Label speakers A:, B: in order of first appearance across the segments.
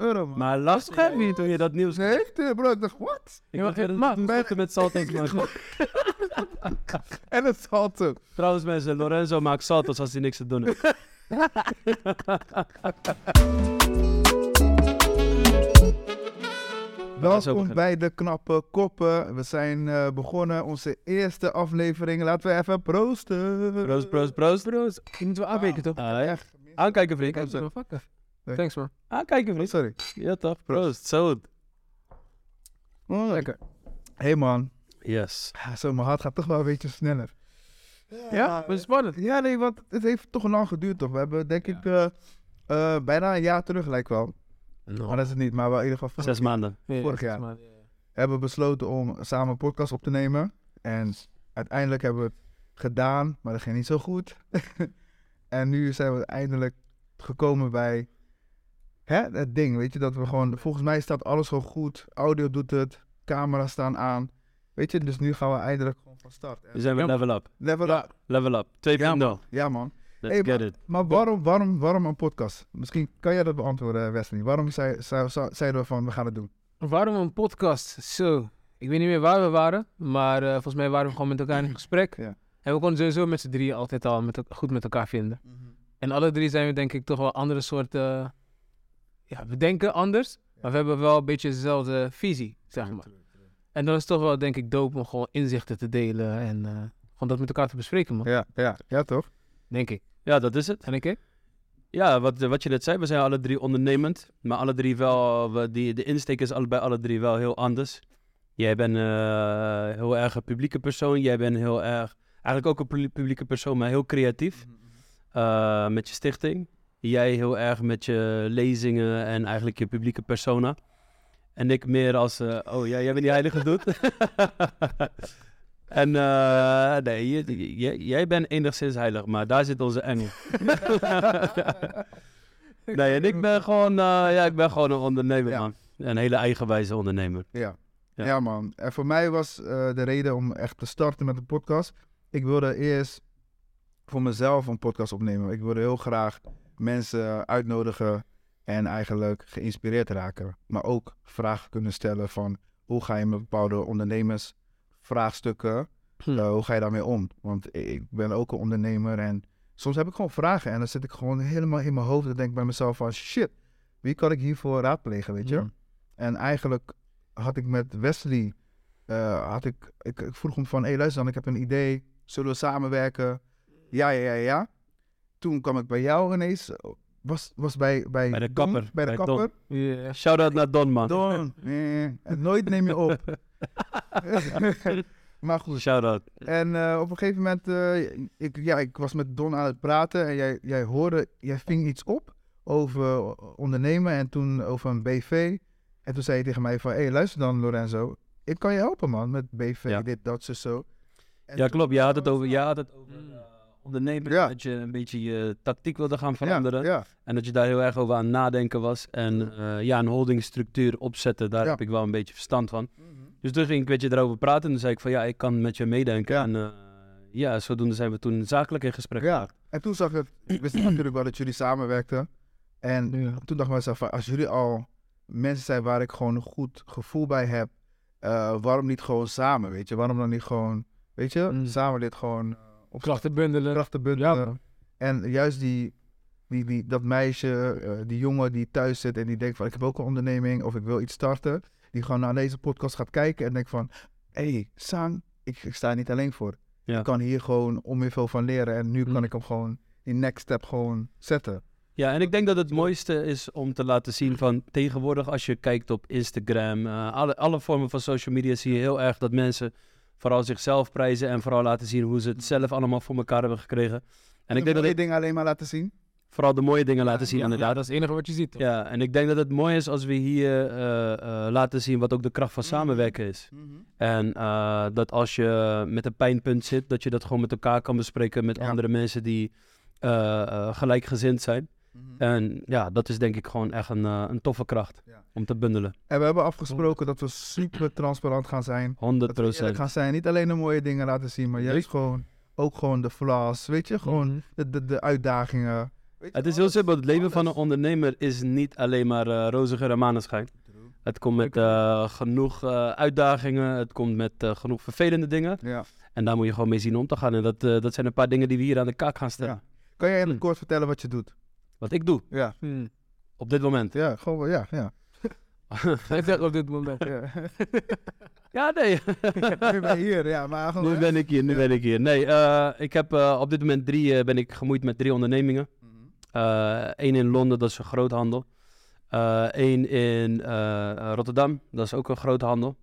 A: euro, man.
B: Maar last begrijp je niet hoe je dat nieuws...
A: Nee, echt, eh, bro. Ik dacht, wat?
B: Ik
C: Ja,
B: dacht,
C: maar-
B: dat
A: maar-
B: doen
A: maar-
B: stoppen met salto's maken.
A: En het zat ook.
B: Trouwens mensen, Lorenzo maakt salto's als hij niks te doen heeft. zo
A: Welkom
B: beginnen.
A: bij de knappe koppen. We zijn eh, begonnen onze eerste aflevering. Laten we even proosten.
B: Proost, proost, proost.
C: Broers, je moet wel aanbreken toch?
B: Ah, ja.
A: Echt.
B: Aankijken vriend.
A: Kijk, zo.
C: Motherfucker.
A: Nee.
C: Thanks man.
B: Aankijken vriend.
A: Sorry.
B: Ah, Ja toch, proost. Zo.
C: Lekker.
A: Oh, Hey man.
B: Yes.
A: Ah, Zo, mijn hart gaat toch wel een beetje sneller.
C: Ja, was spannend.
A: Ja, eh, nee, want het heeft toch lang geduurd, toch? We hebben denk ik eh, eh, bijna een jaar terug, lijkt wel. Maar dat is het niet, maar we in ieder geval vorig-
B: Zes maanden.
C: Ja,
A: Vorig jaar.
C: was spannend.
A: hebben we besloten om samen een podcast op te nemen. En uiteindelijk hebben we het gedaan, maar dat ging niet zo goed. en nu zijn we eindelijk gekomen bij hè, het ding, weet je, dat we gewoon, volgens mij staat alles gewoon goed. Audio doet het, camera's staan aan. Weet je, dus nu gaan we eindelijk gewoon van start.
B: We
A: En
B: zijn weer level up.
A: level
C: Ja.
A: up.
B: Level up. 2.0.
A: Ja man.
B: Let's
A: Hey,
B: get it.
A: Maar waarom, waarom, waarom een podcast? Misschien kan jij dat beantwoorden, Wesley. Waarom zei- zou- zou- zeiden we van, we gaan het doen?
C: Waarom een podcast? Zo. Ik weet niet meer waar we waren, maar eh, volgens mij waren we gewoon met elkaar in gesprek.
A: Ja.
C: En we konden sowieso met z'n drieën altijd al met, el- goed met elkaar vinden.
A: Mhm.
C: En alle drie zijn we denk ik toch wel andere soorten... Ja, we denken anders, maar we hebben wel een beetje dezelfde visie, zeg maar. En dan is het toch wel denk ik dope om gewoon inzichten te delen en eh, gewoon dat met elkaar te bespreken, man.
A: Ja, ja, ja toch?
C: Denk ik.
B: Ja, dat is het.
C: En ik?
B: Ja, wat, wat je net zei, we zijn alle drie ondernemend. Maar alle drie wel, we- die, de insteek is alle, bij alle drie wel heel anders. Jij bent eh, heel erg een publieke persoon. Jij bent heel erg, eigenlijk ook een publie- publieke persoon, maar heel creatief. eh, met je stichting. Jij heel erg met je lezingen en eigenlijk je publieke persona. En ik meer als, eh, oh ja, jij bent die heilige doet. en eh, nee, je- je- jij bent enigszins heilig, maar daar zit onze engel. nee, en ik ben gewoon, eh, ja, ik ben gewoon een ondernemer,
A: Ja.
B: man. Een hele eigenwijze ondernemer.
A: Ja.
B: Ja.
A: Ja. man. En voor mij was eh, de reden om echt te starten met een podcast. Ik wilde eerst voor mezelf een podcast opnemen. Ik wilde heel graag mensen uitnodigen en eigenlijk geïnspireerd raken. Maar ook vragen kunnen stellen van hoe ga je met bepaalde ondernemersvraagstukken,
C: Hm.
A: eh, hoe ga je daarmee om? Want i- ik ben ook een ondernemer en soms heb ik gewoon vragen en dan zit ik gewoon helemaal in mijn hoofd en denk ik bij mezelf van shit, wie kan ik hiervoor raadplegen, weet je?
B: Hmm.
C: Mm.
A: En eigenlijk had ik met Wesley, eh, had ik, ik, ik vroeg hem van, hé hey, luister dan, ik heb een idee, zullen we samenwerken? Ja, ja, ja, ja. Toen kwam ik bij jou ineens, was, was bij, bij,
B: Bij de
A: Don,
B: kapper,
A: Bij de
B: bij Don.
A: kapper.
C: Ja.
B: Shout-out naar Don, man.
A: Don, nee, en nooit neem je op. maar goed,
B: Shout-out.
A: en eh, op een gegeven moment, eh, ik, ja, ik was met Don aan het praten en jij, jij hoorde, jij ving iets op over ondernemen en toen over een BV. En toen zei je tegen mij van, hé hey, luister dan Lorenzo, ik kan je helpen man met BV,
B: Ja.
A: dit, dat, zo, zo. En
B: Ja,
A: toen-
B: klopt. Je had het over, je had het over
C: Mm.
B: eh, ondernemen.
A: Ja.
B: Dat je een beetje je tactiek wilde gaan
A: Ja,
B: veranderen.
A: Ja,
B: En dat je daar heel erg over aan het nadenken was. En eh, ja, een holdingstructuur opzetten, daar
A: Ja. Mhm.
B: heb ik wel een beetje verstand van. Dus toen ging ik met je daarover praten. En toen zei ik van ja, ik kan met je meedenken.
A: Ja.
B: En eh, ja, zodoende zijn we toen zakelijk in gesprek
A: Ja.
B: geraakt.
A: En toen zag ik, ik wist natuurlijk wel dat jullie samenwerkten. En
C: Ja.
A: toen dacht ik mezelf, van, als jullie al mensen zijn waar ik gewoon een goed gevoel bij heb, eh, waarom niet gewoon samen, weet je? Waarom dan niet gewoon, weet je,
C: Mm.
A: samen dit gewoon op
C: Krachten bundelen.
A: krachten
C: Ja,
A: bundelen.
C: man.
A: Eh, En juist die, die, die, dat meisje, eh, die jongen die thuis zit en die denkt van ik heb ook een onderneming of ik wil iets starten. Die gewoon naar deze podcast gaat kijken en denkt van hé, hey, Sang, ik, ik sta er niet alleen voor.
B: Ja.
A: Ik kan hier gewoon onweer veel van leren en nu
B: Mm.
A: kan ik hem gewoon die next step gewoon zetten.
B: Ja, en ik denk dat het mooiste is om te laten zien van tegenwoordig als je kijkt op Instagram, eh, alle, alle vormen van social media zie je heel erg dat mensen vooral zichzelf prijzen en vooral laten zien hoe ze het zelf allemaal voor elkaar hebben gekregen. En ik denk dat
A: die
B: ik
A: Dus dingen alleen maar laten zien.
B: vooral de mooie dingen laten zien
C: Ja,
B: inderdaad.
C: ja, dat is het enige wat je ziet. toch?
B: Ja, en ik denk dat het mooi is als we hier eh, eh, laten zien wat ook de
C: Mm.
B: kracht van samenwerken is. En eh, dat als je met een pijnpunt zit, dat je dat gewoon met elkaar kan bespreken met
A: Ja.
B: andere mensen die eh, eh, gelijkgezind zijn. En ja, dat is denk ik gewoon echt een, eh, een toffe kracht
A: Ja.
B: om te bundelen. 100%.
A: En we hebben afgesproken dat we super transparant gaan zijn. Dat we eerlijk gaan zijn. Niet alleen de mooie dingen laten zien, maar juist gewoon ook gewoon de flaws. Weet je, gewoon de, de, de uitdagingen. Weet je,
B: Mhm. Het is heel
A: alles-
B: simpel. Het leven van een
A: alles.
B: ondernemer is niet alleen maar eh roze geur en maneschijn. Het komt met eh, genoeg eh, uitdagingen. Het komt met eh, genoeg vervelende dingen.
A: Ja.
B: En daar moet je gewoon mee zien om te gaan. En dat, eh, dat zijn een paar dingen die we hier aan de kaak gaan stellen.
A: Ja. Kan jij in het
B: Hm.
A: kort vertellen wat je doet?
B: Wat ik doe
A: Ja,
C: Hmm.
B: op dit moment.
A: ja, gewoon, wel- ja, ja.
C: Hij zegt op dit moment.
A: ja.
B: Ja, nee.
A: nu ben je hier, ja, maar gewoon...
B: nu ben ik hier, nu
A: Ja.
B: ben ik hier. Nee, eh, ik heb eh, op dit moment drie, eh, ben ik gemoeid met drie ondernemingen.
A: Mhm.
B: Eén Eh, in Londen, dat is een groothandel. Eén in eh, eh, Rotterdam, dat is ook een groothandel.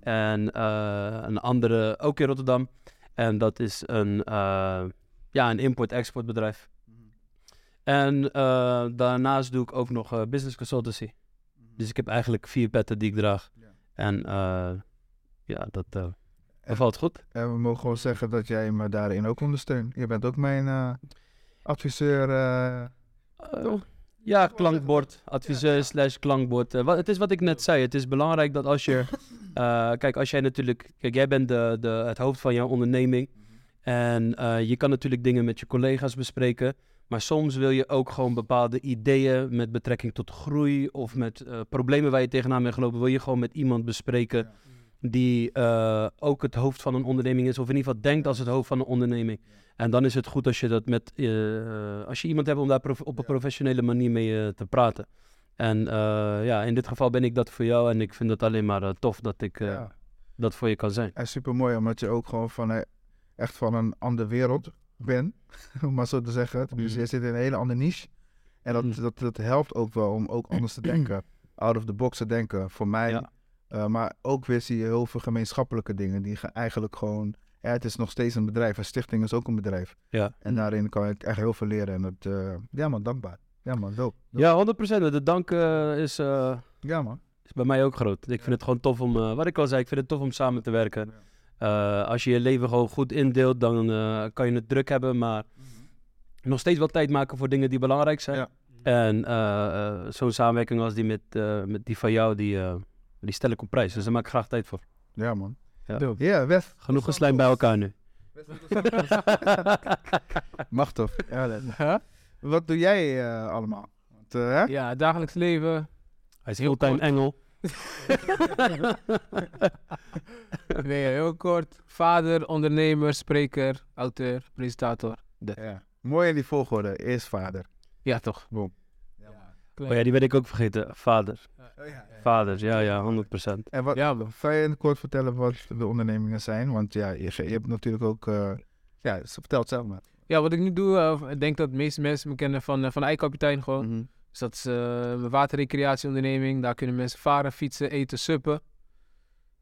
B: En eh, een andere ook in Rotterdam. En dat is een, eh, ja, een import-export bedrijf.
A: Mhm.
B: En eh, daarnaast doe ik ook nog eh, business consultancy. Dus ik heb eigenlijk vier petten die ik draag.
A: Ja.
B: En eh, ja, dat eh,
A: En-
B: bevalt goed.
A: En we mogen wel zeggen dat jij me daarin ook ondersteunt. Je bent ook mijn eh, adviseur. eh,
B: Eh,
A: Toch?
B: ja,
A: Toch wel
B: klankbord, adviseur
A: ja.
B: slash klankbord. Eh, wat, het is wat ik net zei. Het is belangrijk dat als je... eh, kijk, als jij natuurlijk... Kijk, jij bent de, de, het hoofd van jouw onderneming.
A: Mhm.
B: En eh, je kan natuurlijk dingen met je collega's bespreken. Maar soms wil je ook gewoon bepaalde ideeën met betrekking tot groei... of met eh, problemen waar je tegenaan bent gelopen... wil je gewoon met iemand bespreken die eh, ook het hoofd van een onderneming is... of in ieder geval denkt als het hoofd van een onderneming. En dan is het goed als je dat met... eh, eh, als je iemand hebt om daar prof- op een
A: Ja.
B: professionele manier mee eh, te praten. En eh, ja, in dit geval ben ik dat voor jou... en ik vind het alleen maar eh, tof dat ik eh,
A: ja.
B: dat voor je kan zijn.
A: En super mooi, omdat je ook gewoon van, eh, echt van een andere wereld bent. om maar zo te zeggen. Dus
B: Mhm.
A: je zit in een hele andere niche. En dat,
B: Mhm.
A: dat, dat helpt ook wel om ook anders te denken. Out of the box te denken, voor mij.
B: Ja.
A: Eh, maar ook weer zie je heel veel gemeenschappelijke dingen. Die ge- eigenlijk gewoon... eh, het is nog steeds een bedrijf. Een stichting is ook een bedrijf.
B: Ja.
A: En daarin kan ik echt heel veel leren. En dat, eh, ja man, dankbaar. Ja man, dope.
B: Ja, 100%. De dank eh, is, eh,
A: Ja man.
B: is bij mij ook groot. Ik vind het gewoon tof om, eh, wat ik al zei, ik vind het tof om samen te werken. Eh, als je je leven gewoon goed indeelt, dan eh, kan je het druk hebben, maar nog steeds wel tijd maken voor dingen die belangrijk zijn.
A: Ja.
B: En eh, eh, zo'n samenwerking als die met, eh, met die van jou, die, eh, die stel ik op prijs. Dus daar maak ik graag tijd voor.
A: Ja man.
B: Ja.
A: Ja, Wes.
B: Genoeg geslijm bij elkaar nu.
A: Mag toch? Ja, dat-
C: Huh?
A: Wat doe jij eh, allemaal? Want, eh, hè?
C: Ja, het dagelijks leven.
B: Hij is heel time engel.
C: Nee, heel kort. Vader, ondernemer, spreker, auteur, presentator.
A: Ja. Mooi in die volgorde. Eerst vader.
C: Ja, toch?
A: Boom.
C: Klein.
B: Oh ja, die ben ik ook vergeten. Vader.
A: ja.
B: Vader, ja, ja, 100%.
A: En wat,
C: Oh, Ja, man.
A: zou je in het kort vertellen wat de ondernemingen zijn? Want ja, je, je hebt natuurlijk ook... eh, ja, ze vertelt zelf maar.
C: Ja, wat ik nu doe, eh, ik denk dat de meeste mensen me kennen van, eh, van IJkapitein gewoon. Dus dat is eh, mijn waterrecreatieonderneming. Daar kunnen mensen varen, fietsen, eten, suppen.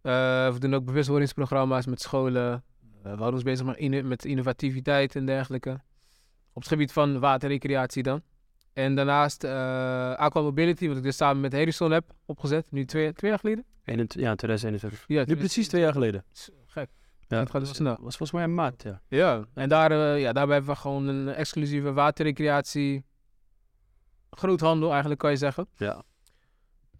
C: Eh, we doen ook bewustwordingsprogramma's met scholen. Eh, we houden ons bezig met, inno- met innovativiteit en dergelijke. Op het gebied van waterrecreatie dan. En daarnaast eh Aqua Mobility, wat ik dus samen met Harrison heb opgezet. Nu twee, twee jaar geleden.
B: Eenent- Ja, 2021.
C: Ja,
B: Nu precies twee jaar geleden.
C: Gek.
B: Ja,
C: Het gaat
B: was-
C: snel.
B: was volgens mij in maart, ja.
C: Ja, en daar, eh, ja, daarbij hebben we gewoon een exclusieve waterrecreatie. Groothandel eigenlijk kan je zeggen.
B: ja.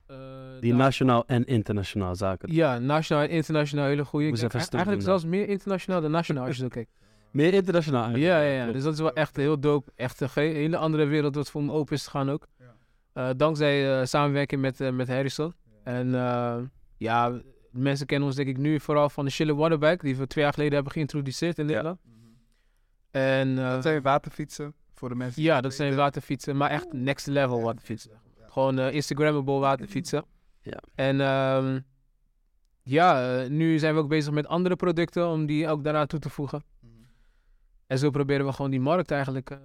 C: Eh,
B: Die
C: daar-
B: nationaal en internationaal zaken.
C: Ja, nationaal en internationaal hele goede.
B: Moest
C: Ik-
B: even stil
C: Eigenlijk
B: doen dan.
C: zelfs meer internationaal dan nationaal als je zo kijkt.
B: Meer internationaal
C: Ja,
B: eigenlijk.
C: ja, ja.
B: Klopt.
C: Dus dat is wel echt heel dope. Echt een ge- hele andere wereld wat voor me open is gegaan ook. Eh, dankzij eh, samenwerking met, eh, met Harrison. En eh, ja, mensen kennen ons denk ik nu vooral van de Chille Waterback. Die we twee jaar geleden hebben geïntroduceerd in Nederland.
A: Mhm.
C: En eh,
A: Dat zijn waterfietsen voor de mensen.
C: ja, dat zijn waterfietsen. Maar echt next level waterfietsen. Gewoon eh, Instagrammable waterfietsen.
B: Ja.
C: En ehm, ja, eh, nu zijn we ook bezig met andere producten om die ook daaraan toe te voegen.
A: Mhm.
C: En zo proberen we gewoon die markt eigenlijk eh,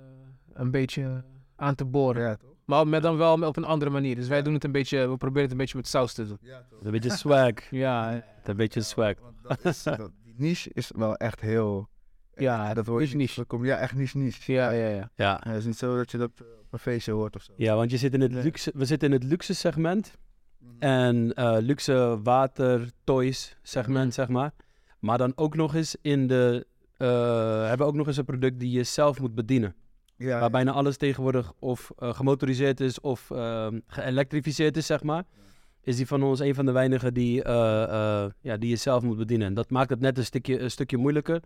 C: een beetje aan te boren.
A: Ja, toch?
C: Maar met dan wel op een andere manier. Dus wij doen het een beetje, we proberen het een beetje met saus te doen.
A: Ja, toch?
B: Een beetje swag.
C: Ja, eh,
B: Een beetje swag.
A: Want dat is, dat, die niche is wel echt heel...
C: ja,
A: dat hoor je
C: is
A: niet.
C: niche.
A: Dat kom- Ja, echt niche niche.
C: Ja, ja, ja.
B: Ja.
A: Ja, het is niet zo dat je dat eh, op een feestje hoort of zo.
B: ja, want je zit in het
A: Nee.
B: luxe, we zitten in het luxe segment.
A: Mhm.
B: En eh, luxe water, toys segment, zeg maar. Maar dan ook nog eens in de... eh, hebben we ook nog eens een product die je zelf moet bedienen.
A: Ja,
B: Waar bijna alles tegenwoordig of eh, gemotoriseerd is of ehm, geëlektrificeerd is, zeg maar. Is die van ons een van de weinigen die, eh, eh, ja, die je zelf moet bedienen. En dat maakt het net een stukje, een stukje moeilijker.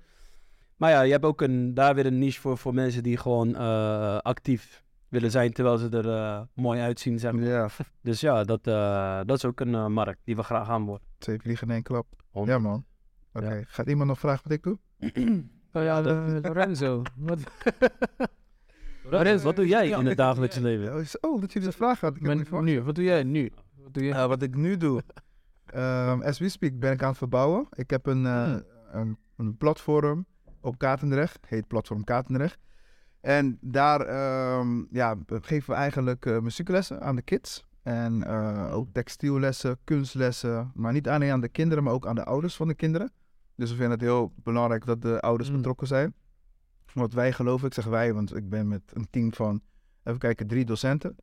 B: Maar ja, je hebt ook een, daar weer een niche voor, voor mensen die gewoon eh, actief willen zijn terwijl ze er eh, mooi uitzien, zeg maar.
A: Ja,
B: Dus ja, dat, eh, dat is ook een eh, markt die we graag aan worden.
A: twee vliegen in één klap.
B: Honderd.
A: Ja, man. Oké, gaat iemand nog vragen wat ik doe?
C: Oh ja, eh, Lorenzo. Wat?
B: Lorenz, wat doe jij in het dagelijks leven?
A: Ja, is- Oh, dat jullie dat vragen hadden. Ik heb
C: Maar
A: het niet verwacht.
C: nu, wat doe jij nu? Wat doe jij?
A: Eh, wat ik nu doe. Ehm, as we speak ben ik aan het verbouwen. Ik heb een, eh, een, een platform op Katendrecht. Heet Platform Katendrecht. En daar ehm, ja, we geven we eigenlijk eh, muzieklessen aan de kids. En eh,
C: Oh.
A: ook textiellessen, kunstlessen. Maar niet alleen aan de kinderen, maar ook aan de ouders van de kinderen. Dus we vinden het heel belangrijk dat de ouders
C: Mm.
A: betrokken zijn. Want wij geloven, ik zeg wij, want ik ben met een team van, even kijken, drie docenten.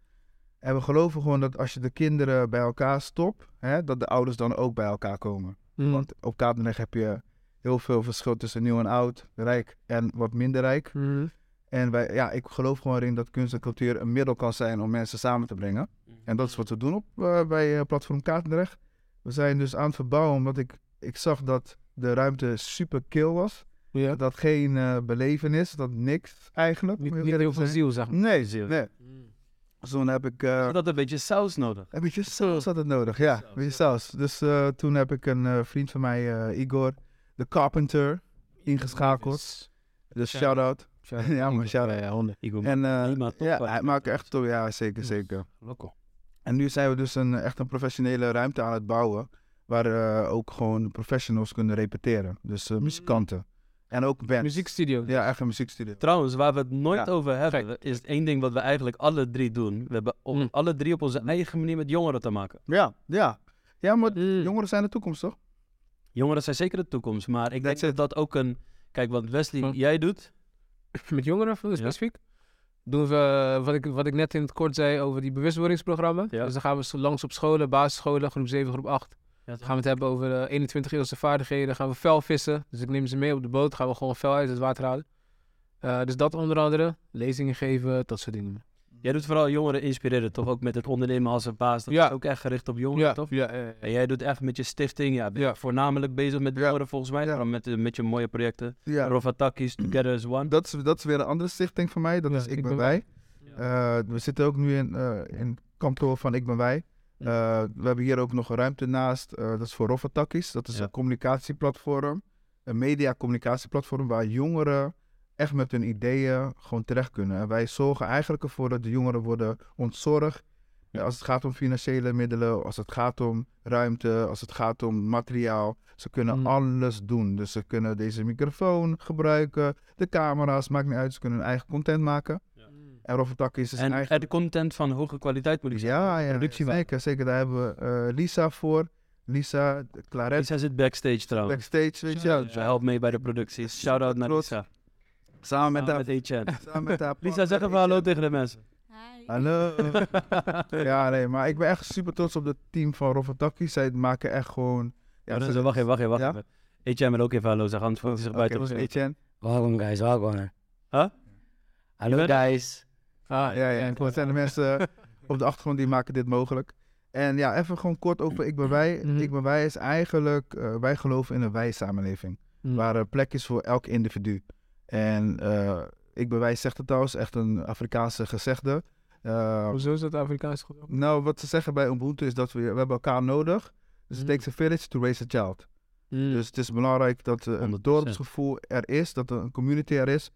A: En we geloven gewoon dat als je de kinderen bij elkaar stopt, hè, dat de ouders dan ook bij elkaar komen.
C: Mm.
A: Want op Katendrecht heb je heel veel verschil tussen nieuw en oud, rijk en wat minder rijk.
C: Mm.
A: En wij, ja, ik geloof gewoon erin dat kunst en cultuur een middel kan zijn om mensen samen te brengen.
C: Mhm.
A: En dat is wat we doen op, eh, bij eh, Platform Katendrecht. We zijn dus aan het verbouwen omdat ik, ik zag dat de ruimte super kil was.
C: Ja.
A: Dat geen eh, belevenis, dat niks eigenlijk.
C: Niet,
A: om heel
C: niet heel
A: eerlijk
C: veel
A: te
C: ziel, zeg
A: zijn.
C: maar.
A: Nee, nee. Dus toen heb ik... eh,
B: Dat had een beetje saus nodig.
A: een beetje saus had het nodig, ja. Een beetje saus. Dus eh, toen heb ik een eh, vriend van mij, eh, Igor, de carpenter, ingeschakeld. Dus
B: Shout-out.
A: shout-out.
C: Shout-out.
A: Ja, maar shout-out.
C: Ja, honderd.
B: Ik wil
A: En eh,
B: Prima, top,
A: ja,
B: man.
A: hij maakt echt top. Ja, zeker, zeker.
B: Lokko.
A: En nu zijn we dus een, echt een professionele ruimte aan het bouwen. Waar eh, ook gewoon professionals kunnen repeteren. Dus eh, muzikanten. En ook bands.
C: Muziekstudio.
A: Ja, echt een muziekstudio.
B: Trouwens, waar we het nooit
A: Ja,
B: over hebben, is één ding wat we eigenlijk alle drie doen. We hebben op-
A: Hmm.
C: Mm.
B: alle drie op onze eigen manier met jongeren te maken.
A: Ja, ja. Ja, maar
C: Mm.
A: jongeren zijn de toekomst, toch?
B: Jongeren zijn zeker de toekomst, maar ik
A: That's Hmm.
B: denk dat dat ook een... Kijk, wat Wesley,
C: Hm.
B: jij doet...
C: Met jongeren specifiek. Doen we eh, wat ik, wat ik net in het kort zei over die bewustwordingsprogramma.
B: Ja.
C: Dus dan gaan we zo langs op scholen, basisscholen, groep 7, groep 8. Dan gaan we het hebben over eh, 21 eeuwse vaardigheden. Dan gaan we fel vissen. Dus ik neem ze mee op de boot. Gaan we gewoon fel uit het water halen. Eh, dus dat onder andere. Lezingen geven, dat soort dingen.
B: Jij doet vooral jongeren inspireren, toch? Ook met het ondernemen als een baas. Dat
C: Ja.
B: is ook echt gericht op
A: Ah,
B: jongeren, toch?
C: ja, ja, ja.
B: En jij doet echt met je stichting, ja, ben je
C: Ja.
B: voornamelijk bezig met
A: Ja.
B: jongeren volgens mij.
A: Ja.
B: Vooral Met, eh, met je mooie projecten.
A: Ja.
B: Rovataki's, Together as One.
A: Dat is, dat is weer een andere stichting van mij. Dat
C: Ja,
A: is Ik,
C: Ik
A: Ben
C: Ben
A: Wij. Eh, we zitten ook nu in, eh, in het kantoor van Ik Ben Wij. Eh, we hebben hier ook nog een ruimte naast. eh, dat is voor Rofatakis. Dat is
B: Ja.
A: een communicatieplatform. Een media-communicatieplatform waar jongeren echt met hun ideeën gewoon terecht kunnen. En wij zorgen eigenlijk ervoor dat de jongeren worden ontzorgd. eh, Als het gaat om financiële middelen, als het gaat om ruimte, als het gaat om materiaal. Ze kunnen
C: Mm.
A: alles doen. Dus ze kunnen deze microfoon gebruiken, de camera's, maakt niet uit. Ze kunnen hun eigen content maken. En Rofatakis is
B: en
A: eigenlijk...
B: en de content van hoge kwaliteit moet ik zeggen.
A: Ja, ja
B: Productiewaarde.
A: zeker, zeker. Daar hebben we eh, Lisa voor. Lisa, de Claret,
B: Lisa zit backstage trouwens.
A: backstage, weet je wel.
B: Ze helpt mee bij de productie. Shout-out naar
A: Klopt.
B: Lisa.
A: Samen met
B: Met,
A: haar.
B: met HN.
A: samen met haar
B: Lisa,
A: partner,
B: zeg even
A: weet
B: hallo
A: je.
B: tegen de mensen.
A: Hallo. ja, nee, maar ik ben echt super trots op het team van Rovataki. Zij maken echt gewoon...
C: Oh,
B: Ja,
A: ze-
B: dus, wacht even, wacht even, wacht
A: Ja?
B: even. HM wil ook even hallo zeggen, anders voelt hij zich
A: Oké,
B: buiten.
A: weet je.
D: Welkom guys, welkom.
B: Huh?
D: Hallo
B: bent-
D: guys.
C: Ah,
A: Ja, ja. Dat zijn de mensen op de achtergrond die maken dit mogelijk. En ja, even gewoon kort over Ik Ben Wij.
C: Mhm.
A: Ik Ben Wij is eigenlijk... eh, wij geloven in een wij-samenleving.
C: Mm.
A: waar eh, plek is voor elk individu. En eh, ik bewijs zegt het trouwens, echt een Afrikaanse gezegde. Eh,
C: Hoezo is dat Afrikaans goed?
A: nou, wat ze zeggen bij Ubuntu is dat we, we hebben elkaar nodig. Dus het
C: Mhm.
A: takes a village to raise a child.
B: Mm.
A: Dus het is belangrijk dat eh, een
B: 100%.
A: dorpsgevoel er is, dat er een community er is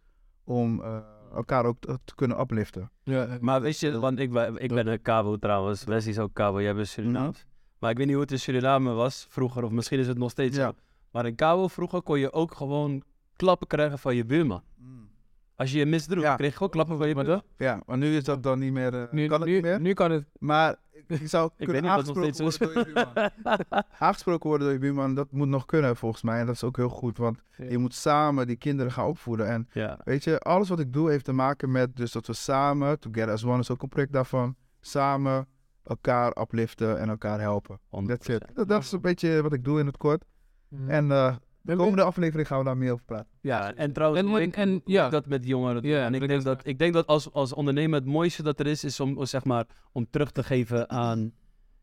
A: om eh, elkaar ook te, te kunnen upliften.
C: Ja,
B: Maar weet je, want ik, ben- ik ben een Cabo trouwens. Wesley is ook Cabo, jij bent Surinaams.
A: Nou?
B: Maar ik weet niet hoe het in Suriname was vroeger, of misschien is het nog steeds
A: Ja.
B: zo. Maar in Cabo vroeger kon je ook gewoon klappen krijgen van je buurman. Als je je misdroeg,
A: Ja.
B: kreeg je gewoon klappen van je
C: Maar
B: buurman.
C: dat-
A: Mm. Ja, maar nu is dat dan niet meer, eh,
C: nu,
A: kan het
C: nu,
A: niet meer.
C: nu kan het.
A: Maar je zou
B: Ik
A: kunnen
B: weet niet of dat nog
A: aangesproken
B: steeds zo is.
A: worden door je buurman. Aangesproken worden door je buurman, dat moet nog kunnen volgens mij. En dat is ook heel goed, want
C: Ja.
A: je moet samen die kinderen gaan opvoeden. En
B: Ja.
A: Weet je, alles wat ik doe heeft te maken met dus dat we samen, Together as One is ook een project daarvan, samen elkaar upliften en elkaar helpen. That's it. Dat, dat is een beetje wat ik doe in het kort.
C: Mm.
A: En eh, de
C: Ben-
A: komende aflevering gaan we daar meer over praten.
B: Ja, en trouwens,
C: En-
B: ik
C: en-
B: denk
C: en- ja.
B: dat met jongeren.
C: Ja,
B: en
C: dat
B: ik
C: ik
B: denk,
C: dat
B: dat, ik denk dat als, als ondernemer het mooiste dat er is, is om, om, zeg maar, om terug te geven aan...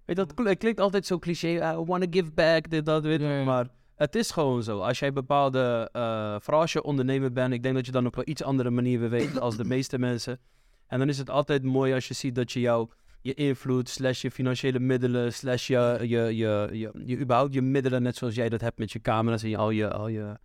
B: Weet je, dat kl- klinkt altijd zo cliché, ah, I want to give back, dit, dat, weet je,
C: Ja, ja.
B: Maar het is gewoon zo. Als jij bepaalde... eh vooral als je ondernemer bent, ik denk dat je dan op een iets andere manier beweegt als de meeste mensen. En dan is het altijd mooi als je ziet dat je jouw je invloed, slash je financiële middelen, slash je, je, je, je, je überhaupt je middelen, net zoals jij dat hebt met je camera's en je, al, je, al, je,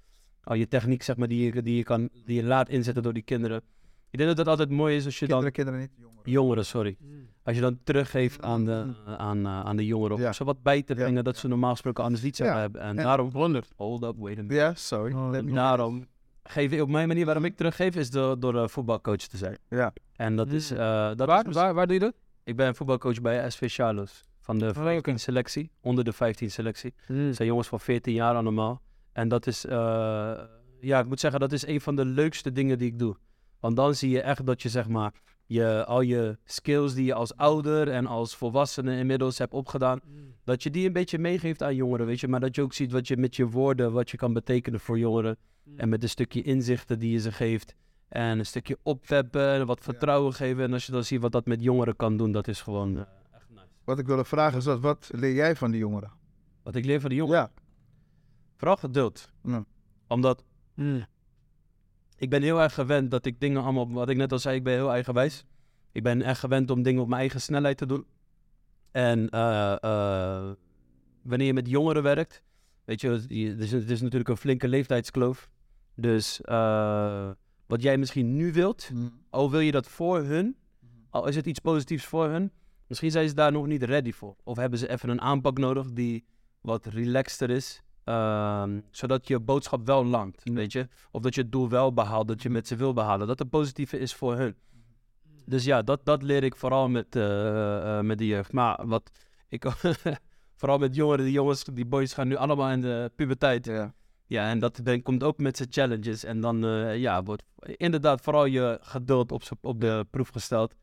B: al je techniek, zeg maar, die, je- die, je kan, die je laat inzetten door die kinderen. Ik denk dat dat altijd mooi is als je
A: Kinderen, kinderen niet, jongeren.
B: dan, jongeren, sorry, als je dan teruggeeft aan de, aan, eh, aan de jongeren, om
A: Ja.
B: ze wat bij te
A: Ja.
B: brengen dat ze normaal gesproken anders niet zouden
A: Ja.
B: hebben. En,
A: En-
B: daarom,
C: Wonder.
B: hold up, wait a minute.
A: Ja, sorry. Oh, Nou, Let me-
B: Daarom geef ik op mijn manier waarom ik teruggeef is door, door eh, voetbalcoach te zijn.
A: Ja.
B: En dat is.
C: Hmm.
B: eh, dat is
C: Waar,
B: mis-
C: waar, waar doe je dat?
B: Ik ben voetbalcoach bij SV Charles. Van de
C: oké.
B: 15 selectie, onder de 15 selectie. Dat zijn jongens van 14 jaar allemaal. En dat is. eh, ja, ik moet zeggen, dat is een van de leukste dingen die ik doe. Want dan zie je echt dat je zeg maar. Je, al je skills die je als ouder en als volwassene inmiddels hebt opgedaan,
A: Mm.
B: dat je die een beetje meegeeft aan jongeren, weet je. Maar dat je ook ziet wat je met je woorden, wat je kan betekenen voor jongeren.
A: Mm.
B: En met een stukje inzichten die je ze geeft. En een stukje opweppen, en wat vertrouwen geven. En als je dan ziet wat dat met jongeren kan doen, dat is gewoon... eh,
A: Wat ik wilde vragen is dat, wat leer jij van die jongeren?
B: wat ik leer van de jongeren.
A: Ja.
B: Vooral geduld.
A: Ja.
B: Omdat Hmm. ik ben heel erg gewend dat ik dingen allemaal... Wat ik net al zei, ik ben heel eigenwijs. Ik ben echt gewend om dingen op mijn eigen snelheid te doen. En eh, eh, wanneer je met jongeren werkt... Weet je, het je- het is, het is natuurlijk een flinke leeftijdskloof. Dus eh, wat jij misschien nu wilt...
A: Hm.
B: Al wil je dat voor hun, al is het iets positiefs voor hun, misschien zijn ze daar nog niet ready voor. Of hebben ze even een aanpak nodig die wat relaxter is, ehm, zodat je boodschap wel landt, weet je. Of dat je het doel wel behaalt, dat je met ze wil behalen, dat het positieve is voor hun. Dus ja, dat, dat leer ik vooral met, eh, eh, met de jeugd. Maar wat ik, vooral met jongeren, die jongens, die boys gaan nu allemaal in de puberteit.
A: Ja.
B: Ja, en dat ben- komt ook met zijn challenges. En dan eh, ja, wordt inderdaad vooral je geduld op, z'n- op de proef gesteld.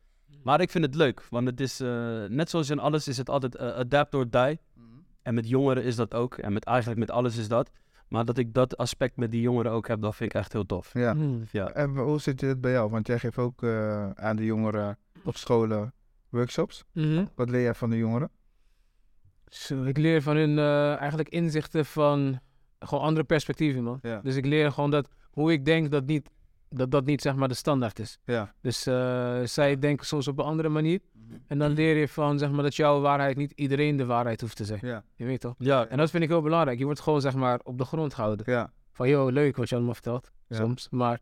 B: Maar ik vind het leuk, want het is, eh, net zoals in alles, is het altijd eh, adapt or die.
A: Hm.
B: En met jongeren is dat ook. En met, eigenlijk met alles is dat. Maar dat ik dat aspect met die jongeren ook heb, dat vind ik echt heel tof.
A: Ja.
B: Ja.
A: En hoe zit dit bij jou? Want jij geeft ook eh, aan de jongeren op scholen workshops.
B: Hmm.
A: Wat leer jij van de jongeren?
C: Zo, ik leer van hun eh, eigenlijk inzichten van gewoon andere perspectieven, man.
A: Ja.
C: Dus ik leer gewoon dat hoe ik denk dat niet, dat, dat niet zeg maar de standaard is.
A: Ja. Mhm.
C: Dus eh, zij denken soms op een andere manier. En dan leer je van zeg maar dat jouw waarheid niet iedereen de waarheid hoeft te zijn.
A: Ja.
C: Je weet toch?
B: Ja,
C: En dat vind ik heel belangrijk. Je wordt gewoon zeg maar op de grond gehouden.
A: Ja.
C: Van yo, leuk wat je allemaal vertelt.
A: Ja.
C: Soms. Maar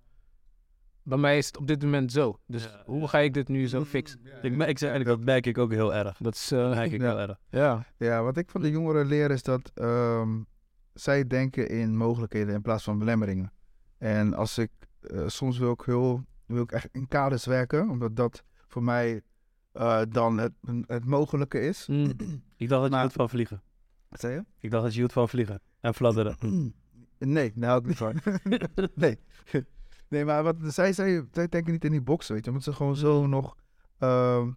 C: bij mij is het op dit moment zo. Dus
B: Ja,
C: hoe ga ik dit nu
A: Mm.
C: zo fixen?
A: Hm.
B: ik, mer- ik zeg eigenlijk, dat merk ik ook heel erg.
C: Dat is. eh,
B: Dat merk ik
A: Ja.
B: heel erg.
C: ja.
A: Ja, wat ik van de jongeren leer is dat ehm, zij denken in mogelijkheden in plaats van belemmeringen. En als ik eh, soms wil ik heel wil ik echt in kaders werken, omdat dat voor mij eh, dan het, het mogelijke is.
C: Mm.
B: Ik dacht dat je
A: Maar-
B: hield van vliegen.
A: Wat zei je?
B: Ik dacht dat je hield van vliegen. En fladderen.
A: Nee, nou ook niet van. nee. Nee, maar wat, zij, zij, zij denken niet in die boxen, weet je. Omdat ze gewoon zo
C: Mm.
A: nog ehm,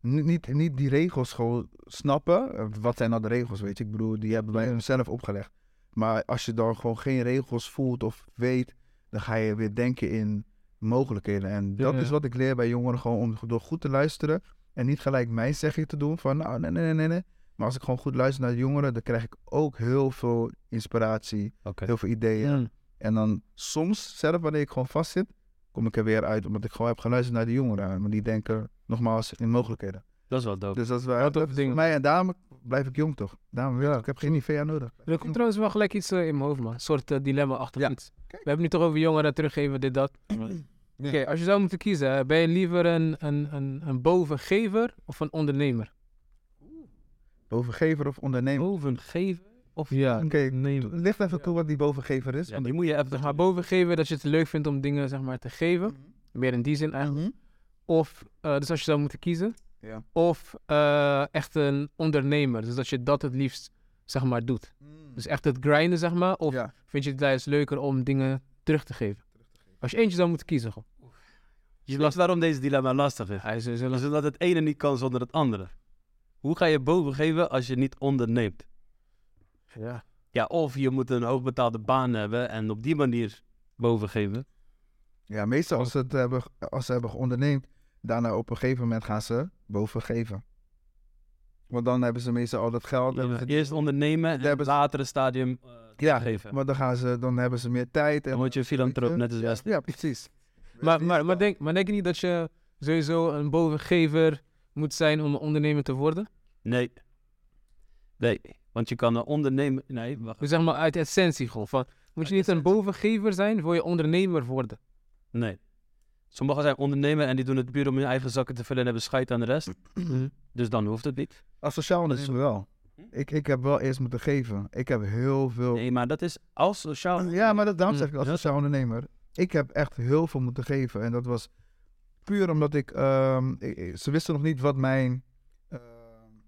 A: niet, niet, niet die regels gewoon snappen. Eh, Wat zijn nou de regels, weet je. Ik bedoel, die hebben wij hunzelf opgelegd. Maar als je dan gewoon geen regels voelt of weet... dan ga je weer denken in mogelijkheden. En dat
C: Ja.
A: is wat ik leer bij jongeren. Gewoon om door goed te luisteren... en niet gelijk mijn zegje te doen van... nou, nee, nee, nee, nee, nee. Maar als ik gewoon goed luister naar de jongeren... dan krijg ik ook heel veel inspiratie
B: Oké.
A: heel veel ideeën.
C: Mm.
A: En dan soms, zelf wanneer ik gewoon vastzit, kom ik er weer uit. Omdat ik gewoon heb geluisterd naar de jongeren. Maar die denken nogmaals in mogelijkheden.
B: Dat is wel dope.
A: Dus dat is wel
C: toffe
A: dat is voor
C: dingen.
A: mij. En daarom blijf ik jong toch. Daarom wil ik. Ik heb geen IVA nodig.
C: Er komt trouwens wel gelijk iets eh, in mijn hoofd, man. Een soort eh, dilemma achter
A: Ja.
C: iets. We hebben nu toch over jongeren teruggeven, dit, dat. Oké, als je zou moeten kiezen, hè, ben je liever een, een, een, een bovengever of een ondernemer?
A: Bovengever of ondernemer.
B: Bovengeven of
A: Ja,
C: Oh,
A: oké.
B: nemen.
A: Licht even toe wat die bovengever is.
B: Ja, die Dus moet je even...
C: Zeg maar bovengever, dat je het leuk vindt om dingen zeg maar, te geven. Meer in die zin eigenlijk. Of, eh, dus als je zou moeten kiezen.
A: Ja.
C: Of eh, echt een ondernemer. Dus dat je dat het liefst zeg maar, doet. Dus echt het grinden, zeg maar. Of
A: Mhm. Ja.
C: vind je het juist leuker om dingen terug te geven? Als je eentje zou moeten kiezen, gewoon.
B: Je weet waarom deze dilemma lastig is. Hij is dat het ene niet kan zonder het andere. Hoe ga je boven geven als je niet onderneemt?
C: Ja.
B: Ja, of je moet een hoogbetaalde baan hebben en op die manier boven geven.
A: ja, meestal als ze, het hebben, als ze hebben geonderneemd, daarna op een gegeven moment gaan ze bovengeven. Want dan hebben ze meestal al dat geld. hebben ze-
B: Eerst ondernemen en
A: hebben
B: het
A: ze-
B: latere stadium eh,
A: Ja,
B: geven.
A: Maar dan, gaan ze, dan hebben ze meer tijd. En
B: Dan word je een filantroop, net als Wesley.
A: Ja, precies.
C: Maar, maar, maar, denk, maar denk je niet dat je sowieso een bovengever moet zijn om een ondernemer te worden?
B: Nee. Nee, want je kan eh, ondernemen... Nee, wacht.
C: Dus zeg maar uit essentie gewoon. Van, moet je
B: Uit
C: niet een
B: essentie.
C: bovengever zijn, wil je ondernemer worden?
B: Nee. Sommigen zijn ondernemer en die doen het puur om hun eigen zakken te vullen en hebben scheid aan de rest. Dus dan hoeft het niet.
A: Asociaal ondernemen wel. Ik, ik heb wel eerst moeten geven. Ik heb heel veel...
B: Nee, maar dat is als sociaal...
A: Oh. Ja, maar dat, daarom zeg ik als
B: Ja.
A: sociaal ondernemer. Ik heb echt heel veel moeten geven. En dat was puur omdat ik... ehm, ik- ik- ze wisten nog niet wat mijn ehm,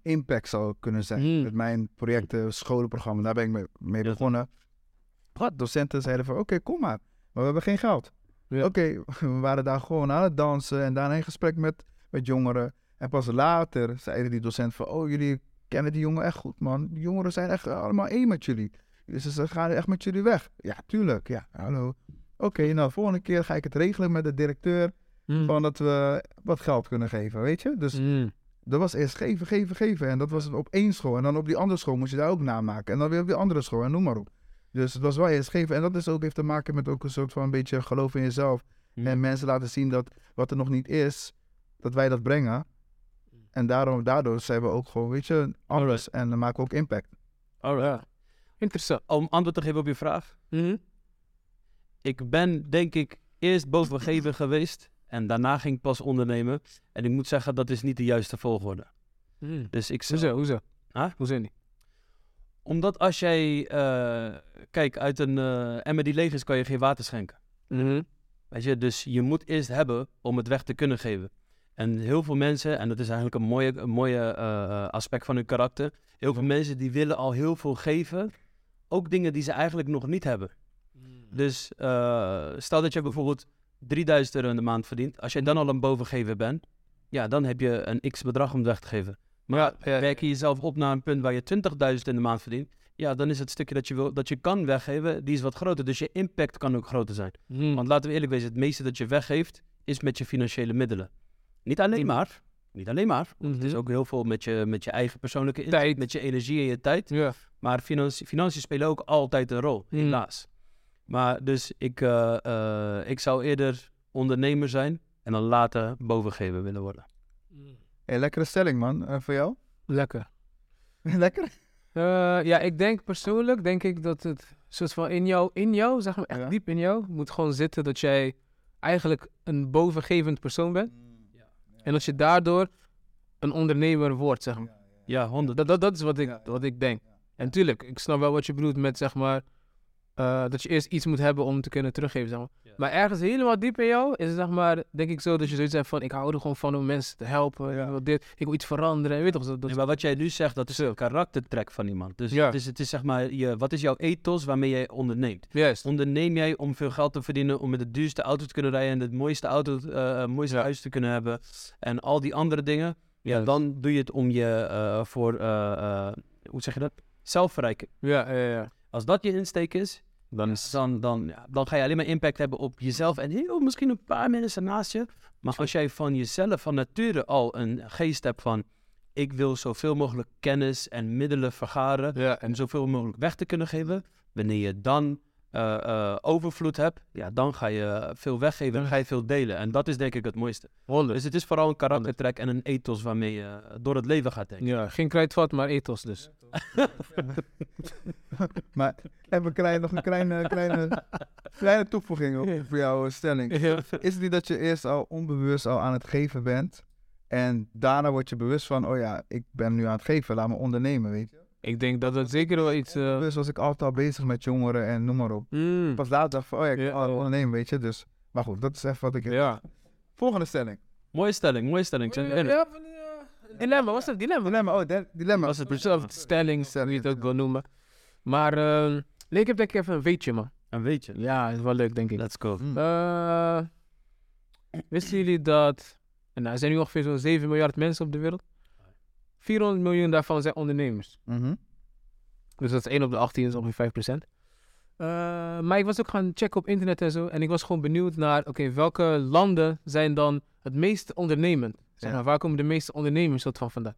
A: impact zou kunnen zijn.
C: Mm.
A: Met mijn projecten, scholenprogramma. Daar ben ik mee, mee
B: Ja.
A: begonnen. Wat? Docenten zeiden van, oké, kom maar. Maar we hebben geen geld.
C: Ja.
A: Oké, we waren daar gewoon aan het dansen. En daarna in gesprek met, met jongeren. En pas later zeiden die docent van, oh, jullie kennen die jongen echt goed, man. Die jongeren zijn echt allemaal één met jullie. Dus ze gaan echt met jullie weg. Ja, tuurlijk. Ja, hallo. Oké, nou, volgende keer ga ik het regelen met de directeur.
B: Hmm.
C: Mm.
A: Van dat we wat geld kunnen geven, weet je? Dus
C: Mm.
A: dat was eerst geven, geven, geven. En dat was op één school. En dan op die andere school moest je daar ook namaken. En dan weer op die andere school en noem maar op. Dus het was wel eerst geven. En dat is ook, heeft te maken met ook een soort van een beetje geloof in jezelf.
B: Hmm.
A: En mensen laten zien dat wat er nog niet is, dat wij dat brengen. En daarom, daardoor zijn we ook gewoon, weet je, anders. En dan maken we ook impact.
B: Alright. Hmm.
C: Interessant.
B: Om antwoord te geven op je vraag.
C: Mhm.
B: Ik ben denk ik eerst bovengever geweest en daarna ging ik pas ondernemen. En ik moet zeggen, dat is niet de juiste volgorde.
C: Mm.
B: Dus ik zou-
C: Hoezo, hoezo?
B: Huh?
C: Hoezo niet?
B: Omdat als jij, eh, kijk, uit een eh, emmer die leeg is, kan je geen water schenken.
C: Mhm.
B: Weet je, dus je moet eerst hebben om het weg te kunnen geven. En heel veel mensen, en dat is eigenlijk een mooie, een mooie eh, eh, aspect van hun karakter. Heel veel mensen die willen al heel veel geven. Ook dingen die ze eigenlijk nog niet hebben.
C: Hmm.
B: Dus eh, stel dat je bijvoorbeeld 3000 euro in de maand verdient. Als jij dan al een bovengever bent, ja, dan heb je een x bedrag om weg te geven. Maar ja,
C: Ja, ja,
B: werk je jezelf op naar een punt waar je 20.000 in de maand verdient. Ja, dan is het stukje dat je, wil, dat je kan weggeven, die is wat groter. Dus je impact kan ook groter zijn.
C: Mm.
B: Hmm. Want laten we eerlijk wezen, het meeste dat je weggeeft is met je financiële middelen. Niet alleen maar, niet alleen maar.
C: Mhm.
B: Het is ook heel veel met je, met je eigen persoonlijke inzet,
C: Tijd.
B: met je energie en je tijd.
C: Ja.
B: Maar financi- financiën spelen ook altijd een rol,
C: Mm.
B: helaas. Maar dus ik, eh, eh, ik zou eerder ondernemer zijn en dan later bovengever willen worden.
A: Hey, lekkere stelling, man. Eh, voor jou?
C: Lekker.
A: Lekker?
C: Eh, ja, ik denk persoonlijk denk ik dat het soort van in jou, in jou, zeg maar echt
A: Ja.
C: diep in jou, moet gewoon zitten dat jij eigenlijk een bovengevend persoon bent.
A: Mm.
C: En dat je daardoor een ondernemer wordt, zeg maar.
B: Ja, 100.
C: Dat, dat, dat is wat ik,
A: Ja, ja.
C: wat ik denk. En tuurlijk, ik snap wel wat je bedoelt met zeg maar, eh, dat je eerst iets moet hebben om te kunnen teruggeven, zeg maar.
B: Ja.
C: Maar ergens helemaal diep in jou is het zeg maar, denk ik zo, dat je zoiets hebt van, ik hou er gewoon van om mensen te helpen, ik wil dit, ik wil iets veranderen, weet je toch, dat, dat
B: Nee, maar wat jij nu zegt, dat is
C: Zo.
B: een karaktertrek van iemand. Dus
C: Ja.
B: het, is, het is zeg maar, je, wat is jouw ethos waarmee jij onderneemt?
C: juist.
B: onderneem jij om veel geld te verdienen, om met de duurste auto te kunnen rijden en het mooiste, auto, eh, eh, mooiste
C: Ja.
B: huis te kunnen hebben en al die andere dingen, ja,
C: Juist.
B: dan doe je het om je eh, voor, eh, eh, hoe zeg je dat, zelfverrijking.
C: Ja, ja, ja.
B: Als dat je insteek is,
C: Dan
B: dan, dan, ja, dan ga je alleen maar impact hebben op jezelf en heel misschien een paar mensen naast je. Maar als jij van jezelf, van nature al een geest hebt van, ik wil zoveel mogelijk kennis en middelen vergaren,
C: Ja,
B: en zoveel mogelijk weg te kunnen geven. Wanneer je dan eh, eh, overvloed hebt, ja, dan ga je veel weggeven en ga je veel delen. En dat is denk ik het mooiste.
C: 100.
B: Dus het is vooral een karaktertrek en een ethos waarmee je door het leven gaat denken.
C: Ja, geen kruidvat, maar ethos dus.
A: Maar even klein, nog een kleine, kleine, kleine toevoeging op, voor jouw eh, stelling. Is het niet dat je eerst al onbewust al aan het geven bent? En daarna word je bewust van, oh ja, ik ben nu aan het geven, laat me ondernemen, weet je.
C: ik denk dat dat zeker wel iets... eh,
A: Onbewust was ik altijd al bezig met jongeren en noem maar op.
C: mm,
A: Pas later dacht ik van, oh ja, ik
C: Ja.
A: kan al ondernemen, weet je. Dus, maar goed, dat is even wat ik...
C: ja.
A: Volgende stelling.
B: Mooie stelling, mooie stelling. Zijn we enig?
C: Ja, van, eh, dilemma, was dat dilemma?
A: Dilemma, oh, de- dilemma.
B: Was het precies
C: Zelf stelling, hoe eh, je het ook wil noemen. Maar ehm, nee, ik heb denk ik even een weetje, man.
B: een weetje?
C: Ja, is wel leuk, denk ik.
B: Let's go.
A: Hm.
C: Eh, wisten jullie dat... en Nou, er zijn nu ongeveer zo'n 7 miljard mensen op de wereld. 400 miljoen daarvan zijn ondernemers.
A: Mhm.
C: Dus dat is 1 op de 18, dat is ongeveer 5 Eh, maar ik was ook gaan checken op internet en zo. En ik was gewoon benieuwd naar, oké, welke landen zijn dan het meest ondernemend? Zeg
A: Ja.
C: maar, waar komen de meeste ondernemers soort van vandaan?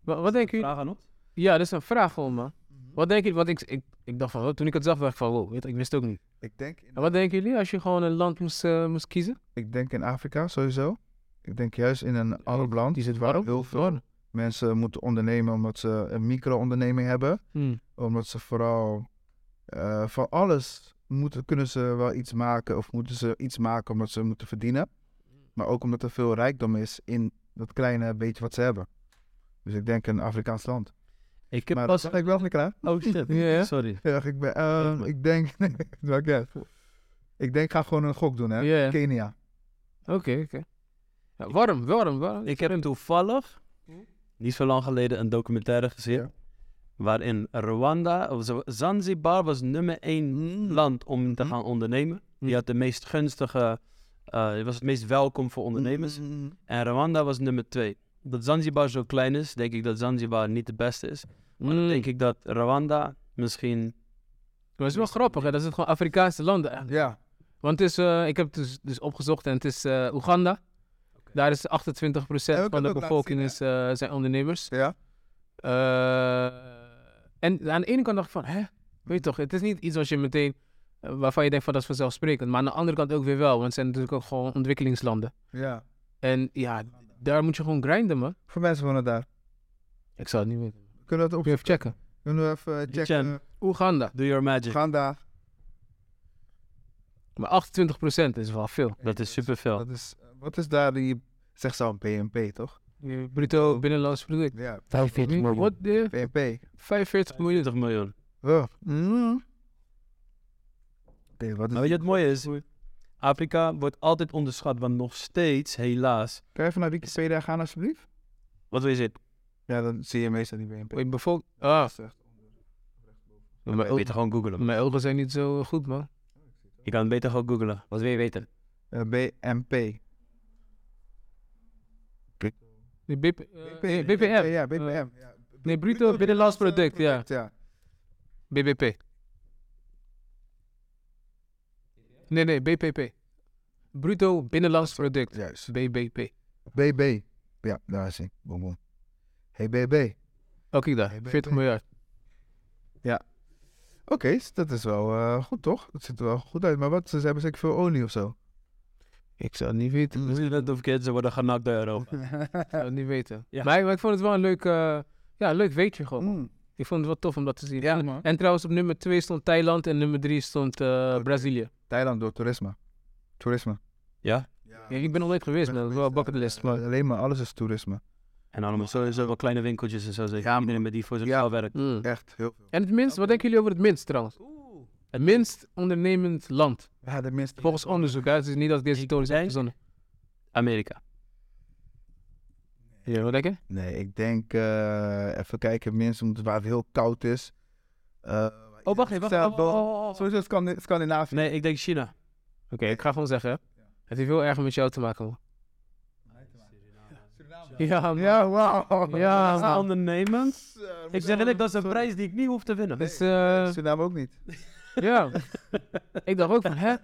C: Wa- wat denken jullie?
B: Vraag aan ons?
C: Ja, dat is een vraag Mhm. gewoon, man. Wat denken jullie? Want ik, ik, ik dacht van, oh, toen ik het zag, dacht ik van, wow, weet je, ik wist het ook niet.
A: Ik denk,
C: En wat denken jullie als je gewoon een land moest, eh, moest kiezen?
A: ik denk in Afrika, sowieso. Ik denk juist in een ander land
C: Die zit waarop?
A: heel veel mensen moeten ondernemen omdat ze een micro-onderneming hebben.
C: Hmm.
A: Omdat ze vooral eh, van alles moeten, kunnen ze wel iets maken of moeten ze iets maken omdat ze moeten verdienen.
B: Mm.
A: Maar ook omdat er veel rijkdom is in dat kleine beetje wat ze hebben. Dus ik denk een Afrikaans land.
B: Ik heb
A: maar
B: pas...
A: dat ben ik wel niet klaar.
B: Oh shit,
C: Ja, ja.
B: sorry.
A: Ja, ik, ben, eh, ik denk... Nee, het maakt niet uit. Ik denk, ik ga gewoon een gok doen, hè.
C: Ja, ja.
A: Kenia.
C: oké, oké. Ja, Warm, warm, warm. Hmm.
B: Ik heb toevallig, niet zo lang geleden, een documentaire gezien.
A: Ja.
B: Waarin Rwanda, of Z- Zanzibar was nummer één land om te
A: Mhm.
B: gaan ondernemen.
C: Mhm.
B: Die had de meest gunstige, eh, die was het meest welkom voor ondernemers. En Rwanda was nummer twee. Dat Zanzibar zo klein is, denk ik dat Zanzibar niet de beste is. Maar dan
C: Mm.
B: denk ik dat Rwanda misschien...
C: Maar het is wel grappig, hè? dat is gewoon Afrikaanse landen. eigenlijk.
A: Ja.
C: Want het is, eh, ik heb het dus, dus opgezocht en het is eh Oeganda. Daar is 28%
A: Heb ik
C: van de
A: ook laten
C: bevolking
A: zien,
C: is, eh, zijn ondernemers.
A: Ja.
C: Eh, en aan de ene kant dacht ik van, hè, weet je toch, het is niet iets wat je meteen, eh, waarvan je denkt van dat is vanzelfsprekend. Maar aan de andere kant ook weer wel, want het zijn natuurlijk ook gewoon ontwikkelingslanden.
A: Ja.
C: En ja, daar moet je gewoon grinden, man.
A: Voor mensen wonen daar.
C: Ik zou het niet weten.
A: Kunnen we dat op...
C: Moet je even checken.
A: Kunnen we even eh,
B: Die
A: checken.
C: Oeganda.
B: Do your magic.
A: Uganda.
C: Maar 28% is wel veel.
B: Dat is superveel.
A: Dat is... eh, Wat is daar die... Zeg zo, BNP, toch?
C: Bruto binnenlands product.
A: Ja,
D: 45 miljoen.
C: Wat de?
A: BNP.
C: 45 miljoen.
B: 20 miljoen.
A: Oh. Oké, wat is...
B: Maar weet je wat mooi is? Afrika wordt altijd onderschat, want nog steeds, helaas...
A: Kan je even naar Wikipedia gaan, alsjeblieft? Oh,
B: Wat wil je zeggen?
A: Ja, dan zie je meestal die BNP.
C: Wait, bevolk... Ah,
B: Je kan beter gewoon googlen.
C: mijn ogen zijn niet zo eh, goed, man.
B: Mm. Je kan het beter gewoon googlen.
D: Wat wil je weten?
A: Eh, BNP.
C: Die BP, eh, BPM.
A: Ja, BPM. Ja.
C: Nee, bruto binnenlands product, ja.
A: Ja.
C: BBP. Nee, nee, BPP. Bruto binnenlands product.
A: Juist.
C: BBP.
A: BB. Ja, daar is hij. Boom, boom. Hey, BB.
C: Oh, kijk daar.
A: Hey, BBP.
C: 40 miljard.
A: Oké, s- dat is wel eh, goed, toch? Dat ziet er wel goed uit. Maar wat, ze hebben zeker veel olie of zo.
C: Ik zou het niet weten.
B: Mm. Het is net of kids worden genakt door Europa.
C: Ik zou het niet weten.
B: Ja.
C: Maar, maar ik vond het wel een leuk, eh, ja, leuk weetje gewoon.
A: Mm.
C: Ik vond het wel tof om dat te zien.
A: Ja, man.
C: En trouwens, op nummer 2 stond Thailand en nummer 3 stond eh, Brazilië.
A: Thailand door toerisme. Toerisme.
B: Ja?
C: Ja, ik ben al leuk geweest, man. Dat is wel een bucketlist.
A: Maar alleen maar alles is toerisme.
B: En allemaal sowieso wel kleine winkeltjes en zo. Zeker ja, iedereen met die voor zijn
A: Ja.
B: ja. werkt.
C: Mm.
A: Echt heel veel.
C: En het minst, wat denken jullie over het minst trouwens? Het minst ondernemend land.
A: Ja, de minste.
C: Volgens onderzoek, hè. het is niet dat ik deze historisch heb
B: denk-
C: verzonnen.
B: Amerika.
C: Ja, wat denk je?
A: Nee, ik denk, eh, even kijken, mensen moeten waar het heel koud is. Eh,
B: Oh, wacht even. wacht,
A: Stel-
B: oh, oh, oh, oh.
A: Sowieso Scandi- Scandinavië.
B: Nee, ik denk China.
C: Oké, ik ga gewoon zeggen, hè. het heeft heel erg met jou te maken, man. Ja, man.
A: Ja, wauw.
C: Ja,
B: Ah,
C: man.
B: ondernemend. Ik zeg eerlijk, dat is een prijs die ik niet hoef te winnen.
C: Dus, eh,
A: Suriname ook niet.
C: ja. Ik dacht ook van, hè?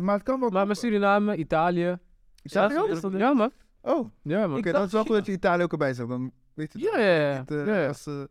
A: Maar het kan wel.
C: Maar met Suriname, Italië.
A: Italië
C: Ja,
A: ook?
C: dat- ja, man.
A: Oh, oké,
C: Ja, man.
B: Ik
A: dat is wel
B: dacht
A: goed dat je Italië ook erbij zegt. Dan weet je het.
C: Ja, ja, ja.
A: Niet, eh,
C: Ja, ja.
A: als, eh,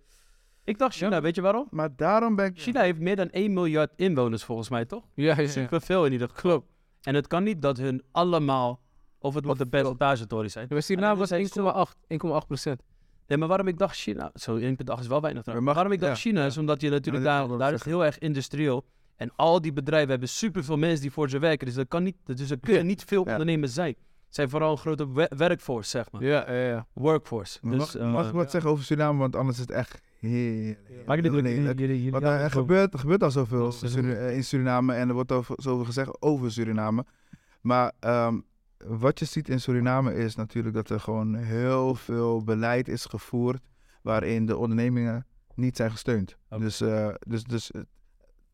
B: Ik dacht China, weet je waarom?
A: maar daarom ben ik...
B: China heeft meer dan 1 miljard inwoners volgens mij, toch?
C: Ja, ja, ja.
B: Superveel in ieder geval. Klopt. En het kan niet dat hun allemaal, of het moet de percentagetory zijn.
C: Maar
B: En
C: Suriname
B: dan
C: was
B: zijn ze zo-
C: 1,8 1,8 procent.
B: Nee, maar waarom ik dacht China... Zo, 1,8 is wel weinig.
A: Maar
B: trouwens.
A: mag-
B: waarom ik dacht
A: ja,
B: China is omdat je natuurlijk
A: Ja, dat
B: daar...
A: wil ik
B: Daar is het heel erg industrieel. En al die bedrijven hebben superveel mensen die voor ze werken. Dus, dat kan niet, dus er kunnen niet veel
A: Ja.
B: ondernemers zijn. Het zijn vooral een grote we- workforce, zeg maar.
C: Ja, ja, ja.
B: Workforce.
A: Maar
B: Dus,
A: mag, mag ik wat zeggen over Suriname? Want anders is het echt heel...
B: Maar ik
A: heel lelijk. Want er, gebeurt, er gebeurt al zoveel
B: Oh, Dat is
A: over Suri- eh, in Suriname en er wordt al zoveel gezegd over Suriname. Maar ehm, wat je ziet in Suriname is natuurlijk dat er gewoon heel veel beleid is gevoerd waarin de ondernemingen niet zijn gesteund.
B: Oké.
A: Dus, eh, dus, dus eh,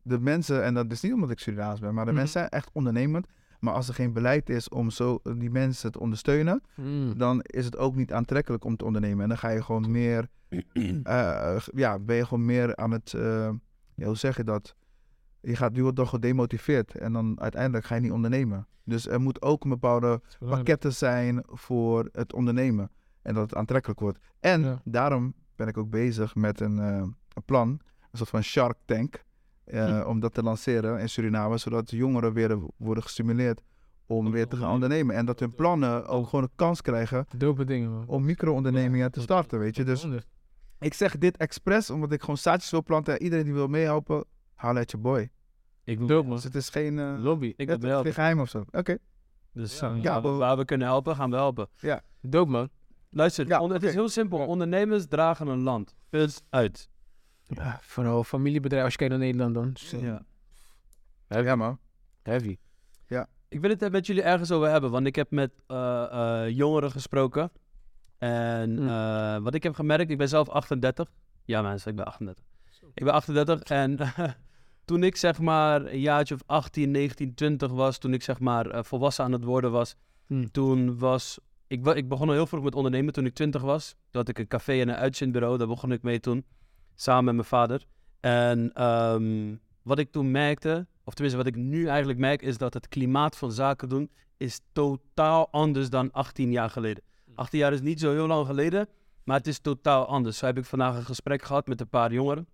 A: de mensen, en dat is niet omdat ik Surinaams ben, maar de
C: Mhm.
A: mensen zijn echt ondernemend. Maar als er geen beleid is om zo die mensen te ondersteunen,
C: Mm.
A: dan is het ook niet aantrekkelijk om te ondernemen. En dan ga je gewoon meer, eh, g- ja, ben je gewoon meer aan het, eh, ja, hoe zeg je dat? Je gaat, je wordt dan gedemotiveerd en dan uiteindelijk ga je niet ondernemen. Dus er moet ook een bepaalde pakketten zijn voor het ondernemen en dat het aantrekkelijk wordt. En
C: Ja.
A: daarom ben ik ook bezig met een, eh, een plan, een soort van Shark Tank, eh, om dat te lanceren in Suriname, zodat jongeren weer worden gestimuleerd om weer te gaan ondernemen. En dat hun plannen ook gewoon een kans krijgen
C: Dope dingen, man.
A: om micro-ondernemingen te starten, weet je. Dus
C: Honderd.
A: ik zeg dit expres, omdat ik gewoon zaadjes wil planten. En iedereen die wil meehelpen, haal uit je boy.
B: Ik doe
C: Dope, man.
A: Dus het is geen, eh,
C: Lobby.
B: Ik
A: ja,
B: wil
A: het is geen
B: helpen.
A: geheim of zo. Oké,
B: Dus
C: Ja,
B: eh,
A: ja,
B: waar, we,
A: maar-
B: waar we kunnen helpen, gaan we helpen.
C: Dope, man.
B: Luister,
A: Ja,
B: on- het is
A: oké.
B: heel simpel. Ondernemers dragen een land. Punt uit.
C: Ja, vooral familiebedrijf. Als je kijkt naar Nederland dan. is, eh,
B: Ja.
A: ja man.
C: Heavy.
B: Ik wil het er met jullie ergens over hebben, want ik heb met eh, eh, jongeren gesproken. En
C: Mm.
B: eh, wat ik heb gemerkt, ik ben zelf 38. Ja mensen, ik ben 38. Ik ben 38 en toen ik zeg maar een jaartje of 18, 19, 20 was, toen ik zeg maar eh, volwassen aan het worden was,
C: Mm.
B: toen was... Ik, wa- ik begon al heel vroeg met ondernemen toen ik 20 was. Toen had ik een café en een uitzendbureau, daar begon ik mee toen. Samen met mijn vader. En ehm, wat ik toen merkte, of tenminste wat ik nu eigenlijk merk, is dat het klimaat van zaken doen is totaal anders dan 18 jaar geleden. 18 jaar is niet zo heel lang geleden, maar het is totaal anders. Zo heb ik vandaag een gesprek gehad met een paar jongeren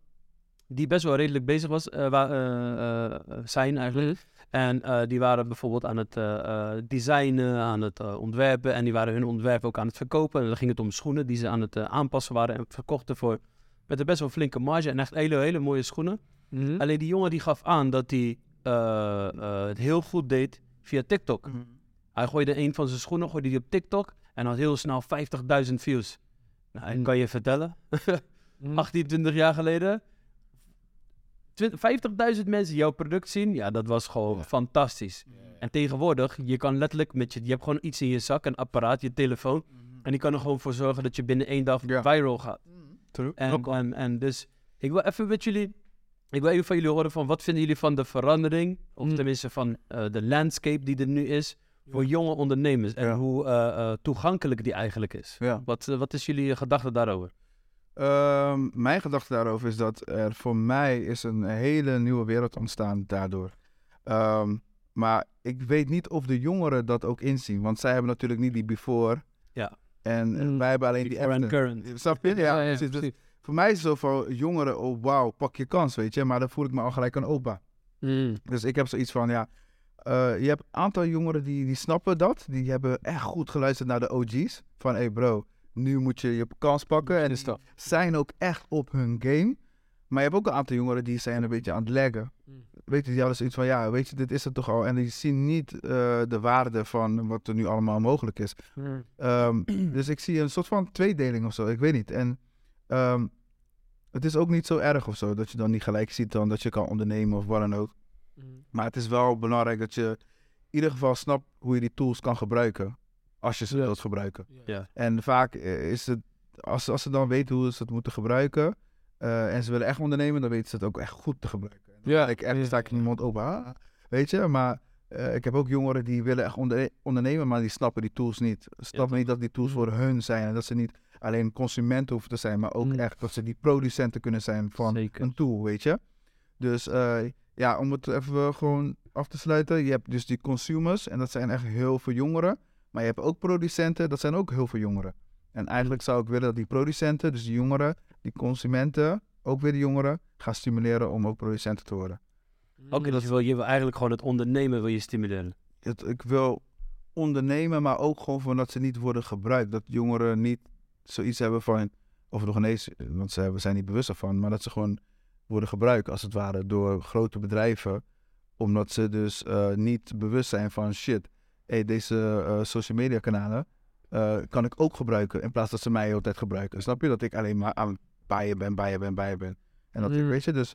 B: die best wel redelijk bezig was, eh, wa- eh, eh, zijn eigenlijk. En eh, die waren bijvoorbeeld aan het eh, eh, designen, aan het eh, ontwerpen en die waren hun ontwerp ook aan het verkopen. En dan ging het om schoenen die ze aan het eh, aanpassen waren en verkochten voor met een best wel flinke marge en echt hele, hele mooie schoenen.
C: Mhm.
B: Alleen die jongen die gaf aan dat hij eh, eh, het heel goed deed via TikTok. Hij gooide een van zijn schoenen gooide die op TikTok en had heel snel 50.000 views. Nou, ik
C: Mm.
B: kan je vertellen,
C: Mhm.
B: 18, 20 jaar geleden, twi- 50.000 mensen jouw product zien, ja, dat was gewoon fantastisch. En tegenwoordig, je kan letterlijk met je, je hebt gewoon iets in je zak, een apparaat, je telefoon, en die kan er gewoon voor zorgen dat je binnen één dag
A: Mhm. Ja.
B: viral gaat.
A: True.
B: En, en, en dus, ik wil even met jullie, ik wil even van jullie horen van wat vinden jullie van de verandering, of
C: Mm.
B: tenminste van eh, de landscape die er nu is voor jonge ondernemers en
A: Ja.
B: hoe eh, eh, toegankelijk die eigenlijk is.
A: Ja.
B: Wat, eh, wat is jullie gedachte daarover?
A: Ehm, mijn gedachte daarover is dat er voor mij is een hele nieuwe wereld ontstaan daardoor. Ehm, maar ik weet niet of de jongeren dat ook inzien, want zij hebben natuurlijk niet die before.
B: Ja.
A: En eh,
C: Mm.
A: wij hebben alleen die eh,
B: Before and
A: after.
B: current.
A: Snap je? Ja,
C: ja,
A: precies. Dus
C: precies.
A: Voor mij is het zo van jongeren, oh wauw, pak je kans, weet je. Maar dan voel ik me al gelijk een opa.
C: Mhm.
A: Dus ik heb zoiets van, ja, eh, je hebt een aantal jongeren die, die snappen dat. Die hebben echt goed geluisterd naar de OG's. Van, hé hey bro, nu moet je je kans pakken. En
C: Dus
A: die
C: dat.
A: zijn ook echt op hun game. Maar je hebt ook een aantal jongeren die zijn een beetje aan het leggen.
C: Mm.
A: Weet je, die hadden zoiets van, ja, weet je, dit is het toch al. En die zien niet eh, de waarde van wat er nu allemaal mogelijk is.
C: Mhm.
A: Ehm, dus ik zie een soort van tweedeling of zo, ik weet niet. En ehm, het is ook niet zo erg of zo, dat je dan niet gelijk ziet dan dat je kan ondernemen of wat dan ook. Maar het is wel belangrijk dat je in ieder geval snapt hoe je die tools kan gebruiken. Als je ze
C: Ja.
A: wilt gebruiken.
B: Ja.
A: En vaak eh, is het, als, als ze dan weten hoe ze het moeten gebruiken. eh, en ze willen echt ondernemen, dan weten ze het ook echt goed te gebruiken.
C: Ja.
A: Ik echt sta ik niemand open. ah, Weet je, maar eh, ik heb ook jongeren die willen echt onder- ondernemen, maar die snappen die tools niet. Snappen niet dat die tools voor hun zijn. En dat ze niet alleen consumenten hoeven te zijn, maar ook
C: Mm.
A: echt dat ze die producenten kunnen zijn van
B: Zeker.
A: een tool, weet je. Dus eh, ja, om het even eh, gewoon af te sluiten. Je hebt dus die consumers en dat zijn echt heel veel jongeren. Maar je hebt ook producenten, dat zijn ook heel veel jongeren. En eigenlijk zou ik willen dat die producenten, dus die jongeren, die consumenten, ook weer de jongeren, gaan stimuleren om ook producenten te worden.
B: Oké, dus je wil, je wil eigenlijk gewoon het ondernemen wil je stimuleren.
A: Het, ik wil ondernemen, maar ook gewoon van dat ze niet worden gebruikt. Dat jongeren niet zoiets hebben van, of nog ineens, eh, want ze hebben- zijn niet bewust ervan, maar dat ze gewoon worden gebruikt als het ware door grote bedrijven. Omdat ze dus eh, niet bewust zijn van shit, hey, deze eh, social media kanalen eh, kan ik ook gebruiken. In plaats dat ze mij de hele tijd gebruiken. Snap je dat ik alleen maar aan het bijen ben, bijen ben, bijen ben. En dat ik,
C: Mm.
A: weet je, dus,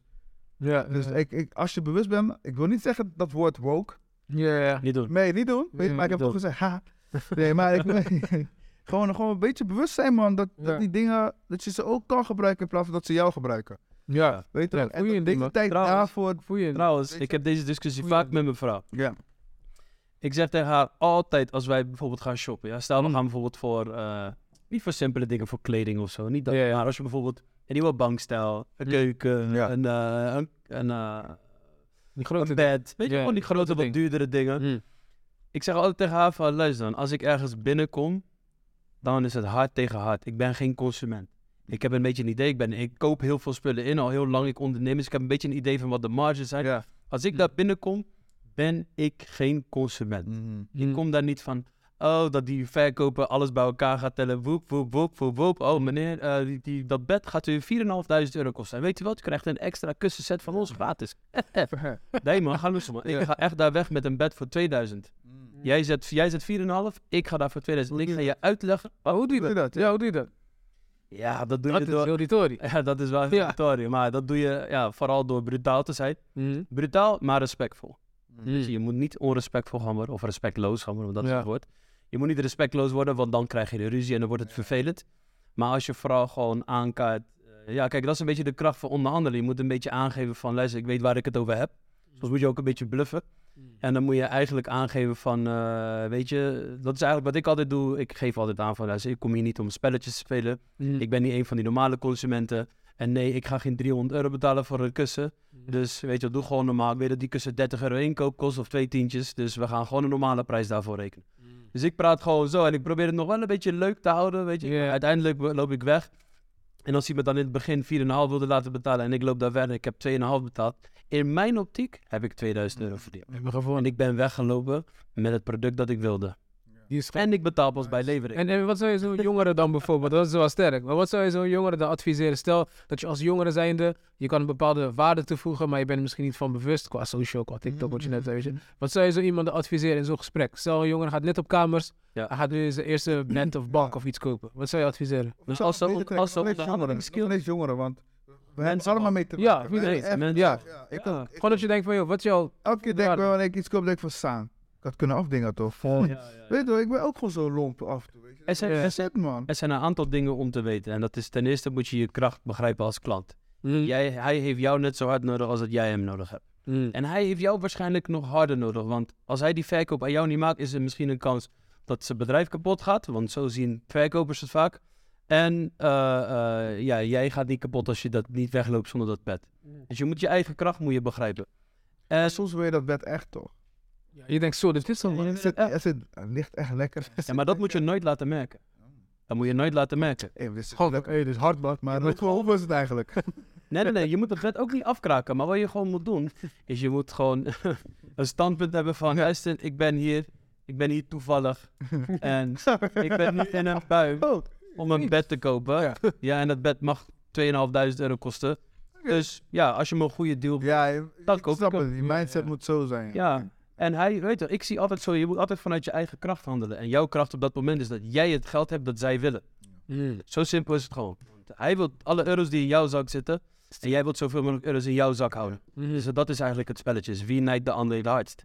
C: Ja,
A: dus
C: ja.
A: ik, ik, als je bewust bent, ik wil niet zeggen dat woord woke.
C: Ja, ja.
B: Niet doen.
A: Nee, niet doen. Weet,
C: Ja,
A: maar ik heb toch
B: niet
A: gezegd, ha. Nee, maar ik, gewoon, gewoon een beetje bewust zijn, man. Dat,
C: Ja.
A: dat die dingen, dat je ze ook kan gebruiken in plaats van dat ze jou gebruiken.
C: Ja.
A: Weet je
C: Ja,
A: toch? En
C: goeie
A: dat-
C: ding,
A: deze
C: man.
A: tijd
B: Trouwens.
A: daarvoor.
C: Voel je
B: Trouwens,
A: Weet je-
B: ik heb deze discussie
C: Goeie
B: vaak met
C: idee.
B: mijn vrouw.
A: Ja.
B: Ik zeg tegen haar altijd als wij bijvoorbeeld gaan shoppen. Ja, stel we gaan bijvoorbeeld voor, eh, niet voor simpele dingen, voor kleding of zo. Niet dat,
C: Ja, ja.
B: Maar als je bijvoorbeeld een nieuwe bankstijl, een
C: Ja.
B: keuken,
A: Ja.
B: een, eh, een, een, eh,
C: die
B: een
C: grote
B: bed. Weet je,
C: Ja,
B: gewoon die grote,
C: grote
B: wat
C: ding.
B: duurdere dingen.
C: Mhm.
B: Ik zeg altijd tegen haar van, luister dan, als ik ergens binnenkom, dan is het hard tegen hard. Ik ben geen consument. Ik heb een beetje een idee. Ik, ben, ik koop heel veel spullen in, al heel lang. Ik onderneem, dus ik heb een beetje een idee van wat de marges zijn.
A: Ja.
B: Als ik
C: Hm.
B: daar binnenkom, ben ik geen
A: Mm.
B: consument.
C: Mhm.
B: Ik kom daar niet van, oh, dat die verkoper alles bij elkaar gaat tellen. Woep, woep, woep, woep, woep. Oh, meneer, eh, die, die, dat bed gaat u 4.500 euro kosten. En weet u wat, u krijgt een extra kussenset van ons gratis. FF. Nee man, ga loes man. Ik ga echt daar weg met een bed voor 2000. Jij zet, jij zet 4,5, ik ga daar voor 2000. Ik ga je uitleggen.
C: Maar hoe doe je
A: Doe
C: dat?
A: dat,
C: Ja, hoe doe je dat?
B: Ja, dat doe
C: Dat
B: je
C: is
B: door...
C: heel die tory.
B: Ja, dat is wel een
C: Ja.
B: territorium. Maar dat doe je ja, vooral door brutaal te zijn.
C: Mhm.
B: Brutaal, maar respectvol. Dus
C: Mhm.
B: je moet niet onrespectvol gaan worden of respectloos gaan worden, want dat
C: Ja.
B: is het woord. Je moet niet respectloos worden, want dan krijg je de ruzie en dan wordt het vervelend. Maar als je vooral gewoon aankaart... eh, ja, kijk, dat is een beetje de kracht van onderhandelen. Je moet een beetje aangeven van, luister, ik weet waar ik het over heb. Soms moet je ook een beetje bluffen. En dan moet je eigenlijk aangeven van, eh, weet je, dat is eigenlijk wat ik altijd doe. Ik geef altijd aan van, luister, ik kom hier niet om spelletjes te spelen.
C: Mhm.
B: Ik ben niet een van die normale consumenten. En nee, ik ga geen 300 euro betalen voor een kussen. Dus weet je, wat, doe gewoon normaal. Ik weet dat die kussen 30 euro inkoop kost of twee tientjes. Dus we gaan gewoon een normale prijs daarvoor rekenen. Dus ik praat gewoon zo en ik probeer het nog wel een beetje leuk te houden. Weet je.
C: Ja.
B: Uiteindelijk be- loop ik weg. En als iemand dan in het begin 4,5 wilde laten betalen en ik loop daar weg en ik heb 2,5 betaald. In mijn optiek heb ik 2000 euro verdiend.
C: We hebben
B: En
C: gewonnen.
B: ik ben weggelopen met het product dat ik wilde.
C: Die is
B: En ik betaal pas bij levering.
C: En, en wat zou je zo'n jongere dan bijvoorbeeld, dat is wel sterk, maar wat zou je zo'n jongere dan adviseren? Stel dat je als jongere zijnde, je kan een bepaalde waarde toevoegen, maar je bent er misschien niet van bewust, qua social, qua TikTok, wat je net zei.
B: Mm-hmm,
C: weet je. Wat zou je zo iemand dan adviseren in zo'n gesprek? Stel een jongere gaat net op kamers,
B: Ja.
C: hij gaat nu zijn eerste bed of bank of iets kopen. Wat zou je adviseren?
B: Dus als ze- als ze
A: jongeren,
B: onderhandelingsskills-
A: nog eens jongeren, want we hebben
B: Mensen
A: allemaal mee te
C: Ja,
A: maken.
C: iedereen.
A: Echt,
B: Mensen-
C: Ja.
A: ja, ik
B: Ja.
A: ook. Ik-
C: Gewoon dat je denkt van, joh, wat is jouw...
A: Elke keer denk ik wel, wanneer ik iets koop, denk ik van staan. Ik had kunnen afdingen toch? Weet je wel, ik ben ook gewoon zo lomp af en toe. weet je.
B: Er zijn-
A: Dat
B: er
A: is het, man.
B: Er zijn een aantal dingen om te weten. En dat is ten eerste moet je je kracht begrijpen als klant. Jij, hij heeft jou net zo hard nodig als dat jij hem nodig hebt.
C: Mm.
B: En hij heeft jou waarschijnlijk nog harder nodig. Want als hij die verkoop aan jou niet maakt, is er misschien een kans dat zijn bedrijf kapot gaat. Want zo zien verkopers het vaak. En eh, eh, ja, jij gaat niet kapot als je dat niet wegloopt zonder dat pet. Dus je moet je eigen kracht moet je begrijpen. En soms...
A: Soms wil je dat bed echt toch?
C: Ja, je denkt zo, dit is dan.
A: Er zit, er zit, het ligt echt lekker.
B: Ja, maar dat moet je nooit laten merken. Dat moet je nooit laten merken.
A: Hey, dit is
C: God,
A: lekker. Hey, dit is hard, bad, maar
B: moet
A: hoe hoe was het eigenlijk?
B: Nee, nee, nee. Je moet het vet ook niet afkraken. Maar wat je gewoon moet doen, is je moet gewoon een standpunt hebben van... Luister, ik ben hier. Ik ben hier toevallig. En ik ben niet in een bui om een bed te kopen. Ja, en dat bed mag 2.500 euro kosten. Dus ja, als je me een goede deal... Ja.
A: ja, je-
B: Dat
A: ik
B: koop ik
A: snap
B: ook.
A: het. Die mindset moet zo zijn.
B: En hij, weet je, ik zie altijd zo... Je moet altijd vanuit je eigen kracht handelen. En jouw kracht op dat moment is dat jij het geld hebt dat zij willen.
C: Mm.
B: Zo simpel is het gewoon. Hij wil alle euro's die in jouw zak zitten... En jij wilt zoveel mogelijk euro's in jouw zak houden. Dus dat is eigenlijk het spelletje. is Wie nijdt de ander het hardst?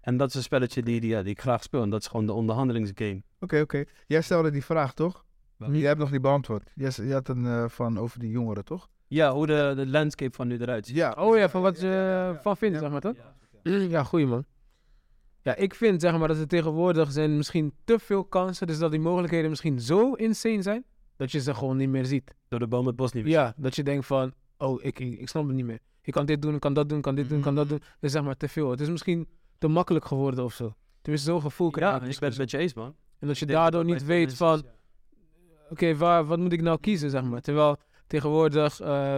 B: En dat is een spelletje die, die, ja, die ik graag speel. En dat is gewoon de onderhandelingsgame.
A: Oké, oké. Jij stelde die vraag, toch? Jij hebt nog niet beantwoord. Jij s- je had een eh, van over die jongeren, toch?
B: Ja, hoe de, de landscape van nu eruit ziet.
A: Ja.
C: Oh ja, van wat ze eh, van vinden, zeg maar, toch? Ja, goeie man. Ja, ik vind zeg maar dat er tegenwoordig zijn misschien te veel kansen. Dus dat die mogelijkheden misschien zo insane zijn. Dat je ze gewoon niet meer ziet.
B: Door de boom het bos niet meer.
C: Ja, dat je denkt van, oh, ik, ik, ik snap het niet meer. Je kan dit doen, kan dat doen, kan dit doen, kan dat doen. Dus zeg maar te veel. Het is misschien te makkelijk geworden of zo. Tenminste, zo'n gevoel
B: Ja,
C: krijg ik. dus
B: ik ben het met je eens, man.
C: En dat je
B: Ik denk
C: daardoor
B: dat
C: niet
B: bij
C: weet
B: mensen
C: van,
B: is,
C: oké, waar, wat moet ik nou kiezen, zeg maar. Terwijl tegenwoordig, eh,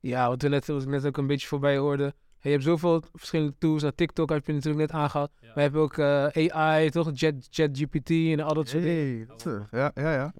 C: ja, wat, we net, wat ik net ook een beetje voorbij hoorde. Hey, je hebt zoveel verschillende tools. Nou, TikTok heb je natuurlijk net aangehaald.
B: Ja.
C: Maar je hebt ook eh, AI, toch? Chat- ChatGPT en al dat soort dingen.
A: Hey, dat is- ja, ja, ja.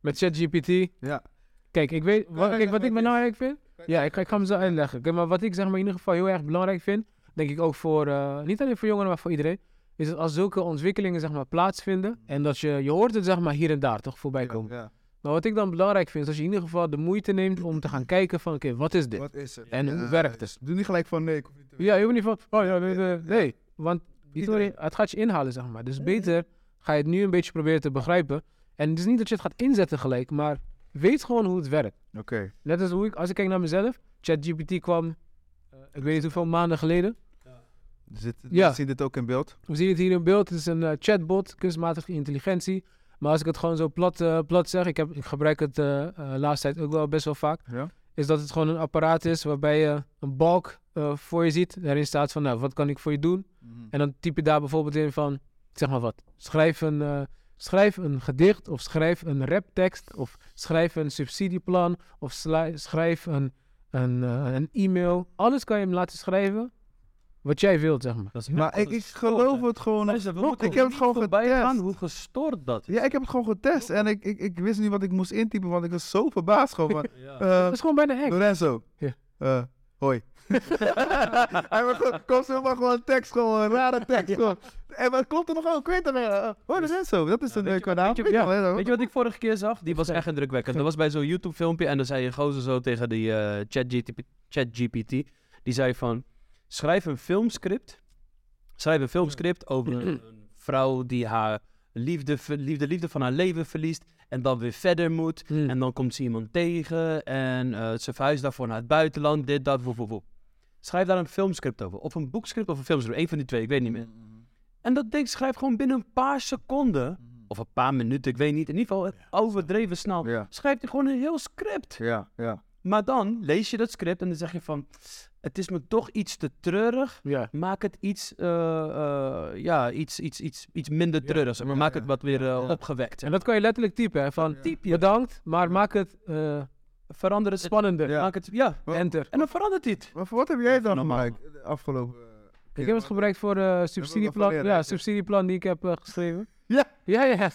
C: Met ChatGPT.
A: Ja.
C: Kijk, ik weet,
A: je
C: wat, kijk,
A: uitleggen
C: wat
A: wat
C: ik
A: het is?
C: belangrijk vind. Ja, ik ga, ik ga hem zo uitleggen. Kijk, maar wat ik zeg maar in ieder geval heel erg belangrijk vind, denk ik ook voor, eh, niet alleen voor jongeren, maar voor iedereen, is dat als zulke ontwikkelingen zeg maar plaatsvinden en dat je, je hoort het zeg maar hier en daar toch voorbij komen.
A: Ja.
C: Maar wat ik dan belangrijk vind, is dat je in ieder geval de moeite neemt om te gaan kijken van, oké, wat is dit?
A: Wat is het?
C: En hoe
A: Ja,
C: werkt het?
A: Doe niet gelijk van nee. ik hoef niet te
C: Ja, je hoeft niet van, oh ja, nee, nee, nee. Want die
A: Iedereen.
C: theorie, het gaat je inhalen, zeg maar. Dus beter ga je het nu een beetje proberen te begrijpen. En het is niet dat je het gaat inzetten gelijk, maar weet gewoon hoe het werkt.
A: weten. Oké.
C: Net als hoe ik, als ik kijk naar mezelf, ChatGPT kwam, eh, ik weet niet hoeveel maanden geleden.
A: Zit,
C: Ja.
A: We zien dit ook in beeld.
C: We zien het hier in beeld, het is een eh, chatbot, kunstmatige intelligentie. Maar als ik het gewoon zo plat, eh, plat zeg, ik, heb, ik gebruik het eh eh, laatste tijd ook wel best wel vaak.
A: Ja.
C: is dat het gewoon een apparaat is waarbij je een balk eh, voor je ziet. Daarin staat van, nou, wat kan ik voor je doen?
A: Mhm.
C: En dan typ je daar bijvoorbeeld in van, zeg maar wat, schrijf een, eh, schrijf een gedicht of schrijf een raptekst of schrijf een subsidieplan of sli- schrijf een, een, eh, een e-mail. Alles kan je hem laten schrijven wat jij wilt, zeg maar.
B: Dat is
A: Maar ik, ik geloof het gewoon.
B: Is dat, we moeten
A: ik heb het
B: niet
A: gewoon
B: voorbij gaan
A: getest.
B: hoe gestoord dat is.
A: Ja, ik heb het gewoon getest. En ik, ik, ik wist niet wat ik moest intypen, want ik was zo verbaasd gewoon van...
B: Ja.
A: eh,
C: Dat is gewoon bijna hek.
A: Lorenzo.
C: Ja.
A: Eh, hoi. Hij was gewoon- komt zomaar gewoon een tekst, gewoon een rare tekst. gewoon. En wat klopt er nog ook? Ik weet het eh, eh, Hoi Lorenzo, dat is
B: Ja,
A: een
B: weet je
A: leuke
B: wat-
A: naam.
B: weet je-
A: Weet je
B: ja,
A: wel, hè,
B: Weet je wat ik vorige keer zag? Die was echt indrukwekkend. Dat was bij zo'n YouTube filmpje en dan zei een gozer zo tegen die eh, ChatGTP ChatGPT. Die zei van, schrijf een filmscript. Schrijf een filmscript over een een vrouw die haar liefde, ver- liefde, liefde van haar leven verliest. En dan weer verder moet.
C: Hmm.
B: En dan komt ze iemand tegen en eh, ze verhuist daarvoor naar het buitenland. Dit, dat, woep, woep, woep. Schrijf daar een filmscript over. Of een boekscript of een filmscript. Eén van die twee, ik weet niet meer. En dat ding schrijf gewoon binnen een paar seconden. Of een paar minuten, ik weet niet. In ieder geval overdreven snel.
A: Ja,
B: Schrijf je gewoon een heel script.
A: ja, ja.
B: Maar dan lees je dat script en dan zeg je van... Het is me toch iets te treurig.
C: Ja.
B: Maak het iets, eh, eh, ja, iets, iets, iets, iets minder
C: Ja,
B: treurigs. Maar maak het wat weer eh,
A: ja.
B: opgewekt.
C: En dat kan je letterlijk typen, hè. Van,
A: Ja.
B: Typ je.
C: bedankt, maar maak het eh,
B: Verander het.
C: spannender.
A: Ja.
B: Maak het, ja.
A: Wa-
C: Enter.
B: En dan verandert hij het.
A: Maar voor wat heb jij dan
B: Normaal.
A: gebruikt de afgelopen... eh,
C: Ik heb het gebruikt voor eh subsidieplan,
A: leren,
C: ja,
A: hè?
C: subsidieplan die ik heb eh, geschreven.
A: Ja.
C: Ja, ja.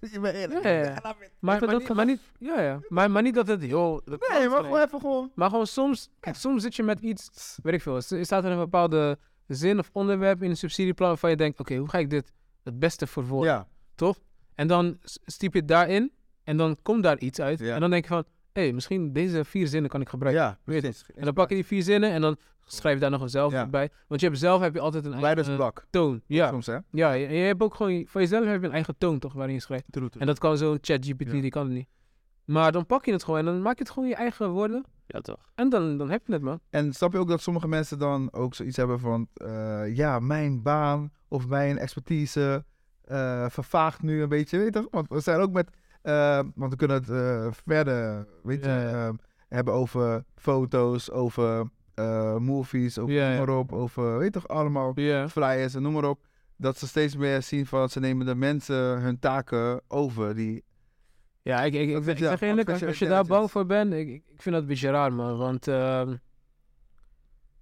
A: Je bent eerlijk.
C: Ja, ja, ja. Maar, maar,
B: dat
C: dat, maar, niet, ja, ja. Maar, maar niet dat het heel...
A: Nee, maar gewoon even gewoon...
C: Maar gewoon soms, kijk, soms zit je met iets, weet ik veel, er staat er een bepaalde zin of onderwerp in een subsidieplan waarvan je denkt, oké, hoe ga ik dit het beste verwoorden,
A: Ja,
C: toch? En dan s- typ je het daarin en dan komt daar iets uit.
A: Ja.
C: En dan denk je van, hé, misschien deze vier zinnen kan ik gebruiken.
A: ja,
C: Weet
A: precies.
C: En dan pak je die vier zinnen en dan schrijf je daar nog een zelf
A: Ja.
C: bij. Want je hebt zelf heb je altijd een eigen
A: Leidersblok,
C: toon. Ja,
A: soms hè.
C: ja je, je hebt ook gewoon, voor jezelf heb je een eigen toon toch, waarin je schrijft. En dat kan zo'n ChatGPT,
A: Ja.
C: die kan het niet. Maar dan pak je het gewoon en dan maak je het gewoon je eigen woorden.
B: Ja, toch.
C: En dan, dan heb je het, man.
A: En snap je ook dat sommige mensen dan ook zoiets hebben van... eh, ja, mijn baan of mijn expertise eh, vervaagt nu een beetje, weet je toch? Want we zijn ook met... eh, want we kunnen het eh, verder, weet je,
C: Ja, ja.
A: eh, hebben over foto's, over eh, movies, over
C: Ja, ja.
A: noem maar op, over, weet je toch, allemaal
C: Ja.
A: flyers en noem maar op. Dat ze steeds meer zien van, ze nemen de mensen hun taken over die...
C: Ja, ik, ik, ik,
A: Dat
C: ik
A: is, ja,
C: zeg eerlijk, als,
A: artificial
C: als je daar bang
A: intelligence.
C: voor bent, ik, ik- ik vind dat een beetje raar, man. Want, ehm,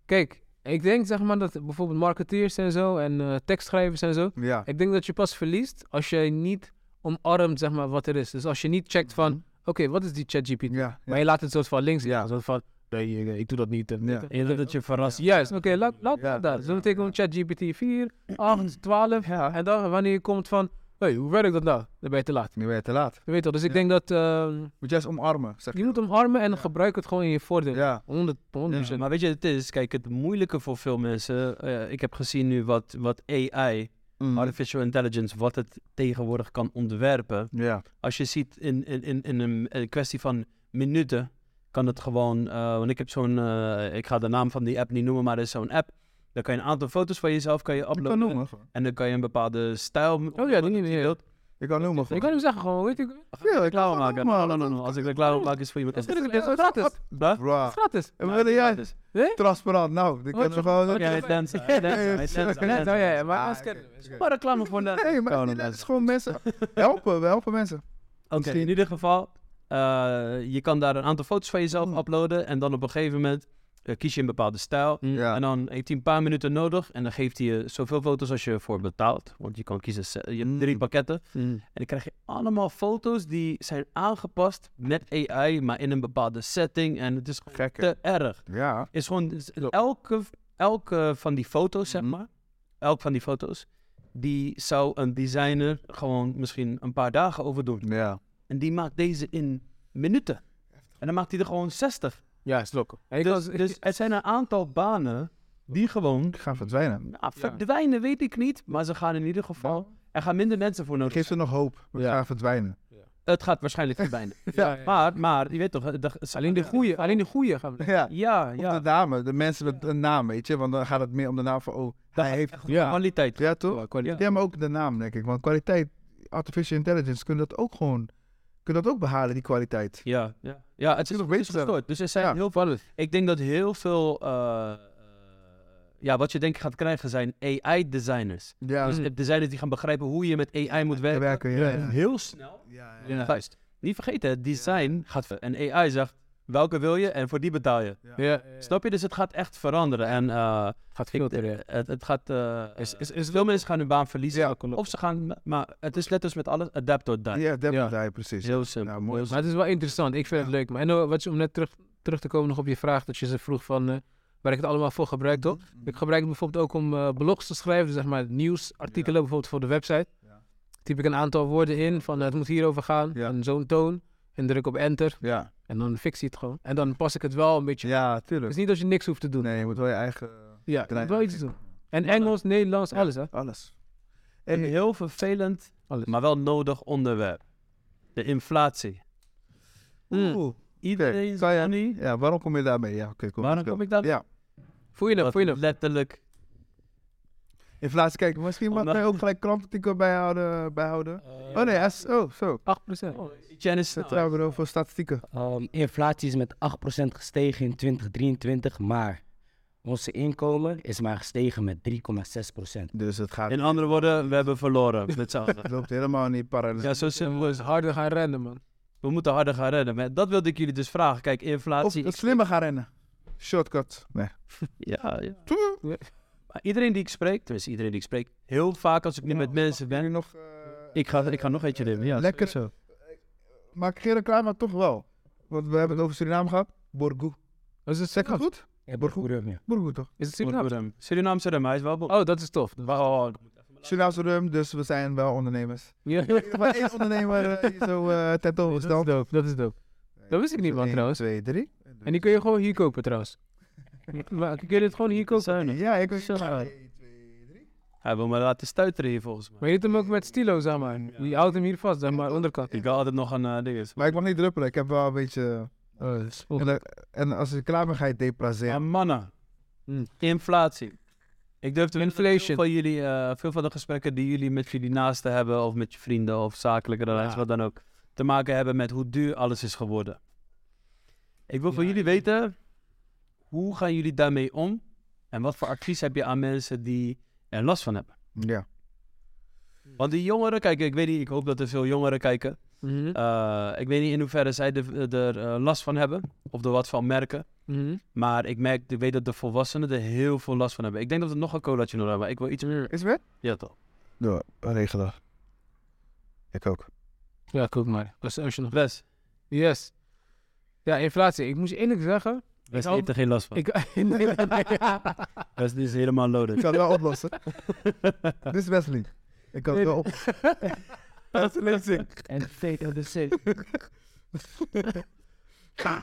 C: kijk, ik denk zeg maar dat bijvoorbeeld marketeers en zo en eh, tekstschrijvers en zo,
A: Ja.
C: ik denk dat je pas verliest als je niet omarmt zeg maar wat er is. Dus als je niet checkt van, oké, wat is die ChatGPT?
A: Ja,
C: Maar je laat het soort van links
A: Ja.
C: liggen, soort van, nee, eh, ik doe dat niet. eh,
A: Ja.
C: weet je.
B: En dat je verrast.
C: Juist, oké, laat, laat
A: Ja,
C: dat daar. Dus dan
A: ja,
C: betekent ChatGPT 4, 8, 12.
A: Ja.
C: En dan wanneer je komt van, hé, hoe werkt dat nou? Dan ben je te laat.
A: nu ben je te laat.
C: Je weet wel, dus ik
A: Ja.
C: denk dat... ehm,
A: Moet je eens omarmen, zeg
C: je moet omarmen en
A: Ja.
C: gebruik het gewoon in je voordeel. dus
A: Ja.
C: 100, 100
B: Maar weet je, het is, kijk, het moeilijke voor veel mensen. eh, ik heb gezien nu wat, wat AI,
A: Mm.
B: artificial intelligence, wat het tegenwoordig kan ontwerpen.
A: Ja.
B: Als je ziet in, in, in, in een eh, kwestie van minuten, kan het gewoon. eh, want ik heb zo'n. eh, ik ga de naam van die app niet noemen, maar er is zo'n app. Daar kan je een aantal foto's van jezelf kan je
A: Ik kan
B: uploaden.
A: noemen, gewoon.
B: En dan kan je een bepaalde stijl.
C: Oh ja, die niet meer.
A: Ik kan noemen,
C: Ik
A: gewoon.
C: kan hem zeggen gewoon, weet je.
A: Ja, ik
B: Reclame
A: kan
B: maken.
A: noemen,
B: No, no, no, no. Als ik reclame maak, is voor iemand.
C: Het is gratis. Het
B: Bah?
A: Bra.
C: is gratis.
A: En wat wil jij?
B: Dus-
A: Transparant, nou, dit
C: Wat
A: kunnen we
C: je-
A: gewoon...
C: wat
B: Ja,
C: jij-
A: Nee,
B: het dansen.
A: Ah,
B: Het dansen,
A: nee,
B: het
A: sorry.
B: dansen,
C: Nee,
B: het
C: nou ja, ja,
B: dansen.
C: maar
A: Ah,
C: aanschermen.
A: oké,
C: Is
A: oké.
C: Maar reclame voor de...
A: maar het is
B: Gewoon
A: niet- het is
B: mensen.
A: gewoon mensen. Helpen, we helpen mensen.
B: Oké,
A: Misschien-
B: in ieder geval, eh, je kan daar een aantal foto's van jezelf
A: Hmm.
B: uploaden. En dan op een gegeven moment eh, kies je een bepaalde stijl. En
A: Ja. nou,
B: dan heeft hij een paar minuten nodig. En dan geeft hij je zoveel foto's als je ervoor betaalt. Want je kan kiezen, se- je hebt drie
A: Hmm.
B: pakketten. En dan krijg je allemaal foto's die zijn aangepast met AI, maar in een bepaalde setting. En het is gewoon
A: Gekke.
B: te erg.
A: Ja.
B: Is gewoon, is
A: Klopt.
B: elke, elke van die foto's, zeg
A: Mhm.
B: maar. Elk van die foto's. Die zou een designer gewoon misschien een paar dagen over doen.
A: Ja.
B: En die maakt deze in minuten. En dan maakt hij er gewoon 60.
C: Ja, is loco. En ik
B: dus,
C: was-
B: dus er zijn een aantal banen die gewoon
A: Ik ga verdwijnen.
B: nou, verdwijnen, weet ik niet. Maar ze gaan in ieder geval. Er gaan minder mensen voor nodig.
A: Geef ze nog hoop. We
C: Ja.
A: gaan verdwijnen.
B: zijn. Het gaat waarschijnlijk verdwijnen.
C: Ja, ja.
B: maar, maar, je weet toch, eh, de-
C: Alleen de goeie, alleen de goeie gaan we...
A: Ja.
B: Ja,
A: Of de
B: ja.
A: namen, de mensen met een naam, weet je. Want dan gaat het meer om de naam van, oh, hij heeft...
C: Ja,
B: Kwaliteit.
A: Ja, toch?
C: kwaliteit.
A: Ja, maar ook de naam, denk ik. Want kwaliteit, artificial intelligence, kunnen dat ook gewoon... Kunnen dat ook behalen, die kwaliteit.
B: Ja, ja. ja het
A: Kunnen we
B: is, het is
A: beter stellen.
B: gestoord. Dus er zijn
A: Ja.
B: heel veel. Ik denk dat heel veel. eh, eh, ja, wat je denk ik gaat krijgen zijn AI-designers.
A: Ja.
B: Dus designers die gaan begrijpen hoe je met AI moet
A: Te
B: werken.
A: werken, ja.
B: Heel snel.
A: Ja,
C: Ja.
B: Juist. Niet vergeten, het design gaat ver. En AI zegt, welke wil je en voor die betaal je.
C: Ja,
B: Snap je? Dus het gaat echt veranderen. En eh,
C: gaat
B: ik,
C: filteren.
B: het, het gaat... eh,
C: Is- is-
B: veel mensen gaan hun baan verliezen.
C: Ja, klopt.
B: Of ze gaan... Maar het is net als met alles. Adapt or die.
A: Ja, dat
C: Ja. Nou,
A: ja. precies.
B: Heel simpel.
A: Ja, mooi.
B: Heel
C: Maar het is wel interessant. Ik vind het leuk. Maar en eh, wat je, om net terug, terug te komen nog op je vraag, dat je ze vroeg van eh, waar ik het allemaal voor gebruik,
A: Mhm.
C: toch?
A: Mm.
C: Ik gebruik het bijvoorbeeld ook om eh, blogs te schrijven, dus zeg maar nieuwsartikelen bijvoorbeeld voor de website.
A: Ja.
C: Typ ik een aantal woorden in van eh, het moet hierover gaan
A: Ja.
C: en zo'n toon en druk op enter
A: Ja,
C: en dan fix je het gewoon. En dan pas ik het wel een beetje.
A: ja,
C: Het is
A: tuurlijk.
C: niet dat je niks hoeft te doen.
A: Nee, je moet wel je eigen...
C: Ja, je moet
A: klein-
C: wel iets doen. En Engels, Nederlands,
A: Ja.
C: alles hè?
A: Alles.
B: Een heel vervelend,
C: Alles.
B: maar wel nodig onderwerp. De inflatie.
C: Mm.
A: Oeh.
B: Iedereen
A: kan je-
B: is nu.
A: Ja, waarom kom je daarmee? Ja, oké, kom.
B: Waarom
A: let's go.
B: kom ik daar?
A: Ja,
C: Voel je dat?
B: Wat
C: Voel je nou? dat?
B: Letterlijk.
A: inflatie, kijk, misschien mag
B: Omdat-
A: hij ook gelijk krantartikel bijhouden. bijhouden. Oh nee, hij is- oh, zo.
C: 8%.
B: Janice,
A: Zet daar weer over statistieken.
D: Ehm, inflatie is met 8% gestegen in 2023, maar onze inkomen is maar gestegen met 3,6%.
A: Dus het gaat,
B: in andere woorden, we hebben verloren. Met z'n allen.
A: het loopt helemaal niet parallel.
B: ja, zo
C: Je
B: simpel
C: moet
B: is
C: eens harder gaan rennen man.
B: het. We moeten harder gaan redden. Maar dat wilde ik jullie dus vragen. Kijk,
A: Of
B: inflatie.
A: het slimmer gaan rennen. Shortcut. Nee.
B: Ja, ja. Maar iedereen die ik spreek, tenminste iedereen die ik spreek, heel vaak als ik nu met mensen ben.
A: nog... eh,
B: Ik ga, ik ga nog eentje nemen. Ja,
A: Lekker.
B: zo.
A: Maak geen reclame, maar toch wel. Want we hebben het over Suriname gehad. Borgu.
C: Is het
A: Zeg ik het
C: Surinaams?
A: goed?
D: Ja,
A: Borgo-
D: Borgo-
A: Borgu toch?
C: Is het Surinaams?
B: Suriname. Suriname, Suriname. Hij is wel...
C: Oh, dat is tof. Dat-
B: Oh,
A: Surinaamse rum, dus we zijn wel ondernemers.
C: Ja.
A: Maar één ondernemer eh, hier zo eh
C: Dat is
A: tentoongesteld.
C: dope, dat is dope. Dat wist ik niet, man,
A: Eén,
C: trouwens.
A: twee, drie.
C: En die kun je gewoon hier kopen, trouwens. maar kun je dit gewoon hier kopen?
A: Ja, ik...
B: hij wil me laten stuiteren hier volgens mij.
C: Maar je doet hem ook met stilo, zeg maar. Je houdt hem hier vast, zeg maar, onderkant.
B: Ik wil altijd nog een eh, ding. is.
A: Maar ik mag niet druppelen, ik heb wel een beetje...
C: Oh, dat is vol.
A: En, dan- en als ik klaar ben, ga je depraseren.
B: Maar mannen,
C: Hm.
B: inflatie. Ik durf te winnen dat
C: Inflation.
B: Veel van, jullie, eh, veel van de gesprekken die jullie met jullie naasten hebben, of met je vrienden, of zakelijke relaties,
C: Ja.
B: wat dan ook, te maken hebben met hoe duur alles is geworden. Ik wil van
C: Ja,
B: jullie
C: ja.
B: weten, hoe gaan jullie daarmee om? En wat voor advies heb je aan mensen die er last van hebben?
A: Ja.
B: Want die jongeren, kijk, ik weet niet, ik hoop dat er veel jongeren kijken.
C: Mhm,
B: Eh, ik weet niet in hoeverre zij er, er eh, last van hebben, of er wat van merken.
C: mhm.
B: Maar ik merk, ik weet dat de volwassenen er heel veel last van hebben. Ik denk dat we nog een colaatje nodig hebben. Ik wil iets meer.
A: Is het weer?
B: Ja, toch?
A: Ja, regelen. Ik ook.
C: Ja, koop maar. Dat is als je nog-
B: Wes,
C: Yes. Ja, inflatie. Ik moet je eerlijk zeggen.
B: Wes
C: hoop-
B: heeft er geen last van.
C: Ik, nee, nee, nee.
B: Wes is helemaal
A: Ik
B: loaded.
A: kan het wel oplossen. Dit is Wesley. Ik kan het wel oplossen.
D: En take of the safe.
B: Ja,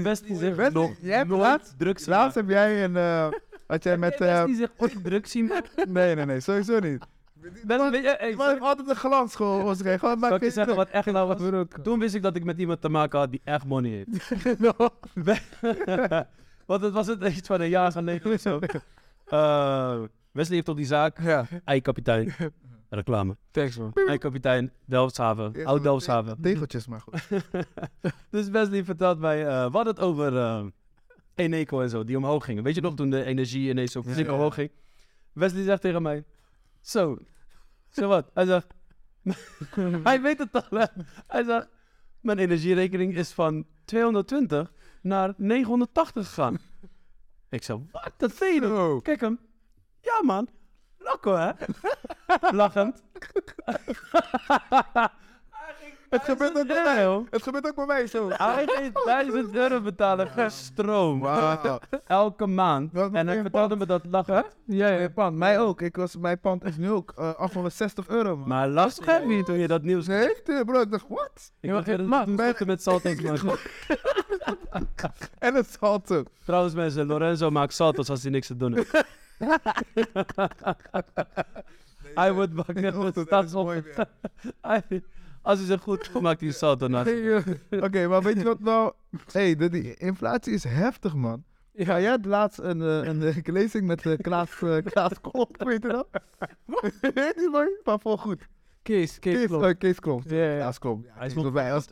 B: Wes die zegt
A: Wesley,
B: nog
A: jij hebt
B: nooit
A: laatst-
B: drugs
A: Laatst heb jij een... eh had jij met... eh,
B: die zegt ooit drugs zien maken.
A: nee, nee, nee, sowieso niet.
B: Wes, weet je, hey,
A: Ik heb
B: zal
A: altijd een glans gewoon om ons heen. Gewoon, maar
B: zal ik je zeggen wat echt nou was?
C: Broek.
B: Toen wist ik dat ik met iemand te maken had die echt money heeft. Want het was het iets van een jaar geleden of zo. Eh, Wesley heeft op die zaak.
A: Ja.
B: Ei kapitein. Reclame.
C: Thanks, man.
B: Ei kapitein. Delftshaven. Oud Delftshaven.
A: Tegeltjes, maar goed.
B: dus Wesley vertelt mij, eh, wat het over eh Eneco en zo, die omhoog gingen. Weet je nog, toen de energie ineens zo flink
A: ja.
B: omhoog ging? Wesley zegt tegen mij, zo, zo wat? Hij zegt, hij weet het al, hè? Hij zegt, mijn energierekening is van 220 naar 980 gegaan. Ik zeg, wat? Dat weet je nog?"
A: Zo.
B: Kijk hem. Ja, man. Rocco, hè? Lachend.
A: Het gebeurt ook bij
B: Ja,
A: mij.
B: joh.
A: Het gebeurt ook bij mij zo.
B: Hij ging 1000 euro betalen voor stroom.
A: Wauw.
B: Elke maand.
A: Wat
B: en hij
A: een
B: vertelde me dat lachen.
C: Ja, ja.
A: Mijn pand, mij ook. Ik was, mijn pand is nu ook eh, 860 euro, man.
B: Maar last je niet toen je dat nieuws
A: Nee, echt, eh, bro. Ik dacht, wat?
B: Ik
C: Ja,
B: dacht,
C: maar-
B: dat
C: maar-
B: doet
A: maar-
B: het met saltings maken.
A: En het zalt ook.
B: Trouwens mensen, Lorenzo maakt saltos als hij niks te doen heeft. Hij wordt
A: Nee,
B: wakker
A: dat
B: met de
A: is mooi
B: stadsop.
A: weer.
B: Hij- Als hij ze goed doet, maakt hij een salto naast.
C: Nee, eh,
A: Oké, maar weet je wat nou? Hé, hey, die inflatie is heftig, man. Ja, jij had laatst een, eh, een eh, lezing met eh, Klaas, eh, Klaas Klomp, weet je dat? Weet niet, man. Maar vol goed.
C: Kees, Kees,
A: Kees,
C: klopt.
A: eh, Kees Klomp.
C: Ja, ja.
A: Klaas Klomp. Ja,
B: Hij is
A: Kees
B: nog-
A: was bij ons.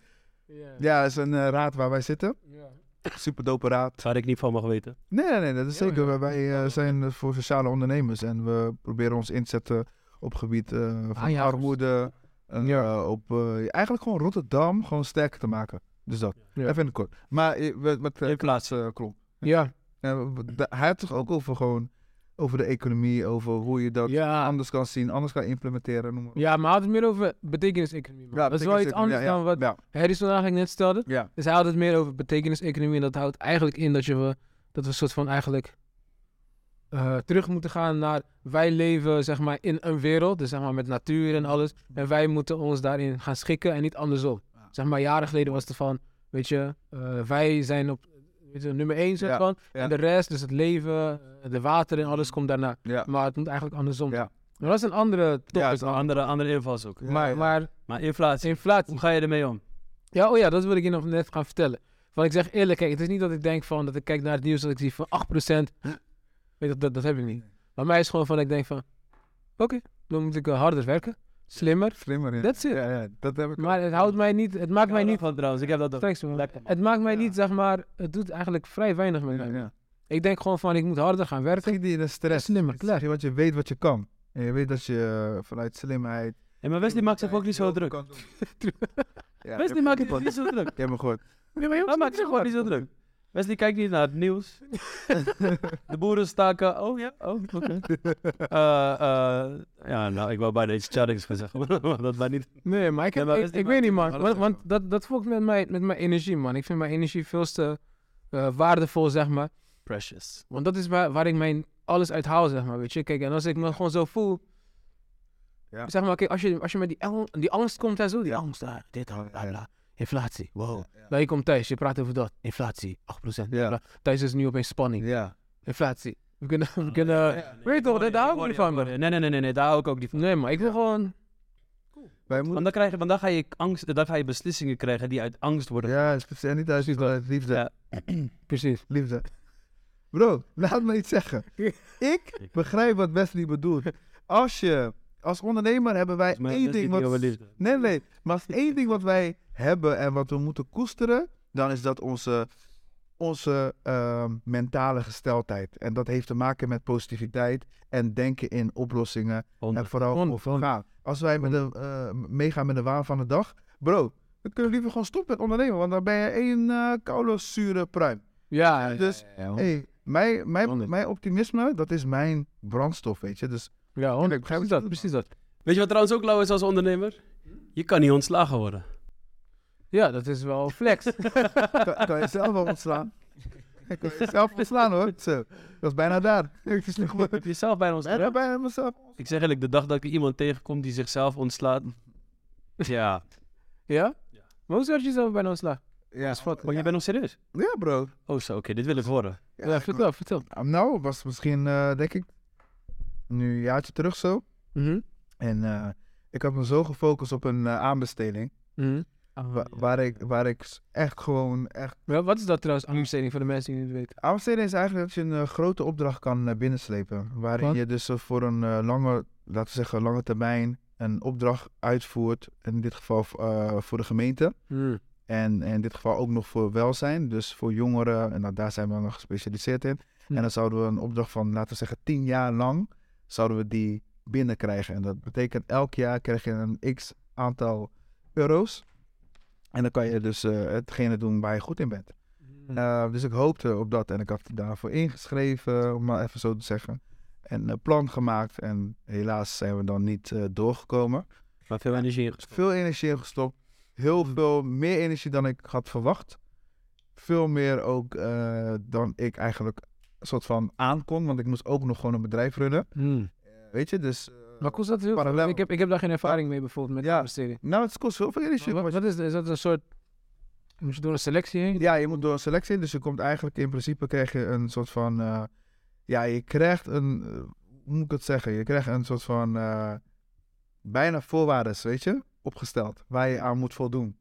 C: Ja.
A: Ja, dat is een eh, raad waar wij zitten.
C: Ja.
A: Superdope raad.
B: Waar ik niet van mag weten.
A: Nee, nee, nee, dat is
C: Ja,
A: zeker. Wij eh, zijn eh, voor sociale ondernemers en we proberen ons in te zetten op gebied eh, van
C: Aanjagers.
A: armoede. en, eh, op, eh, eigenlijk gewoon Rotterdam gewoon sterker te maken. Dus dat.
C: Ja.
A: Even in het kort. Maar eh, met, met eh,
B: In plaats.
A: Klaas, eh, Klomp.
C: Ja,
A: Ja, w- w- da- hij had toch ook over gewoon over de economie, over hoe je dat
C: ja.
A: anders kan zien, anders kan implementeren. Noem maar op.
C: ja, maar hij had het meer over betekenis-economie. man. dat is wel iets
A: betekent-
C: anders
A: ja, ja,
C: dan wat
A: Ja,
C: Harrison eigenlijk net stelde.
A: ja.
C: Dus hij had het meer over betekenis-economie. En dat houdt eigenlijk in dat, je, we- dat we een soort van eigenlijk eh, terug moeten gaan naar... Wij leven zeg maar in een wereld, dus zeg maar met natuur en alles. En wij moeten ons daarin gaan schikken en niet andersom.
A: Ja.
C: Zeg maar jaren geleden was het van, weet je, eh, wij zijn op weet je, nummer één soort
A: Ja,
C: van.
A: ja.
C: En de rest, dus het leven, eh, de water en alles komt daarna.
A: ja.
C: Maar het moet eigenlijk andersom.
A: Ja.
C: Maar dat is een andere top.
A: Ja,
B: Dat is een andere, andere invalshoek.
A: Ja,
C: maar,
A: ja.
C: maar
B: Maar inflatie.
C: inflatie.
B: Hoe ga je ermee om?
C: Ja, oh ja, dat wil ik je nog net gaan vertellen. Want ik zeg eerlijk, kijk, het is niet dat ik denk van dat ik kijk naar het nieuws dat ik zie van 8%. Weet je, dat, dat heb ik niet. Maar mij is gewoon van dat ik denk van, oké, dan moet ik eh, harder werken, slimmer.
A: Slimmer in.
C: That's it.
A: Ja, ja, dat heb ik ook.
C: Maar het houdt mij niet, het maakt mij
B: Ik hou
C: niet.
B: daarvan trouwens. Ik heb dat ook.
C: Thanks, man.
B: Lekker, man.
C: Het maakt mij
A: Ja.
C: niet, zeg maar, het doet eigenlijk vrij weinig met
A: Ja,
C: mij.
A: ja.
C: Ik denk gewoon van, ik moet harder gaan
A: Het
C: werken.
A: schiet je in de stress.
C: Slimmer,
A: Het
C: klaar.
A: schiet- Want je weet wat je kan. En je weet dat je eh, vanuit slimheid...
B: Hey, maar Wesley maakt zich ook niet zo druk.
A: Kan doen. Ja,
B: Wesley
A: ik heb
B: maakt
A: me
B: zich
A: gehoord.
B: niet zo druk.
A: Ik heb me gehoord.
B: Hij maakt zich gewoon niet zo druk. Wesley kijkt niet naar het nieuws. de boeren staken. Oh ja, oh oké. Eh, eh, ja, nou, ik wou bijna iets Chadix gaan zeggen, maar dat maar niet.
C: Nee, maar ik, heb,
B: Ja, maar
C: ik,
B: is die
C: ik
B: maar-
C: weet niet,
B: die
C: man.
B: moet
C: Want,
B: harder
C: want
B: zijn,
C: dat, dat volgt met, mij, met mijn energie, man. Ik vind mijn energie veel te eh, waardevol, zeg maar.
B: Precious.
C: Want dat is waar, waar ik mijn alles uit haal, zeg maar, weet je. Kijk, en als ik me gewoon zo voel...
A: Ja.
C: Zeg maar, kijk, als je, als je met die, ang- die angst komt en zo... Die angst, ah, dit, ah, bla,
A: Ja.
C: bla. Inflatie, wow.
A: Ja, ja.
C: Nou, je komt thuis, je praat over dat. Inflatie, 8%.
A: Ja.
C: bla. Thuis is nu opeens spanning.
A: Ja.
C: Inflatie. We kunnen... We kunnen Weet je toch, daar hou ik niet van, man.
B: Nee, nee, nee, nee, nee, daar hou ik ook niet van.
C: Nee, maar ik wil gewoon...
A: Wij moeten...
B: Want dan, krijg je, want dan, ga je angst, dan ga je beslissingen krijgen die uit angst worden.
A: Ja, het is precies- en niet uit uit liefde.
B: Ja.
C: Precies.
A: Liefde. Bro, laat me iets zeggen. Ik begrijp wat Wesley bedoelt. Als je... Als ondernemer hebben wij
B: Maar
A: één
B: dat is
A: ding
B: niet
A: wat...
B: over liefde.
A: Nee, nee. Maar als één ding wat wij hebben en wat we moeten koesteren, dan is dat onze, onze ehm, mentale gesteldheid. En dat heeft te maken met positiviteit en denken in oplossingen. En
B: Honderd.
A: vooral
C: Honderd,
A: over gaan. Als wij met de, eh, meegaan met de waan van de dag, bro, dan kunnen we liever gewoon stoppen met ondernemen. Want dan ben je één eh koude, zure pruim.
C: Ja, ja,
A: Dus,
C: ja, ja, hond-
A: Hey, mijn, mijn,
C: Honderd.
A: mijn optimisme, dat is mijn brandstof, weet je. Dus
C: ja, hond-
A: ik begrijp wat
C: precies dat,
A: je
C: precies dat.
B: Weet je wat trouwens ook lauw is als ondernemer? Je kan niet ontslagen worden.
C: Ja, dat is wel flex.
A: kan, kan je zelf wel ontslaan. Ik kan jezelf ontslaan hoor. Zo, dat is bijna daar. Ik is nog maar-
B: Heb je zelf bijna
A: Ik
B: ontslagen?
A: ben bijna mezelf.
B: Ik zeg eigenlijk, de dag dat ik iemand tegenkom die zichzelf ontslaat. Ja.
C: ja?
B: Ja.
C: Maar hoe zou je jezelf bijna ontslagen?
A: Ja,
B: Wat? Oh, Maar je bent nog serieus?
A: ja bro.
B: Oh zo, oké, dit wil ik horen.
A: Ja,
C: Ja,
A: ik-
C: vertel, vertel.
A: Nou, was misschien, eh, denk ik, nu een jaartje terug zo.
C: Mhm.
A: En eh, ik had me zo gefocust op een eh, aanbesteding.
C: Mhm.
A: wa- waar, ik, waar ik s- echt gewoon, echt...
C: Ja, wat is dat trouwens, aanbesteding voor de mensen die het niet weten?
A: Aanbesteding is eigenlijk dat je een eh, grote opdracht kan eh, binnenslepen. Waarin
C: Wat?
A: je dus eh, voor een eh, lange, laten we zeggen, lange termijn een opdracht uitvoert. In dit geval eh, voor de gemeente. En en in dit geval ook nog voor welzijn, dus voor jongeren. En nou, daar zijn we dan nog gespecialiseerd in.
C: Hm.
A: En dan zouden we een opdracht van, laten we zeggen, tien jaar lang, zouden we die binnenkrijgen. En dat betekent elk jaar krijg je een x aantal euro's. En dan kan je dus eh, hetgene doen waar je goed in bent. Eh, dus ik hoopte op dat en ik had daarvoor ingeschreven, om maar even zo te zeggen. En een plan gemaakt en helaas zijn we dan niet eh, doorgekomen
B: Maar veel energie in
A: veel energie in gestopt. Heel veel meer energie dan ik had verwacht. Veel meer ook eh, dan ik eigenlijk soort van aankon. Want ik moest ook nog gewoon een bedrijf runnen.
C: Hmm.
A: Weet je, dus... eh,
C: Maar kost dat heel
A: Parallel.
C: veel? Ik heb, ik heb daar geen ervaring mee bijvoorbeeld met
A: Ja.
C: aanbesteding.
A: nou, het kost heel veel energie.
C: Wat, wat is, is dat een soort... Moet je door een selectie heen?
A: Ja, je moet door een selectie. Dus je komt eigenlijk in principe krijg je een soort van... eh, ja, je krijgt een... eh, hoe moet ik het zeggen? Je krijgt een soort van... eh, bijna voorwaarden, weet je? Opgesteld. Waar je aan moet voldoen.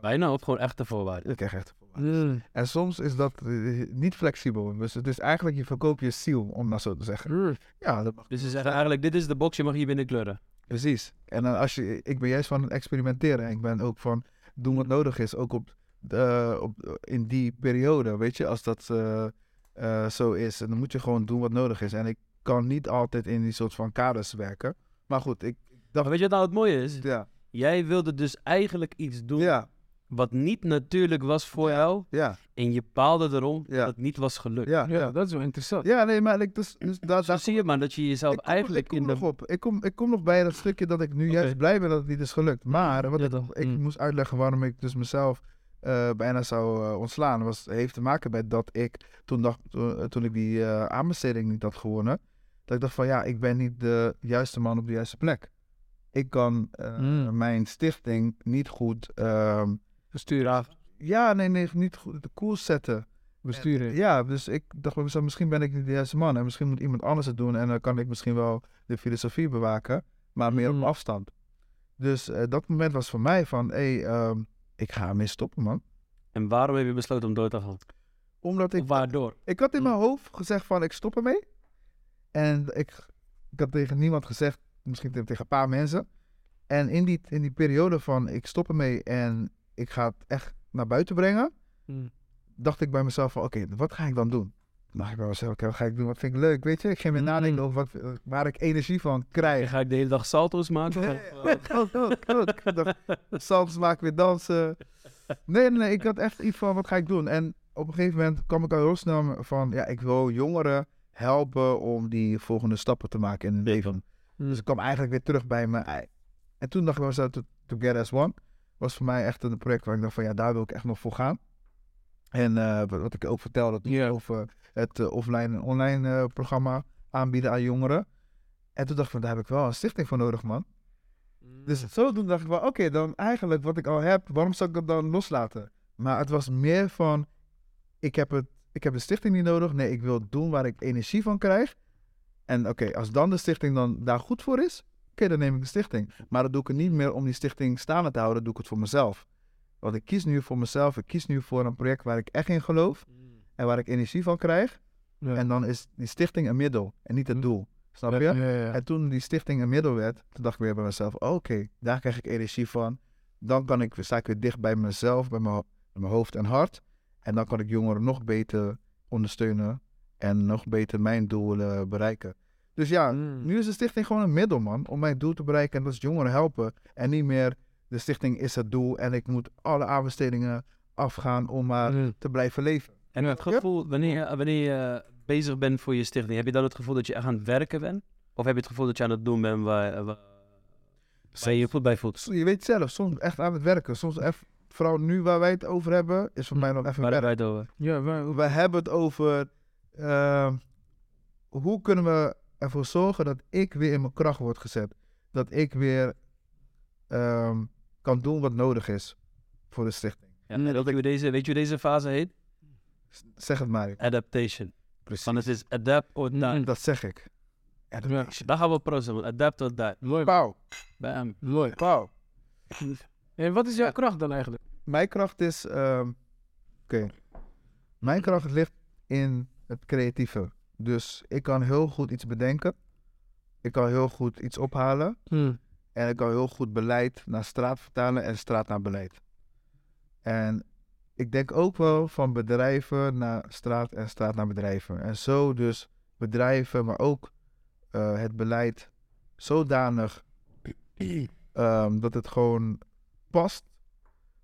B: Bijna of gewoon echte voorwaarden?
A: Ik krijg echt voorwaarden.
C: Hmm.
A: En soms is dat eh, niet flexibel. Dus het is eigenlijk, je verkoopt je ziel, om dat zo te zeggen.
C: Hmm.
A: Ja, dat mag.
B: Dus ze zeggen eigenlijk, dit is de box, je mag hier binnen kleuren.
A: Precies. En dan als je, ik ben juist van het experimenteren. En ik ben ook van doen wat nodig is. Ook op, de- op, in die periode, weet je, als dat eh, eh, zo is. En dan moet je gewoon doen wat nodig is. En ik kan niet altijd in die soort van kaders werken. Maar goed, ik
B: Maar weet je wat nou het mooie is?
A: ja,
B: Jij wilde dus eigenlijk iets doen
A: ja,
B: wat niet natuurlijk was voor jou.
A: Ja,
B: En je baalde erom
A: Ja.
B: dat het niet was gelukt.
A: ja,
C: Ja,
A: ja.
C: dat is wel interessant.
A: Ja, nee, maar ik, dus, dus daar,
B: Zo
A: daar
B: zie je maar dat je jezelf
A: ik kom,
B: eigenlijk
A: ik kom
B: in de...
A: nog op. Ik kom, ik kom nog bij dat stukje dat ik nu
B: Oké.
A: juist blij ben dat het niet is gelukt. Maar wat
B: Ja,
A: ik,
B: dan.
A: ik
B: Mm.
A: moest uitleggen waarom ik dus mezelf eh, bijna zou eh, ontslaan, was, heeft te maken met dat ik toen, dacht, toen, eh, toen ik die eh, aanbesteding niet had gewonnen, dat ik dacht van ja, ik ben niet de juiste man op de juiste plek. Ik kan eh,
C: Mm.
A: mijn stichting niet goed, ehm,
C: Bestuur af.
A: ja, nee, nee, niet goed de koers zetten.
C: Besturen.
A: Ja, dus ik dacht bij mezelf, misschien ben ik niet de juiste man. En misschien moet iemand anders het doen. En dan kan ik misschien wel de filosofie bewaken. Maar meer op
C: Mhm.
A: afstand. Dus eh, dat moment was voor mij van, hé, ehm, ik ga ermee stoppen, man.
B: En waarom heb je besloten om door te gaan?
A: Omdat ik,
B: Of waardoor?
A: ik had in
C: Mm.
A: mijn hoofd gezegd van, ik stop ermee. En ik, ik had tegen niemand gezegd, misschien te- tegen een paar mensen. En in die, in die periode van, ik stop ermee en ik ga het echt naar buiten brengen.
C: Mm.
A: dacht ik bij mezelf van, oké, wat ga ik dan doen? Dacht ik bij mezelf, oké, wat ga ik doen? Wat vind ik leuk? Weet je, ik ging meer
C: Mm.
A: nadenken over wat, waar ik energie van
B: En
A: krijg.
B: ga ik de hele dag salto's maken? Of-
A: Ook, ook, ook. Ik dacht, Soms maak ik weer dansen. Nee, nee, nee, ik had echt iets van, wat ga ik doen? En op een gegeven moment kwam ik al heel snel van, ja, ik wil jongeren helpen om die volgende stappen te maken in hun leven. Dus ik kwam eigenlijk weer terug bij mijn... ei- En toen dacht ik bij mezelf, to- Together as One was voor mij echt een project waar ik dacht van, ja, daar wil ik echt nog voor gaan. En eh, wat- wat ik ook vertelde, toen
C: Ja.
A: over het eh, offline en online eh, programma aanbieden aan jongeren. En toen dacht ik van, daar heb ik wel een stichting voor nodig, man. Dus zodoende dacht ik wel, oké, dan eigenlijk wat ik al heb, waarom zou ik dat dan loslaten? Maar het was meer van, ik heb, het, ik heb de stichting niet nodig. Nee, ik wil doen waar ik energie van krijg. En oké, als dan de stichting dan daar goed voor is, oké, dan neem ik de stichting. Maar dat doe ik het niet meer om die stichting staande te houden, doe ik het voor mezelf. Want ik kies nu voor mezelf, ik kies nu voor een project waar ik echt in geloof en waar ik energie van krijg.
C: Ja. Mhm.
A: En dan is die stichting een middel en niet het doel. Snap je?
C: Ja, ja, ja.
A: En toen die stichting een middel werd, toen dacht ik weer bij mezelf, oh, oké, daar krijg ik energie van. Dan kan ik, sta ik weer dicht bij mezelf, bij mijn, ho- bij mijn hoofd en hart. En dan kan ik jongeren nog beter ondersteunen en nog beter mijn doelen bereiken. Dus ja,
C: Mm.
A: nu is de stichting gewoon een middel, man, om mijn doel te bereiken. En dat is jongeren helpen. En niet meer, de stichting is het doel en ik moet alle aanbestedingen afgaan om maar
C: Mm.
A: te blijven leven.
B: En het gevoel, wanneer, eh, wanneer je bezig bent voor je stichting, heb je dan het gevoel dat je echt aan het werken bent? Of heb je het gevoel dat je aan het doen bent waar, eh, waar, waar je je voet bij voelt?
A: So- Je weet zelf, soms echt aan het werken. Soms even, vooral nu waar wij het over hebben, is
C: Mm.
A: voor mij nog even
B: Waar
A: werk.
B: heb jij het over?
C: Ja, waar-
A: We hebben het over ehm, hoe kunnen we ervoor zorgen dat ik weer in mijn kracht word gezet. Dat ik weer ehm, kan doen wat nodig is voor de stichting.
B: Ja, en weet, je hoe deze, weet je hoe deze fase heet?
A: S- Zeg het maar.
B: Adaptation.
A: Precies.
B: Want het is adapt or die.
C: Mm.
A: Dat zeg ik.
C: ja.
B: Daar gaan we prozen, man. Adapt or die.
C: Mooi,
A: Pauw,
B: Bam.
C: mooi.
A: pauw.
C: En wat is jouw kracht dan eigenlijk?
A: Mijn kracht is... ehm, Oké. Mijn kracht ligt in het creatieve. Dus ik kan heel goed iets bedenken. Ik kan heel goed iets ophalen. En ik kan heel goed beleid naar straat vertalen en straat naar beleid. En ik denk ook wel van bedrijven naar straat en straat naar bedrijven. En zo dus bedrijven, maar ook eh, het beleid zodanig ehm, dat het gewoon past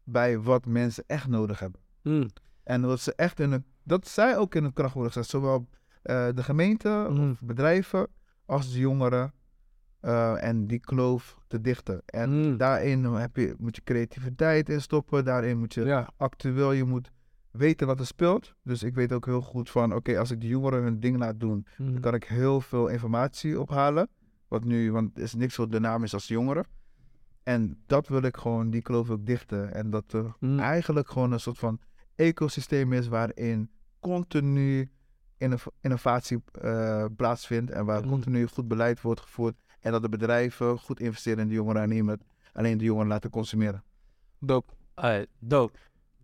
A: bij wat mensen echt nodig hebben.
C: Mm.
A: En dat, ze echt in hun, dat zij ook in hun kracht worden gezet. Zowel eh, de gemeente,
C: Mm.
A: bedrijven als de jongeren. eh, en die kloof te dichten. En
C: Mm.
A: daarin heb je, moet je creativiteit in stoppen. Daarin moet je
C: Ja.
A: actueel, je moet weten wat er speelt. Dus ik weet ook heel goed van, oké, als ik de jongeren hun ding laat doen,
C: Mm.
A: dan kan ik heel veel informatie ophalen. Wat nu, want er is niks zo dynamisch als de jongeren. En dat wil ik gewoon, die kloof ook dichten. En dat er
C: Mm.
A: eigenlijk gewoon een soort van ecosysteem is waarin continu inno- innovatie eh, plaatsvindt en waar
B: Mm.
C: Mhm.
A: continu goed beleid wordt gevoerd en dat de bedrijven goed investeren in de jongeren en niet met alleen de jongeren laten consumeren.
C: Dope.
B: Alright, dope.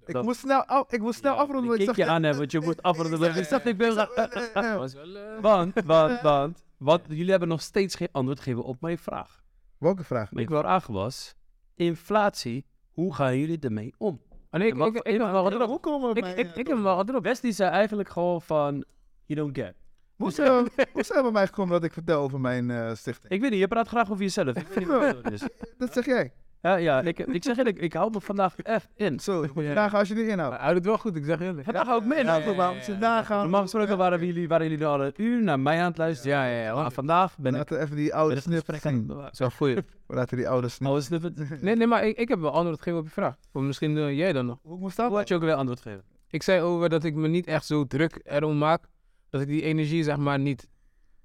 A: Ik
B: Dat-
A: moet snel, af, ik moet snel
B: Ja,
A: afronden. want
B: Ik kijk
A: zag
B: je
A: net-
B: aan hebben, want je moet afronden.
A: Ja, ja,
B: Ik zag, ik ben...
A: eh, eh, eh.
C: Was wel, eh,
B: Want, want, want, want, jullie hebben nog steeds geen antwoord gegeven op mijn vraag.
A: Welke vraag?
B: Mijn vraag was, inflatie, hoe gaan jullie ermee om?
C: Ah, nee, ik,
B: Ja, maar
C: ik, ik, ik heb hem wel erop.
A: komen
C: Ik, ik, ik heb hem wel erop.
B: West die zei eigenlijk gewoon van, you don't get.
A: Hoe zijn hoe zijn we bij mij gekomen dat ik vertel over mijn eh, stichting?
B: Ik weet niet, je praat graag over jezelf. Ik weet niet wat het is.
A: Dat zeg jij.
B: Ja, ja ik, ik zeg eerlijk, ik hou me vandaag echt in.
A: Zo, ik moet je
C: Ja.
A: nagaan als je erin houdt.
C: Maar Houd het wel goed, ik zeg eerlijk.
B: Vandaag hou ik me in.
A: Ja, goed, maar als je nagaan.
B: Normaal gesproken waren jullie, waren jullie al een uur naar mij aan het luisteren.
C: Ja, ja, ja.
B: Maar
C: hoor.
B: vandaag ben ik...
A: Laten we even die oude
B: ben het
A: snip
B: gesprek aan het
A: zien.
B: bewaren.
C: Dat is wel goed.
A: We laten die oude snip.
B: Oh, is het...
C: Nee, nee, maar ik, ik heb wel antwoord gegeven op je vraag. Of misschien eh, jij dan nog.
A: Hoe moest
B: Hoe had
A: dat?
B: je ook weer antwoord gegeven?
C: Ik zei over dat ik me niet echt zo druk erom maak. Dat ik die energie, zeg maar, niet,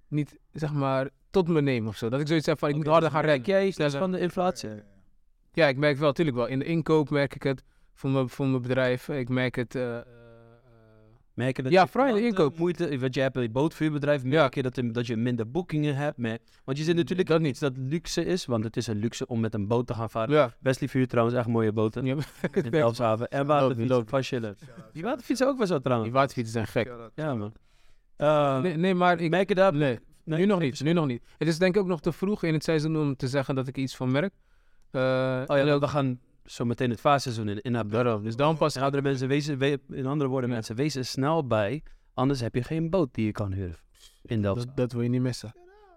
C: niet zeg maar, tot me neem of zo. Dat ik zoiets heb van, ik moet harder gaan
B: Merk
C: rekken.
B: jij iets
C: Sneller.
B: van de inflatie?
C: eh, Ja, ik merk wel, natuurlijk wel. In de inkoop merk ik het. Voor mijn, voor mijn bedrijf. Ik merk het. eh, eh,
B: Merk je dat
C: Ja,
B: je
C: vooral in de
B: klanten
C: inkoop.
B: Moeite, want je hebt een bootvuurbedrijf, merk je dat, er- dat je minder boekingen hebt. Merk, want je zit natuurlijk
C: Mm, Dat
B: dat niet dat luxe is, want het is een luxe om met een boot te gaan varen.
C: ja.
B: Wesley vuur trouwens, echt mooie boten.
C: Ja,
B: In Elfshaven en waterfietsen, van chillen. Die waterfietsen ook wel zo
C: Die
B: trouwens.
C: waterfietsen zijn gek.
B: Ja man. Eh,
C: Nee, nee maar ik,
B: Merk je dat?
C: Nee, nu nog niet. Nu nog niet. Het is denk ik ook nog te vroeg in het seizoen om te zeggen dat ik iets van merk. Eh,
B: Oh ja, we gaan zo meteen het vaarseizoen in. in hebben.
C: daarom. Dus dan pas.
B: En andere mensen wezen, we- in andere woorden, mensen wezen er snel bij. Anders heb je geen boot die je kan huren. In Delft.
C: Dat, dat wil je niet missen.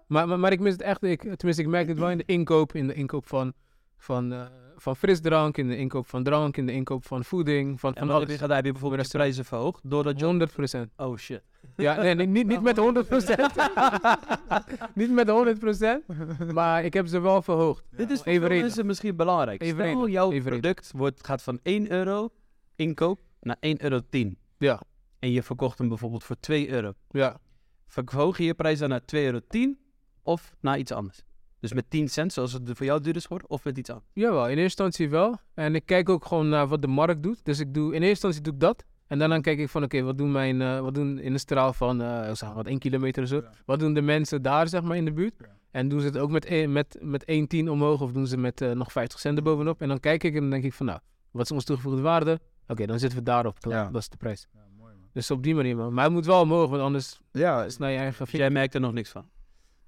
C: Maar, maar, maar ik mis het echt. Ik, tenminste, ik merk het wel in de inkoop. In de inkoop van, van, eh, van frisdrank. In de inkoop van drank. In de inkoop van voeding. Van,
B: En
C: van
B: wat heb je
C: alles.
B: gedaan? Heb je bijvoorbeeld de prijzen verhoogd? Doordat je...
C: 100 procent.
B: Oh shit.
C: Ja, nee, nee, niet, niet met 100 niet met 100 Maar ik heb ze wel verhoogd.
B: Dit is voor veel
C: Evenredig.
B: mensen misschien belangrijk.
C: Evenredig.
B: Stel, jouw
C: Evenredig.
B: product wordt, gaat van 1 euro inkoop naar 1,10 euro.
C: Ja.
B: En je verkocht hem bijvoorbeeld voor 2 euro.
C: Ja.
B: Verhoog je je prijs dan naar 2,10 euro of naar iets anders? Dus met 10 cent, zoals het voor jou duur is geworden, of met iets anders?
C: Jawel, in eerste instantie wel. En ik kijk ook gewoon naar wat de markt doet. Dus ik doe, in eerste instantie doe ik dat. En daarna kijk ik van, oké, wat doen mijn, eh, wat doen in een straal van, eh zeg maar, wat, één kilometer of zo. Wat doen de mensen daar, zeg maar, in de buurt?
A: Ja.
C: En doen ze het ook met, één- met, met 1,10 omhoog of doen ze met eh, nog 50 cent erbovenop? En dan kijk ik en dan denk ik van, nou, wat is onze toegevoegde waarde? Oké, dan zitten we daarop. Klaar.
A: Ja.
C: Dat is de prijs.
A: Ja, mooi man.
C: Dus op die manier, man. Maar het moet wel omhoog, want anders
A: Ja,
C: is naar je eigen...
B: Of jij merkt er nog niks van?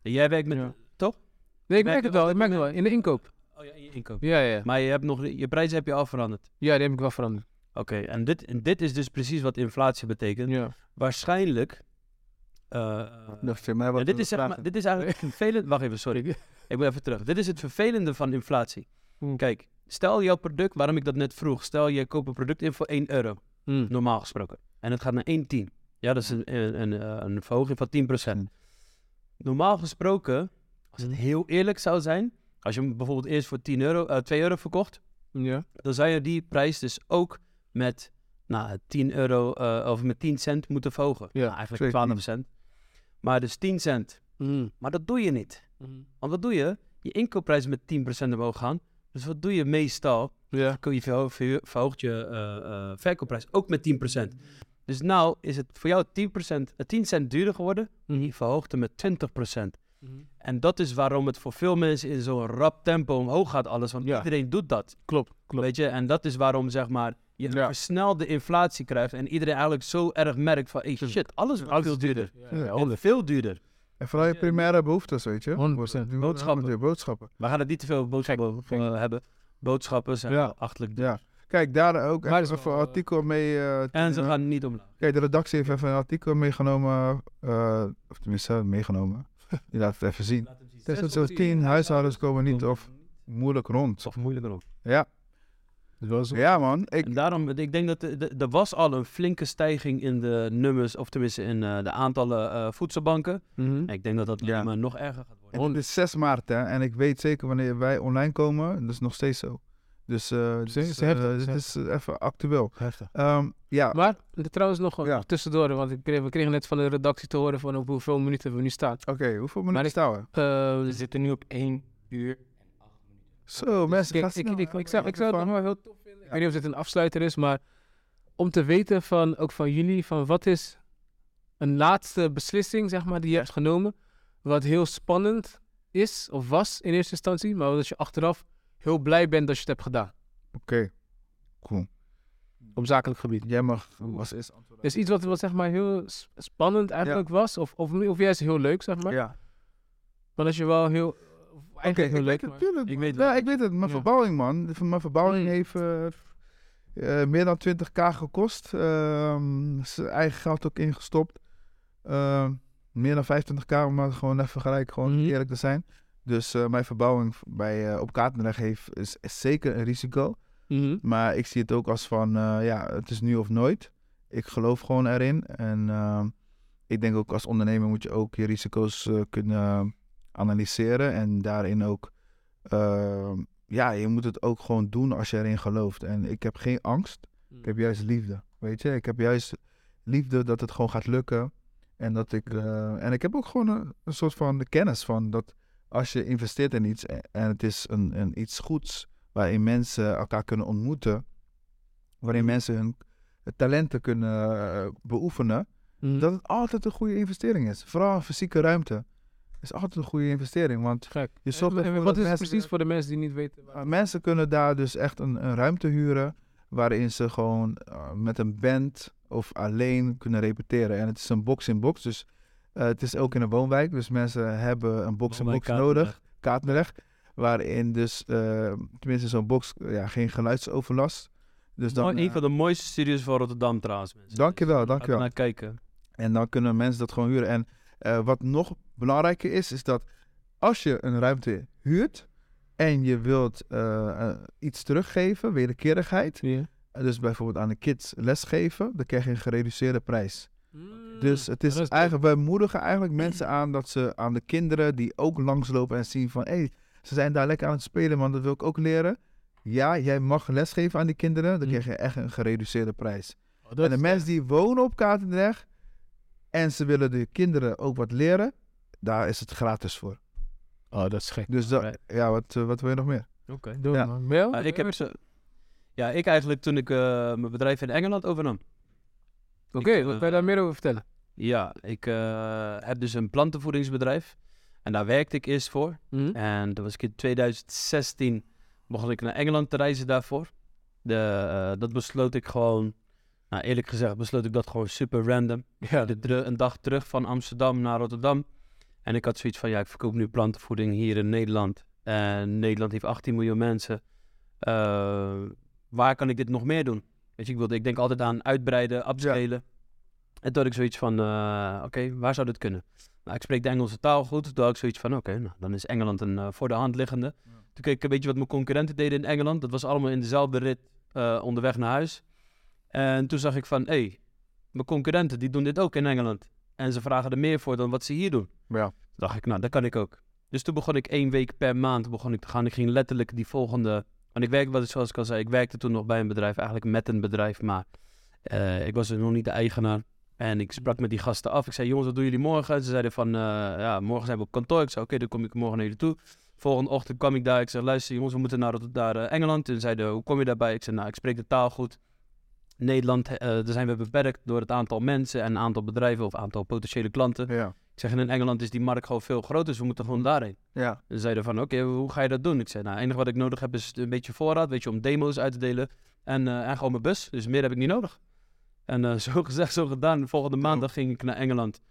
B: Jij werkt met...
C: Ja.
B: Toch?
C: Nee, ik
B: merk
C: merk het
B: je
C: wel, ik merk het wel. In de inkoop.
B: Oh ja, je inkoop.
C: Ja, ja, ja.
B: Maar je, hebt nog, je prijs heb je al veranderd.
C: Ja, die heb ik wel veranderd.
B: Oké, en, dit, en dit is dus precies wat inflatie betekent.
C: Ja.
B: Waarschijnlijk... eh,
A: dat is mij wat.
B: Ja, dit, is zeg maar, dit is eigenlijk het vervelende... Wacht even, sorry. Ik moet even terug. Dit is het vervelende van inflatie.
A: Hm.
C: Hmm.
B: Kijk, stel jouw product, waarom ik dat net vroeg. Stel, je koopt een product in voor 1 euro,
C: Hm.
B: normaal gesproken. En het gaat naar 1,10. Ja, dat is een, een, een, eh, een verhoging van 10%.
A: Hmm.
B: Normaal gesproken, als
A: Hm.
B: het heel eerlijk zou zijn... Als je hem bijvoorbeeld eerst voor 10 euro, eh, 2 euro verkocht...
C: Ja.
B: dan zou je die prijs dus ook met nou, 10 euro eh, of met 10 cent moeten verhogen.
C: Ja.
B: Nou, eigenlijk 12
A: 12
B: cent. Maar dus 10 cent.
C: Hm.
B: Maar dat doe je niet.
C: Hm.
B: Want wat doe je? Je inkoopprijs is met 10% omhoog gaan. Dus wat doe je meestal?
C: Ja.
B: Kun je verho- verho- verhoogt je eh, eh, verkoopprijs ook met 10%. Dus nou is het voor jou 10%, eh, 10 cent duurder geworden.
C: Mhm.
B: Je verhoogt hem met 20%. En dat is waarom het voor veel mensen in zo'n rap tempo omhoog gaat alles. Want
C: Ja.
B: iedereen doet dat.
C: Klopt, klopt.
B: Weet je? En dat is waarom zeg maar, je
C: Ja.
B: versnelde inflatie krijgt. En iedereen eigenlijk zo erg merkt van... Hey, shit, alles wordt veel duurder.
A: dus, Ja,
B: En veel duurder.
A: En vooral je primaire behoeftes, weet je.
C: 100%.
A: Nu-
B: Boodschappen.
A: nu- Boodschappen.
B: We gaan het niet te veel boodschappen over,
A: gek.
B: eh, hebben. Boodschappen zijn
A: Ja.
B: achterlijk duur.
A: Ja. Kijk, daar ook
C: Maar dat is
A: even een
C: wel, eh,
A: artikel mee. eh,
B: En ze
A: eh,
B: gaan niet omlaag.
A: Kijk, de redactie heeft even een artikel meegenomen. eh, of tenminste, meegenomen. Die laat het even zien. 6 tot 10 huishoudens komen niet of moeilijk rond.
B: Of moeilijker ook.
A: Ja,
C: wel zo.
A: ja man. Ik,
B: En daarom, ik denk dat er- er- er was al een flinke stijging in de nummers, of tenminste in eh, de aantallen eh, voedselbanken. En ik denk dat dat
A: Ja.
B: maar nog erger gaat worden.
A: en het is 6 maart hè, en ik weet zeker wanneer wij online komen, dat is nog steeds zo. Dus eh dit
C: Ze-
A: is,
C: ze heeft-
A: eh,
C: ze
A: dit
C: heeft-
A: is eh, even actueel. Ehm, ja, oké.
C: Maar er trouwens nog
A: Ja.
C: nog tussendoor, want ik kreeg, we kregen net van de redactie te horen van op hoeveel minuten we nu staan.
A: hoeveel
C: Maar
A: minuten
C: ik-
A: staan we?
C: Eh,
D: We
C: dus
D: zitten nu op 1 uur.
A: Zo, mensen,
C: ik,
A: ga snel,
C: ik, ik, ik,
A: hè.
C: ik zou, ik zou het nog wel heel tof vinden. Ik
A: Ja.
C: weet niet of dit een afsluiter is, maar om te weten van, ook van jullie, van wat is een laatste beslissing, zeg maar, die je hebt genomen, wat heel spannend is, of was in eerste instantie, maar dat je achteraf heel blij bent dat je het hebt gedaan,
A: Oké, cool.
C: op zakelijk gebied.
A: Jij mag, was is
C: Dus iets wat, wat zeg maar heel s- spannend eigenlijk was, of, of, of juist heel leuk, zeg maar.
A: Ja.
C: Maar dat je wel heel. of
A: Oké,
C: Eigenlijk
A: ik weet
C: heel leuk.
A: het,
C: maar-
A: tuurlijk.
B: Ik
A: man.
B: weet het.
A: ja, ik weet het. Mijn
C: Ja.
A: verbouwing, man. De- Mijn verbouwing
C: Mm.
A: heeft eh, eh, meer dan 20k gekost. Ehm zijn eigen geld ook ingestopt. Ehm, meer dan 25k, om maar gewoon even gelijk gewoon
C: Mhm.
A: eerlijk te zijn. Dus eh, mijn verbouwing v- bij, eh, op Katendrecht heeft, is, is zeker een risico.
C: Mhm.
A: Maar ik zie het ook als van, eh, ja, het is nu of nooit. Ik geloof gewoon erin. En ehm, ik denk ook als ondernemer moet je ook je risico's eh, kunnen analyseren. En daarin ook, ehm, ja, je moet het ook gewoon doen als je erin gelooft. En ik heb geen angst.
C: Mm.
A: Ik heb juist liefde, weet je. Ik heb juist liefde dat het gewoon gaat lukken. En, dat ik, eh, en ik heb ook gewoon een, een soort van de kennis van dat als je investeert in iets en, en het is een, een iets goeds waarin mensen elkaar kunnen ontmoeten, waarin mensen hun talenten kunnen eh, beoefenen,
C: Mhm.
A: dat het altijd een goede investering is. Vooral een fysieke ruimte is altijd een goede investering, want
C: Gek.
A: je zorgt
C: En- en
A: ervoor
C: wat
A: dat
C: is het
A: mensen-
C: precies voor de mensen die niet weten? waar-
A: uh, mensen kunnen daar dus echt een, een ruimte huren waarin ze gewoon uh, met een band of alleen kunnen repeteren. En het is een box-in-box, dus eh, het is ook in een woonwijk. Dus mensen hebben een box-in-box nodig, Kaatmerecht, waarin dus, eh, tenminste zo'n box, ja, geen geluidsoverlast. Dus dan,
B: Mooi, een van de mooiste studios van Rotterdam trouwens. mensen.
A: Dankjewel,
B: Dus,
A: dankjewel.
B: ga er Naar kijken.
A: En dan kunnen mensen dat gewoon huren. En eh, wat nog belangrijker is, is dat als je een ruimte huurt en je wilt eh, eh, iets teruggeven, wederkerigheid,
C: Ja.
A: eh, dus bijvoorbeeld aan de kids lesgeven, dan krijg je een gereduceerde prijs. Dus het is
C: Mm. dat is
A: eigenlijk, wij moedigen eigenlijk mensen aan dat ze aan de kinderen die ook langslopen en zien van, hé, ze zijn daar lekker aan het spelen, want dat wil ik ook leren. Ja, jij mag lesgeven aan die kinderen, dan
C: Mm.
A: krijg je echt een gereduceerde prijs
C: Oh, dat
A: en de
C: is-
A: mensen die wonen op Katendrecht en ze willen de kinderen ook wat leren, daar is het gratis voor.
C: Oh, dat is gek.
A: Dus dat,
B: Alright.
A: ja, wat, eh, wat wil je nog meer?
C: Doe
A: Ja.
C: het, man. Mel,
B: Ah, ik heb
C: Oké.
B: ze... Ja, ik eigenlijk toen ik eh, mijn bedrijf in Engeland overnam. Ik,
C: wat
B: eh,
C: kan je daar meer over vertellen?
B: Ja, ik eh, heb dus een plantenvoedingsbedrijf. En daar werkte ik eerst voor.
C: Mhm.
B: En toen was ik in 2016 mocht ik naar Engeland te reizen daarvoor. De, eh, dat besloot ik gewoon, nou eerlijk gezegd, besloot ik dat gewoon super random.
C: Ja.
B: De dru- een dag terug van Amsterdam naar Rotterdam. En ik had zoiets van, ja, ik verkoop nu plantenvoeding hier in Nederland. En Nederland heeft 18 miljoen mensen. Eh, waar kan ik dit nog meer doen? Weet je, ik, wilde, ik denk altijd aan uitbreiden, upscalen. En toen had ik zoiets van, eh, oké, waar zou dit kunnen? Nou, ik spreek de Engelse taal goed. Toen had ik zoiets van, oké, nou, dan is Engeland een eh, voor de hand liggende. Toen keek ik een beetje wat mijn concurrenten deden in Engeland. Dat was allemaal in dezelfde rit eh, onderweg naar huis. En toen zag ik van, hé, hey, mijn concurrenten die doen dit ook in Engeland. En ze vragen er meer voor dan wat ze hier doen.
A: Ja.
B: Toen dacht ik, nou, dat kan ik ook. Dus toen begon ik één week per maand begon ik te gaan. Ik ging letterlijk die volgende... Want ik werkte, wat ik- zoals ik al zei, ik werkte toen nog bij een bedrijf. Eigenlijk met een bedrijf, maar eh, ik was er nog niet de eigenaar. En ik sprak met die gasten af. Ik zei, jongens, wat doen jullie morgen? Ze zeiden van, eh, ja, morgen zijn we op kantoor. Ik zei, oké, dan kom ik morgen naar jullie toe. Volgende ochtend kwam ik daar. Ik zei, luister jongens, we moeten naar, Rotter- naar eh, Engeland. En zeiden, hoe kom je daarbij? Ik zei, nou, ik spreek de taal goed. Nederland, eh, daar zijn we beperkt door het aantal mensen en aantal bedrijven of aantal potentiële klanten.
A: Ja.
B: Ik zeg, en in Engeland is die markt gewoon veel groter, dus we moeten gewoon daarheen.
A: Ja.
B: Ze zeiden van, oké, hoe ga je dat doen? Ik zei, nou, het enige wat ik nodig heb is een beetje voorraad, weet je, om demo's uit te delen. En, eh, en gewoon mijn bus, dus meer heb ik niet nodig. En eh, zo gezegd, zo gedaan. De volgende maandag ging ik naar Engeland.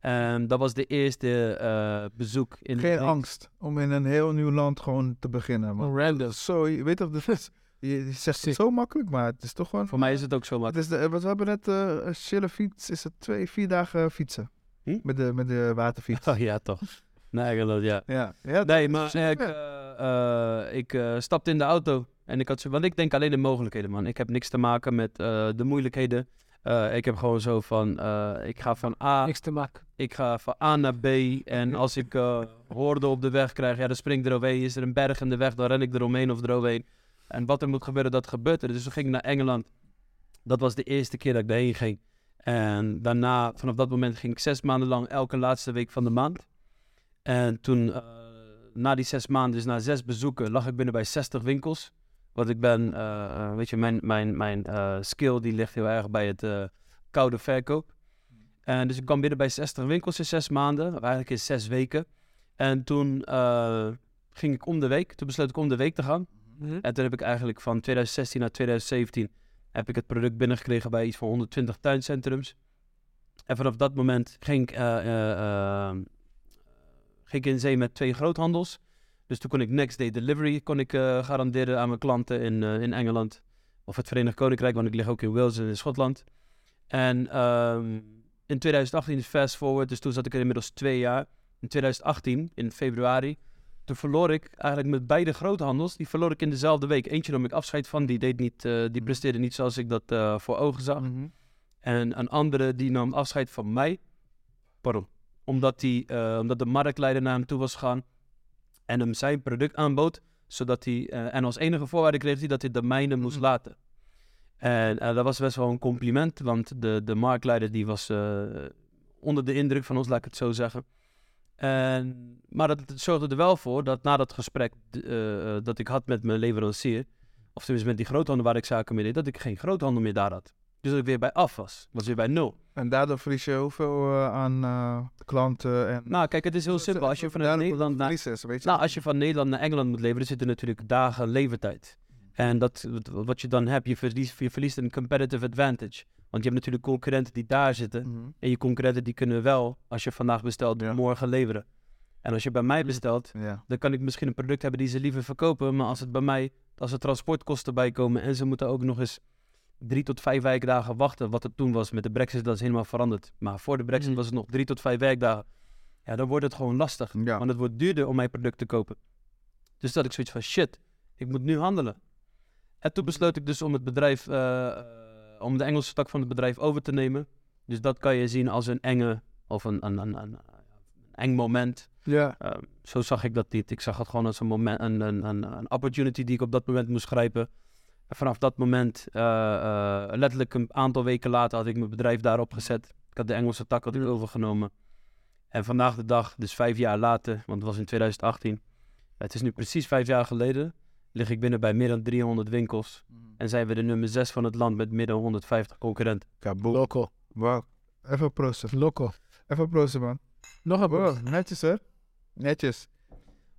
B: En dat was de eerste eh, bezoek. In
A: Geen angst om in een heel nieuw land gewoon te beginnen. Man.
C: Gewoon Random.
A: Zo, je weet of de je, je zegt het zo makkelijk, maar het is toch gewoon...
B: Voor mij is het ook zo
A: Het
B: makkelijk.
A: is de, wat we hebben net, eh een chille fiets, is het twee, vier dagen fietsen.
B: Hm?
A: Met, de, met de waterfiets.
B: Oh ja, toch. Naar Engeland, ja.
A: Ja, ja
B: Nee,
A: dat
B: maar
A: is-
B: eh, ik, eh, eh, ik eh, stapte in de auto en ik had zo, want ik denk alleen de mogelijkheden, man. Ik heb niks te maken met eh, de moeilijkheden. Eh, ik heb gewoon zo van, eh, ik ga van A,
C: Niks te maken.
B: ik ga van A naar B en als ik eh hoorden op de weg krijg, ja, dan spring ik eroverheen. Is er een berg in de weg, dan ren ik eromheen of eroverheen. En wat er moet gebeuren, dat gebeurt er. Dus toen ging ik naar Engeland. Dat was de eerste keer dat ik daarheen ging. En daarna, vanaf dat moment, ging ik zes maanden lang elke laatste week van de maand. En toen, eh, na die zes maanden, dus na zes bezoeken, lag ik binnen bij 60 winkels. Want ik ben, eh, eh, weet je, mijn, mijn, mijn eh, skill die ligt heel erg bij het eh, koude verkoop. En dus ik kwam binnen bij 60 winkels in zes maanden, of eigenlijk in zes weken. En toen eh, ging ik om de week, toen besloot ik om de week te gaan.
C: Mhm.
B: En toen heb ik eigenlijk van 2016 naar 2017 heb ik het product binnengekregen bij iets van 120 tuincentrums. En vanaf dat moment ging ik, eh, eh, eh, ging ik in zee met twee groothandels. Dus toen kon ik next day delivery kon ik, eh, garanderen aan mijn klanten in, eh, in Engeland. Of het Verenigd Koninkrijk, want ik lig ook in Wales en in Schotland. En ehm, in 2018, fast forward, dus toen zat ik er inmiddels twee jaar. In 2018, in februari, toen toen verloor ik eigenlijk met beide groothandels. Die verloor ik in dezelfde week. Eentje nam ik afscheid van, die, deed niet, eh, die presteerde niet zoals ik dat eh, voor ogen zag.
A: Mhm.
B: En een andere die nam afscheid van mij. Pardon. Omdat, die, eh, omdat de marktleider naar hem toe was gegaan en hem zijn product aanbood. Zodat hij, eh, en als enige voorwaarde kreeg hij dat hij de mijne moest
A: Mhm.
B: laten. En eh, dat was best wel een compliment, want de, de marktleider die was eh, onder de indruk van ons, laat ik het zo zeggen. En, maar dat, dat zorgde er wel voor dat na dat gesprek d- eh, eh, dat ik had met mijn leverancier, of tenminste met die groothandel waar ik zaken mee deed, dat ik geen groothandel meer daar had. Dus dat ik weer bij af was. Was weer bij nul.
A: En daardoor verlies je heel veel eh, aan eh, klanten en...
B: Nou, kijk, het is heel
A: Dat is
B: simpel.
A: echt
B: Als je
A: wel
B: vanuit
A: duidelijk
B: Nederland naar,
A: Verlies is, weet je.
B: nou, als je van Nederland naar Engeland moet leveren, zitten natuurlijk dagen levertijd. En dat, wat- wat je dan hebt, je verliest, je verliest een competitive advantage. Want je hebt natuurlijk concurrenten die daar zitten.
A: Mhm.
B: En je concurrenten die kunnen wel, als je vandaag bestelt,
A: Ja. Mm.
B: morgen leveren. En als je bij mij bestelt,
A: Ja.
B: dan kan ik misschien een product hebben die ze liever verkopen. Maar als het bij mij, als er transportkosten bij komen en ze moeten ook nog eens drie tot vijf werkdagen wachten. Wat het toen was met de brexit, dat is helemaal veranderd. Maar voor de brexit
C: Mhm.
B: was het nog drie tot vijf werkdagen. Ja, dan wordt het gewoon lastig.
A: Ja.
B: Want het wordt duurder om mijn product te kopen. Dus dat ik zoiets van shit, ik moet nu handelen. En toen besloot ik dus om het bedrijf, eh, eh, om de Engelse tak van het bedrijf over te nemen. Dus dat kan je zien als een enge of een, een, een, een, een eng moment.
A: ja.
B: Ehm, zo zag ik dat niet. Ik zag het gewoon als een, moment, een, een, een, een opportunity die ik op dat moment moest grijpen. En vanaf dat moment, eh, eh, letterlijk een aantal weken later, had ik mijn bedrijf daarop gezet. Ik had de Engelse tak had ik overgenomen. En vandaag de dag, dus vijf jaar later, want het was in 2018. Het is nu precies vijf jaar geleden. Lig ik binnen bij meer dan 300 winkels. En zijn we de nummer 6 van het land met meer dan 150 concurrenten.
A: Kaboom.
C: Loco.
A: Wow. Even proosten.
C: Loco.
A: Even proosten, man.
C: Nog een
A: Wow, netjes, hè? Netjes.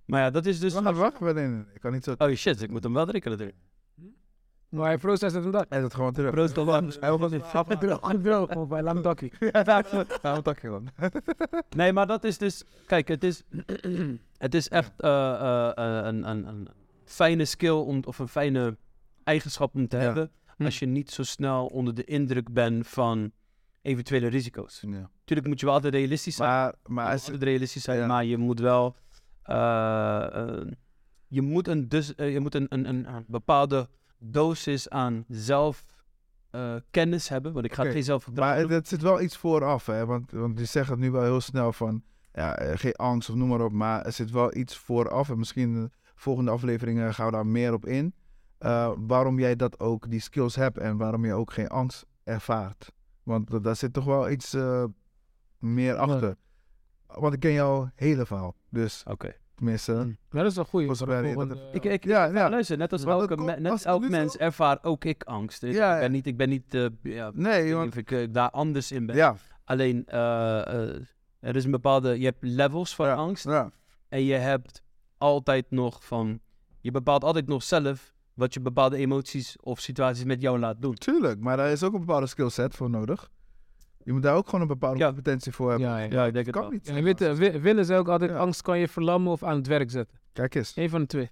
B: Maar ja, dat is dus.
A: wacht, wacht, wacht. nee, nee, nee, Ik kan niet zo...
B: Oh shit, ik moet hem wel drinken natuurlijk.
C: Maar hij proces het hem dat.
A: Hij het gewoon terug.
B: Proost allang.
A: Hij wil gewoon
C: Droog, droog, gewoon bij lang dakkie.
A: Ja, wat dacht je dan?
B: Nee, maar dat is dus. Kijk, het is, het is echt eh, eh, eh, een, een, een fijne skill om, of een fijne eigenschap om te
A: Ja.
B: hebben.
C: Hm.
B: Als je niet zo snel onder de indruk bent van eventuele risico's.
A: Ja.
B: Natuurlijk moet je wel altijd realistisch zijn.
A: Maar,
B: Je
A: maar
B: moet
A: als,
B: altijd realistisch zijn,
A: ja.
B: maar je moet wel. eh, eh, je moet, een, dus, eh, je moet een, een, een, een bepaalde dosis aan zelfkennis hebben. Want ik ga
A: Oké,
B: geen zelfvertrouwen.
A: Maar dat zit wel iets vooraf, hè? Want, want je zegt het nu wel heel snel van, ja, eh, geen angst of noem maar op. Maar er zit wel iets vooraf. En misschien in de volgende afleveringen gaan we daar meer op in. Eh, waarom jij dat ook, die skills hebt en waarom je ook geen angst ervaart. Want da- daar zit toch wel iets eh, meer achter. Want ik ken jouw hele verhaal. Dus
B: Oké.
A: tenminste,
C: Dat is een goeie.
A: volgens mij... dat-
B: Ik,
C: Ik,
B: ik,
A: Hm. ja, ja.
B: Luister, net als
A: Want
B: elke,
A: het komt-
B: me- net
A: als het
B: elk
A: nu
B: mens
A: zo-
B: ervaar ook ik angst. Ik,
A: Ja,
B: ik
A: ja.
B: ben niet, ik ben niet eh, ja, ik weet
A: Nee,
B: niet
A: want...
B: of ik eh, daar anders in ben.
A: Ja,
B: Alleen, eh, eh, er is een bepaalde, je hebt levels van
A: Ja.
B: angst
A: ja,
B: en je hebt altijd nog van, je bepaalt altijd nog zelf wat je bepaalde emoties of situaties met jou laat doen.
A: tuurlijk. Maar daar is ook een bepaalde skillset voor nodig. Je moet daar ook gewoon een bepaalde
B: Ja.
A: competentie voor hebben.
C: ja, ja.
B: Ja, ik denk het
A: kan
B: wel.
A: niet.
C: En weet, eh, wi- willen ze ook altijd
A: Ja.
C: angst kan je verlammen of aan het werk zetten?
A: Kijk eens,
C: Eén van de twee.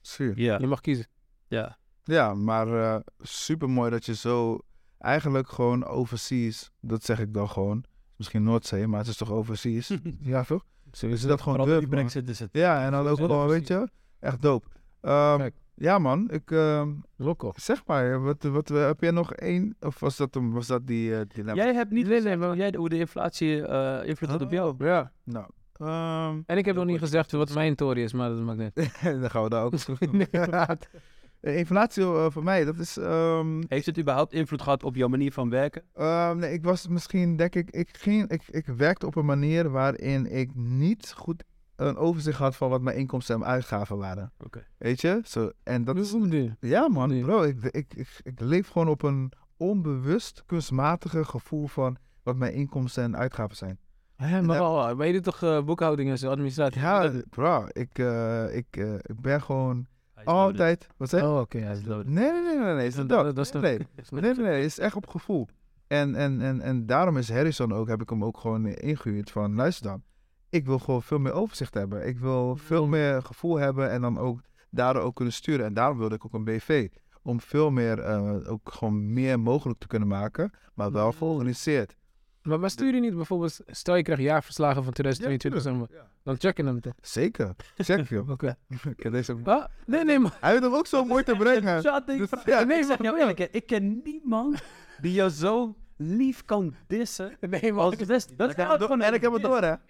A: zuur.
B: Ja,
C: Je mag kiezen.
B: ja.
A: Ja, maar super mooi dat je zo eigenlijk gewoon overseas, dat zeg ik dan gewoon. Misschien Noordzee, maar het is toch overseas? ja, toch?
C: Zo
A: Dus dat gewoon
B: Vooral die
A: durft. man.
B: brexit is dus het.
A: Ja, en dan ook
C: Sowieso
A: gewoon, weet
C: overseas.
A: je, echt dope. Ehm,
C: Kijk.
A: ja, man, ik ehm,
C: Loco.
A: zeg maar, wat, wat, heb jij nog één? Of was dat, hem- was dat die eh dilemma?
B: Jij hebt niet
C: Nee, nee,
B: gezegd
C: maar-
B: hoe jij, hoe de inflatie eh invloed had op
A: Oh.
B: jou.
C: Ja.
A: Nou, ehm,
C: En ik heb nog niet
A: goed.
C: gezegd wat mijn tory is, maar dat maakt niet.
A: dan gaan we daar ook terug doen.
C: Nee, inderdaad.
A: Eh, Inflatie eh, voor mij, dat is ehm,
B: Heeft het überhaupt invloed gehad op jouw manier van werken?
A: Ehm, nee, ik was misschien, denk ik, ik, ging, ik, ik werkte op een manier waarin ik niet goed een overzicht had van wat mijn inkomsten en uitgaven waren.
B: Oké.
A: Weet je? Zo, en dat is,
C: Hoe bedoel je?
A: ja man,
C: Nee.
A: bro, ik, ik, ik, ik leef gewoon op een onbewust, kunstmatige gevoel van wat mijn inkomsten en uitgaven zijn.
C: Hé, maar, oh, maar je doet toch eh, boekhouding en zo, administratie?
A: Ja, bro, ik, eh, ik, eh, ik ben gewoon altijd, wat zeg je?
C: Oh, oké. ja,
B: Hij is loaded.
A: Nee, nee, nee, nee, nee, is
C: dat-
A: dat,
C: dat- dat is
A: nee,
C: toch-
A: nee. Nee, nee, nee, het is echt op gevoel. En, en, en, en daarom is Harrison ook, heb ik hem ook gewoon eh, ingehuurd van, luister dan, ik wil gewoon veel meer overzicht hebben. Ik
C: Mhm.
A: wil veel meer gevoel hebben en dan ook daardoor ook kunnen sturen. En daarom wilde ik ook een BV,
C: Mhm.
A: om veel meer, eh, ook gewoon meer mogelijk te kunnen maken, maar wel georganiseerd.
C: Maar, maar stuur je niet bijvoorbeeld, stel je krijgt jaarverslagen van 2022 zeg maar,
A: Ja.
C: dan check je hem meteen.
A: Zeker. Check je.
C: Oké.
A: Ik heb deze-
C: Ah, nee, nee, maar.
A: Hij wil hem ook zo mooi te brengen.
B: ik,
A: Dus- ja,
C: nee,
B: zeg
C: maar-
B: jou eerlijk, hè, ik ken niemand die jou zo lief kan dissen.
C: Nee, maar.
B: Als Wesley. Dat is
A: Ja, door- En ik heb het door, hè?
B: Ja,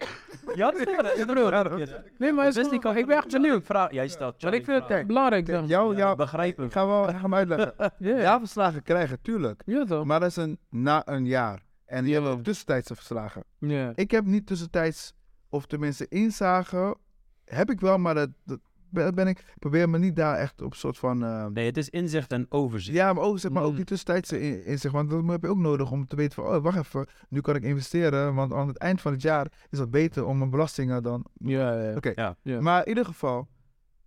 B: dat is waar, dat is broer.
C: Nee, maar is
B: Wesley
C: gewoon-
B: kan
C: ik ben echt benieuwd.
B: Vraag, jij stelt
C: Maar ik
B: Charlie
C: vind
B: vragen.
C: het belangrijk. zeg maar.
A: Jou,
B: Ja,
A: jou,
B: begrijp hem.
A: Oh, ik ga wel ik ga hem uitleggen.
C: Ja, ja.
A: Ja, verslagen krijgen, tuurlijk.
C: toch?
A: Maar dat is een, na een jaar. En je hebt ook tussentijdse verslagen.
C: Ja.
A: Ik heb niet tussentijds, of tenminste inzage, heb ik wel, maar dat, dat ben ben ik, ik probeer me niet daar echt op soort van... eh,
B: Nee, het is inzicht en overzicht.
A: ja, maar ook, zeg maar, ook die
C: Mm.
A: tussentijdse in- inzicht, want dat heb je ook nodig om te weten van, oh, wacht even, nu kan ik investeren, want aan het eind van het jaar is dat beter om mijn belastingen dan
C: Ja, ja.
A: Oké.
B: Ja.
C: Ja.
A: Maar in ieder geval,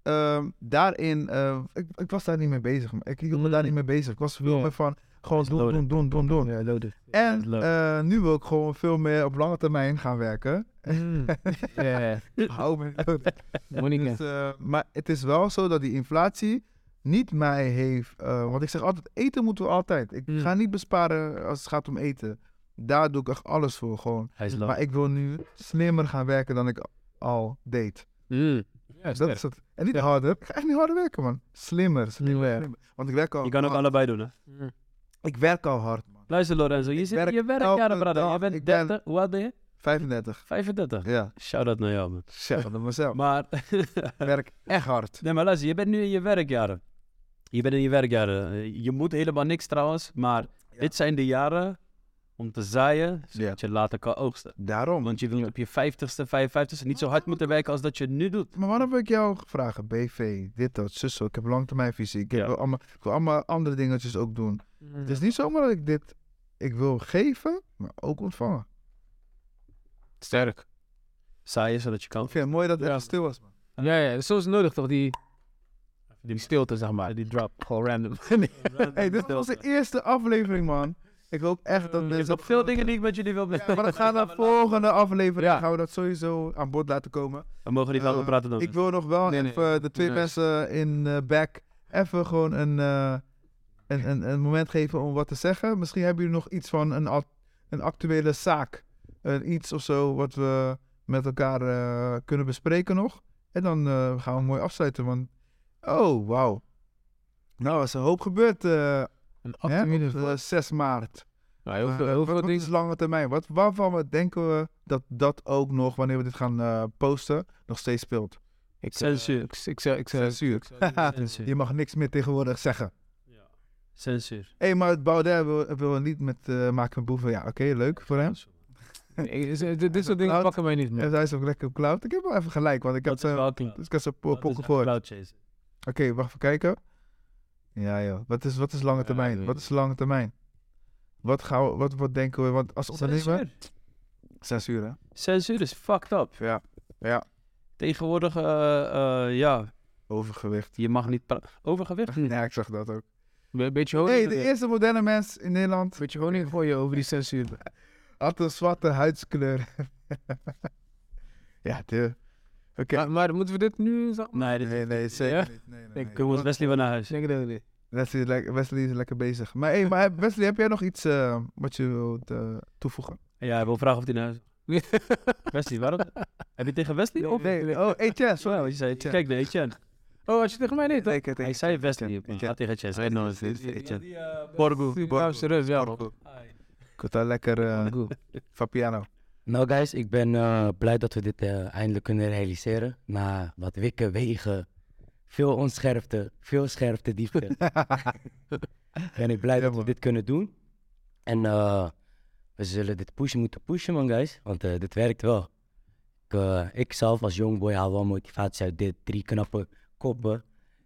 A: ehm, daarin, eh, ik, ik was daar niet mee bezig. maar Ik hield me daar niet mee bezig. Ik was veel
C: Mm. Ja.
A: meer van gewoon
B: Is
A: doen,
B: loaded.
A: doen, doen, doen, doen.
C: Ja, loaded.
A: En
B: is loaded.
A: eh, nu wil ik gewoon veel meer op lange termijn gaan werken.
C: Mm. Ja, ja.
A: Hou me loaded.
C: Monique.
A: Dus, eh, maar het is wel zo dat die inflatie niet mij heeft. eh, want ik zeg altijd: eten moeten we altijd. Ik
C: Mm.
A: ga niet besparen als het gaat om eten. Daar doe ik echt alles voor gewoon.
B: Hij is
A: Maar
B: lang.
A: ik wil nu slimmer gaan werken dan ik al deed.
C: Mm. Ja,
A: Dat is het. En niet harder. Ik ga echt niet harder werken, man. Slimmer. slimmer.
C: niet waar.
A: Want ik oh, werk al.
B: Je kan ook
A: hard.
B: allebei doen, hè?
C: Mm.
A: Ik werk al hard, man.
B: Luister, Lorenzo, je
A: Ik
B: zit
A: werk
B: je werk
A: elke
B: jaren, brother. Je
A: dag.
B: bent
A: Ik ben-
B: 30, hoe oud ben je?
A: 35.
B: 35.
A: Ja.
B: Shout-out naar jou, man.
A: Zeg dat mezelf.
B: Maar,
A: Ik werk echt hard.
B: nee, maar luister, je bent nu in je werkjaren. Je bent in je werkjaren. Eh, Je moet helemaal niks trouwens, maar
A: Ja.
B: dit zijn de jaren om te zaaien, zodat je later kan oogsten.
A: Daarom.
B: Want je wilt op je 50ste, 55ste niet zo hard moeten werken als dat je nu doet.
A: Maar waarom heb ik jou gevraagd? BV, dit, dat, zus, zo. Ik heb langetermijnvisie. Ik, heb
B: Ja.
A: wel allemaal, ik wil allemaal andere dingetjes ook doen.
C: Mm.
A: Het is niet zomaar dat ik dit... Ik wil geven, maar ook ontvangen.
C: Sterk.
B: Zaaien zodat je kan.
A: Ik vind het mooi dat het
C: Ja.
A: even stil was, man.
C: Ja, ja. Zo is het nodig toch, die, die stilte, zeg maar. Die drop, gewoon random. Nee.
A: hey, dit was de eerste aflevering, man. Ik hoop echt dat
B: Er
A: dit...
B: zijn veel dingen die ik met jullie wil
A: Ja, maar dat gaat naar volgende aflevering.
C: Ja.
A: Gaan we dat sowieso aan bod laten komen.
B: We mogen niet
A: Eh,
B: over praten dan.
A: Ik wil nog wel
C: Nee, nee.
A: even de twee
C: Nee.
A: mensen in eh back even gewoon een, eh, een, een, een moment geven om wat te zeggen. Misschien hebben jullie nog iets van een, act- een actuele zaak. Eh, iets of zo wat we met elkaar eh, kunnen bespreken nog. En dan eh, gaan we mooi afsluiten. Want, oh, wauw. Nou, er is een hoop gebeurd eh,
C: Een
A: hè, op,
C: acte
A: eh, 6 maart.
C: Nou, heel
A: Maar
C: veel, heel
A: wat-
C: veel
A: wat
C: dingen.
A: is lange termijn? Wat, waarvan we denken we dat dat ook nog, wanneer we dit gaan eh, posten, nog steeds speelt?
C: Ik, eh,
B: Censuur.
C: ik, ik, zou- ik, zou-
A: Censuur.
B: Censuur.
A: Je mag niks meer tegenwoordig zeggen.
B: Censuur.
A: Hé, maar Baudet wil, wil een lied met eh Maken een Boeven. Ja, oké, leuk voor hem.
C: ik- eh, dit- Dit soort dingen
A: Cloud.
C: pakken mij niet meer.
A: En hij is ook lekker op cloud. Ik heb wel even gelijk, want ik heb
B: Dat is
A: zijn...
B: wel cloud.
A: Dus ik heb zijn po-
B: Dat is
A: pokken
B: echt
A: gehoord. Oké,
B: cloud chasing.
A: wacht even kijken. Ja, joh. Wat is, wat is lange
C: Ja,
A: termijn?
C: doei.
A: wat is lange termijn? Wat, gaan we, wat, wat denken we? Want als ondernemer...
B: Censuur.
A: Censuur, hè?
B: Censuur is fucked up.
A: Ja,
B: Tegenwoordig, eh, eh, ja,
A: overgewicht.
B: je mag niet praten. Overgewicht?
A: Ja, ik zag dat ook.
C: Een beetje
A: Hé,
C: honing.
A: hey, de eerste moderne mens in Nederland
C: beetje honing gooien over die censuur.
A: had een zwarte huidskleur. ja, de... Oké.
C: Maar, maar moeten we dit nu... zo-
B: Nee, dit
A: Nee, nee, zeker
C: Ja?
A: niet. Nee, nee,
C: Ik eh,
A: nee.
B: kunnen we ons Wesley weer naar huis.
C: Zeker dat we dit-
A: Wesley, is lek- Wesley is lekker bezig. Maar, hey, maar heb- Wesley, heb jij nog iets eh, wat je wilt eh, toevoegen?
B: Ja, hij wil vragen of hij naar huis Wesley, waarom? Heb je tegen Wesley? Of?
A: Nee,
C: eh,
A: oh, hey Chess.
B: Sorry, want je zei,
A: Etienne.
B: kijk naar Etienne.
C: Oh, had je tegen mij niet?
A: Nee, ik- ik-
B: Hij zei Wesley,
A: Etienne,
B: maar
A: Etienne.
B: gaat tegen Chess.
C: weet nog
B: dit
C: steeds,
B: is Etienne.
A: Borgo.
C: Surinaamse
A: Borgo.
C: rust, ja.
A: Borgo. Ik had daar lekker eh, Fabiano.
D: Nou guys, ik ben eh, blij dat we dit eh, eindelijk kunnen realiseren. Na wat wikken, wegen, veel onscherpte, veel scherpte diepte. ben ik blij
A: Ja,
D: dat we
A: man.
D: dit kunnen doen. En eh, we zullen dit pushen moeten pushen man guys, want eh, dit werkt wel. Ik, eh, ik zelf als jongboy haal wel motivatie uit dit. Drie knappe koppen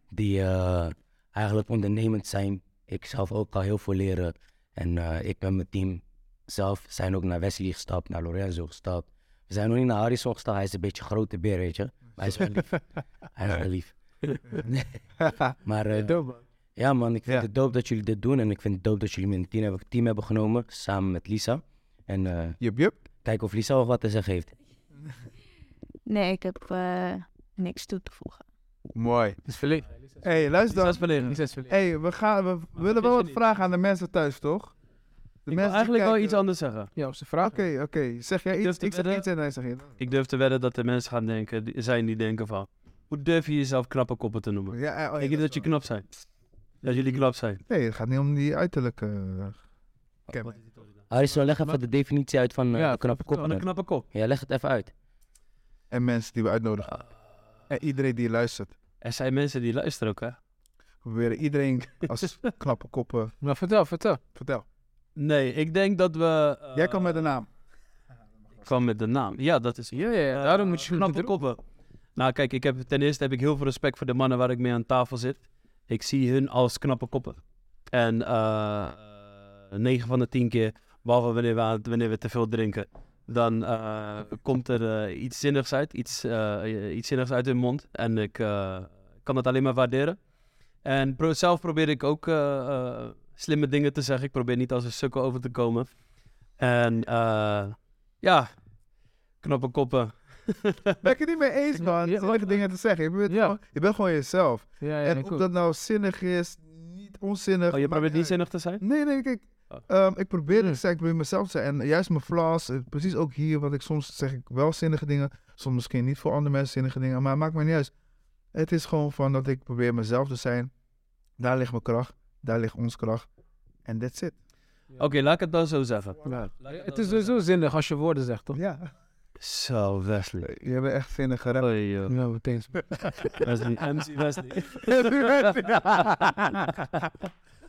D: die eh, eigenlijk ondernemend zijn. Ik zelf ook al heel veel leren. En eh, ik en mijn team zelf zijn ook naar Wesley gestapt, naar Lorenzo gestapt. We zijn nog niet naar Harrison gestapt. Hij is een beetje een grote beer, weet je. Maar hij is wel lief. hij is wel lief. Nee. maar eh,
C: Dope, man.
D: ja man, ik vind
A: Ja.
D: het dope dat jullie dit doen. En ik vind het dope dat jullie me in het team hebben, team hebben genomen, samen met Lisa. En eh
A: Jup, jup.
D: kijk of Lisa nog wat te zeggen heeft.
E: Nee, ik heb eh, niks toe te voegen.
A: Mooi.
C: Het is verlengd.
A: hey, luister
B: Dat is
A: Dus dan.
B: verlegen.
C: Het is verlengd.
A: hey, we, gaan, we willen
B: is
A: wel
B: er
A: wat
B: niet.
A: vragen aan de mensen thuis, toch? De
B: ik wil
A: mensen die
B: eigenlijk wel
A: kijken-
B: iets anders zeggen.
C: Ja, op zijn vraag.
A: Oké, oké. Zeg jij
B: Durf
A: iets?
B: te
A: Ik zeg
B: wedden?
A: iets en hij zegt iets.
B: Ik durf te wedden dat de mensen gaan denken, die- zijn die denken van... Hoe durf je jezelf knappe koppen te noemen?
A: Ja, eh, oh, ja,
B: ik denk dat je
A: wel-
B: knap zijn. Dat jullie knap zijn.
A: Nee, het gaat niet om die uiterlijke... eh, kenmerken.
D: Harrison, leg even de definitie uit van eh,
C: Ja,
D: een knappe kop.
B: Van een
D: dan.
B: knappe kop.
D: Ja, leg het even uit.
A: En mensen die we uitnodigen. En iedereen die luistert.
B: Er zijn mensen die luisteren ook, hè?
A: We proberen iedereen als knappe koppen...
C: Maar vertel, vertel.
A: Vertel.
B: Nee, ik denk dat we... eh,
A: Jij kan met een naam.
B: Ik kwam met de naam. Ja, dat is...
C: Ja, ja, ja.
B: Eh,
C: Daarom moet je
B: knappe koppen. Nou, kijk, ik heb, ten eerste heb ik heel veel respect voor de mannen waar ik mee aan tafel zit. Ik zie hun als knappe koppen. En eh 9 van de 10 keer, behalve wanneer we, aan- wanneer we te veel drinken, dan eh, komt er eh, iets zinnigs uit, iets, eh, iets zinnigs uit hun mond. En ik eh, kan dat alleen maar waarderen. En pro- zelf probeer ik ook eh, eh, slimme dingen te zeggen. Ik probeer niet als een sukkel over te komen. En eh, ja, knappe koppen.
A: Ben ik het niet mee eens,
C: Ja,
A: man.
C: ja,
A: Ja, leuke
C: wat-
A: dingen te zeggen. Je bent,
C: Ja.
A: gewoon, je bent gewoon jezelf.
C: Ja, ja,
A: en
C: nee,
A: of
C: cool.
A: dat nou zinnig is, niet onzinnig...
B: Oh, je
A: maakt
B: probeert niet
A: uit.
B: zinnig te zijn?
A: Nee, nee, kijk.
B: Oh.
A: ehm, ik probeer
C: Mm.
A: het te zeggen, ik probeer mezelf te zijn. En juist mijn flaws, eh, precies ook hier, want ik soms zeg ik wel zinnige dingen. Soms misschien niet voor andere mensen zinnige dingen, maar het maakt me niet uit. Het is gewoon van dat ik probeer mezelf te zijn. Daar ligt mijn kracht, daar ligt ons kracht. En that's it.
B: Oké, laat ik het dan zo zeggen.
C: Ja.
B: Laat ik
C: Het
B: dan
C: is dus
B: zo
C: sowieso zinnig als je woorden zegt, toch?
A: Ja.
B: Zo, Wesley.
A: Je bent echt zinnige rapper.
B: Oei, joh.
C: Ja, meteen.
B: Wesley. MC Wesley.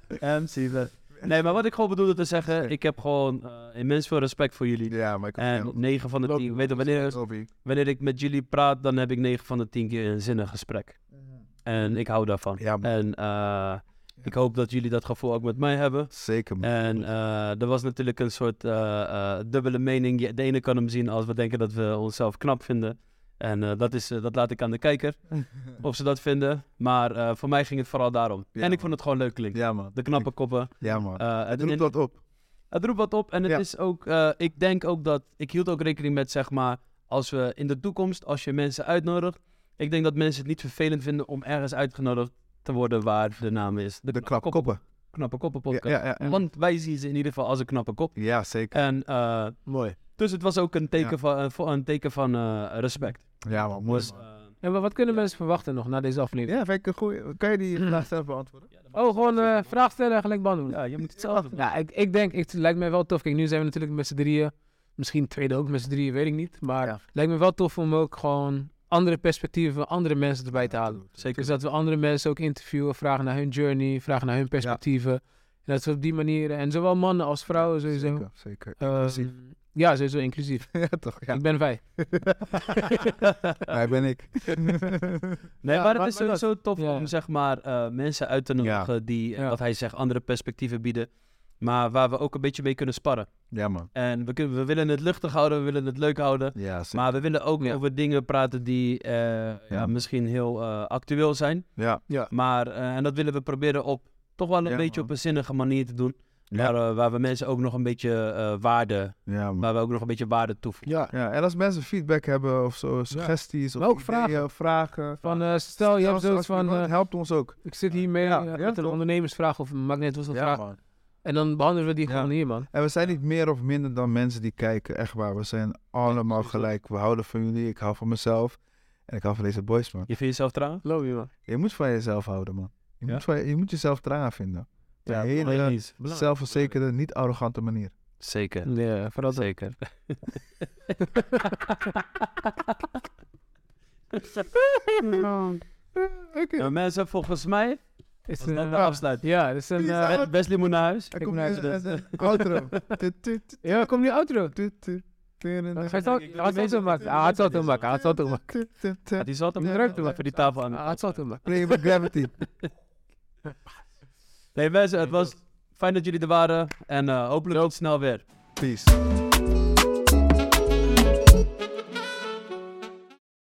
B: MC Wesley. Nee, maar wat ik gewoon bedoelde te zeggen, ik heb gewoon eh, immens veel respect voor jullie.
A: Ja, maar ik kan
B: En
A: heel-
B: 9 van de
C: Loop-
B: 10, weet je, wanneer,
A: Robby.
B: wanneer ik met jullie praat, dan heb ik 9 van de 10 keer een zinnig gesprek. En ik hou daarvan.
A: Ja, man.
B: eh. En eh, ik hoop dat jullie dat gevoel ook met mij hebben.
A: Zeker, man.
B: En eh, er was natuurlijk een soort eh, eh, dubbele mening. Je- De ene kan hem zien als we denken dat we onszelf knap vinden. En eh, dat, is, eh, dat laat ik aan de kijker, of ze dat vinden. Maar eh, voor mij ging het vooral daarom.
A: Ja,
B: en ik
A: man.
B: vond het gewoon leuk klinken.
A: Ja, man.
B: De knappe koppen.
A: Ja, man.
B: eh, het,
A: Roep
B: en-
A: dat op.
B: het roept wat op. En het
A: Ja.
B: is ook, eh, ik denk ook dat, ik hield ook rekening met zeg maar, als we in de toekomst, als je mensen uitnodigt. Ik denk dat mensen het niet vervelend vinden om ergens uitgenodigd te worden waar de naam is.
A: De knappe koppen.
B: Knappe koppen
A: Ja,
B: podcast.
A: ja, ja, ja.
B: Want wij zien ze in ieder geval als een knappe kop.
A: ja, zeker.
B: En, eh,
C: Mooi.
B: dus het was ook een teken
A: Ja.
B: van, eh, voor- een teken van eh, respect.
A: Ja, man. Mooi.
B: Dus,
A: man.
B: eh,
C: En wat kunnen mensen verwachten nog na deze aflevering?
A: Ja, vind ik een goeie. Kan je die
C: Hmm.
A: vraag zelf beantwoorden?
C: Oh, gewoon eh vraag stellen en gelijk beantwoorden.
B: ja, je moet het zelf doen.
C: Ja, ik, ik denk, ik, het lijkt mij wel tof. Kijk, nu zijn we natuurlijk met z'n drieën. Misschien tweede ook met z'n drieën, weet ik niet. Maar
A: Ja.
C: het lijkt me wel tof om ook gewoon andere perspectieven, andere mensen erbij te halen.
B: Zeker.
C: Dus dat we andere mensen ook interviewen, vragen naar hun journey, vragen naar hun perspectieven. En dat we op die manier, en zowel mannen als vrouwen sowieso.
A: Zeker, zeker.
C: eh,
A: inclusief.
C: ja, sowieso inclusief.
A: ja, toch? Ja.
C: Ik ben wij.
A: Hij ben ik.
B: Nee, maar het
C: Ja, maar-
B: is
C: maar dat-
B: sowieso tof
C: ja.
B: om zeg maar, eh, mensen uit te nodigen die, eh,
C: Ja.
B: wat hij zegt, andere perspectieven bieden. Maar waar we ook een beetje mee kunnen sparren.
A: ja, man.
B: En we, kunnen, we willen het luchtig houden, we willen het leuk houden.
A: Ja, zeker.
B: Maar we willen ook
C: Ja.
B: over dingen praten die eh, ja, misschien heel eh, actueel zijn.
A: Ja,
B: Maar, eh, en dat willen we proberen op toch wel een
A: Ja,
B: beetje
A: man.
B: op een zinnige manier te doen.
A: Ja.
B: Waar, eh, waar we mensen ook nog een beetje eh, waarde,
A: ja, man.
B: waar we ook nog een beetje waarde toevoegen.
C: Ja.
A: Ja, en als mensen feedback hebben of zo, suggesties of
C: Maar ook
A: ideeën, vragen.
C: Van, eh, stel, je hebt
A: Zelfs
C: zoiets
A: als
C: van,
A: iemand
C: eh,
A: helpt ons ook.
C: ik zit hiermee
A: Ja,
C: eh,
A: ja,
C: met een
A: toch?
C: ondernemersvraag of een magnet, wat voor vraag.
A: man.
C: En dan behandelen we die
A: Ja.
C: gewoon hier, man.
A: En we zijn niet meer of minder dan mensen die kijken. Echt waar, we zijn allemaal gelijk. We houden van jullie, ik hou van mezelf. En ik hou van deze boys, man.
B: Je vindt jezelf trouwens?
C: Love you, man.
A: Je moet van jezelf houden, man. Je,
B: Ja.
A: moet, van je, je moet jezelf eraan vinden. Op een hele
B: Belangrijk.
A: zelfverzekerde, niet arrogante manier.
B: Zeker.
C: Ja, vooral dat.
B: Zeker.
A: Oké.
B: Nou, mensen, volgens mij
C: Is
B: was
C: een,
B: dat de
C: eh,
B: afsluiting.
C: ja, dat is een...
A: Peace
C: eh,
A: out.
B: Wes- Wesley moet naar huis.
A: Er
C: Ik
A: komt
C: ben
A: een,
C: uit
A: een, een outro. Tut, tut, tut,
C: ja, kom die outro.
A: tut, tut, tut,
C: Ga
A: tut,
C: je het
B: wil niet
C: auto
B: weten
C: maken?
B: wat-
C: Ah, het auto maken. Ah, het auto maken.
A: tut, tut,
B: Gaat
A: tut.
B: hij zat hem
C: Ja,
B: ruikt
C: ja,
B: hem even die tafel aan.
C: Ah, het auto maken.
A: Play with gravity.
B: Nee, mensen, het was fijn dat jullie er waren. En eh, hopelijk tot snel weer.
A: Peace.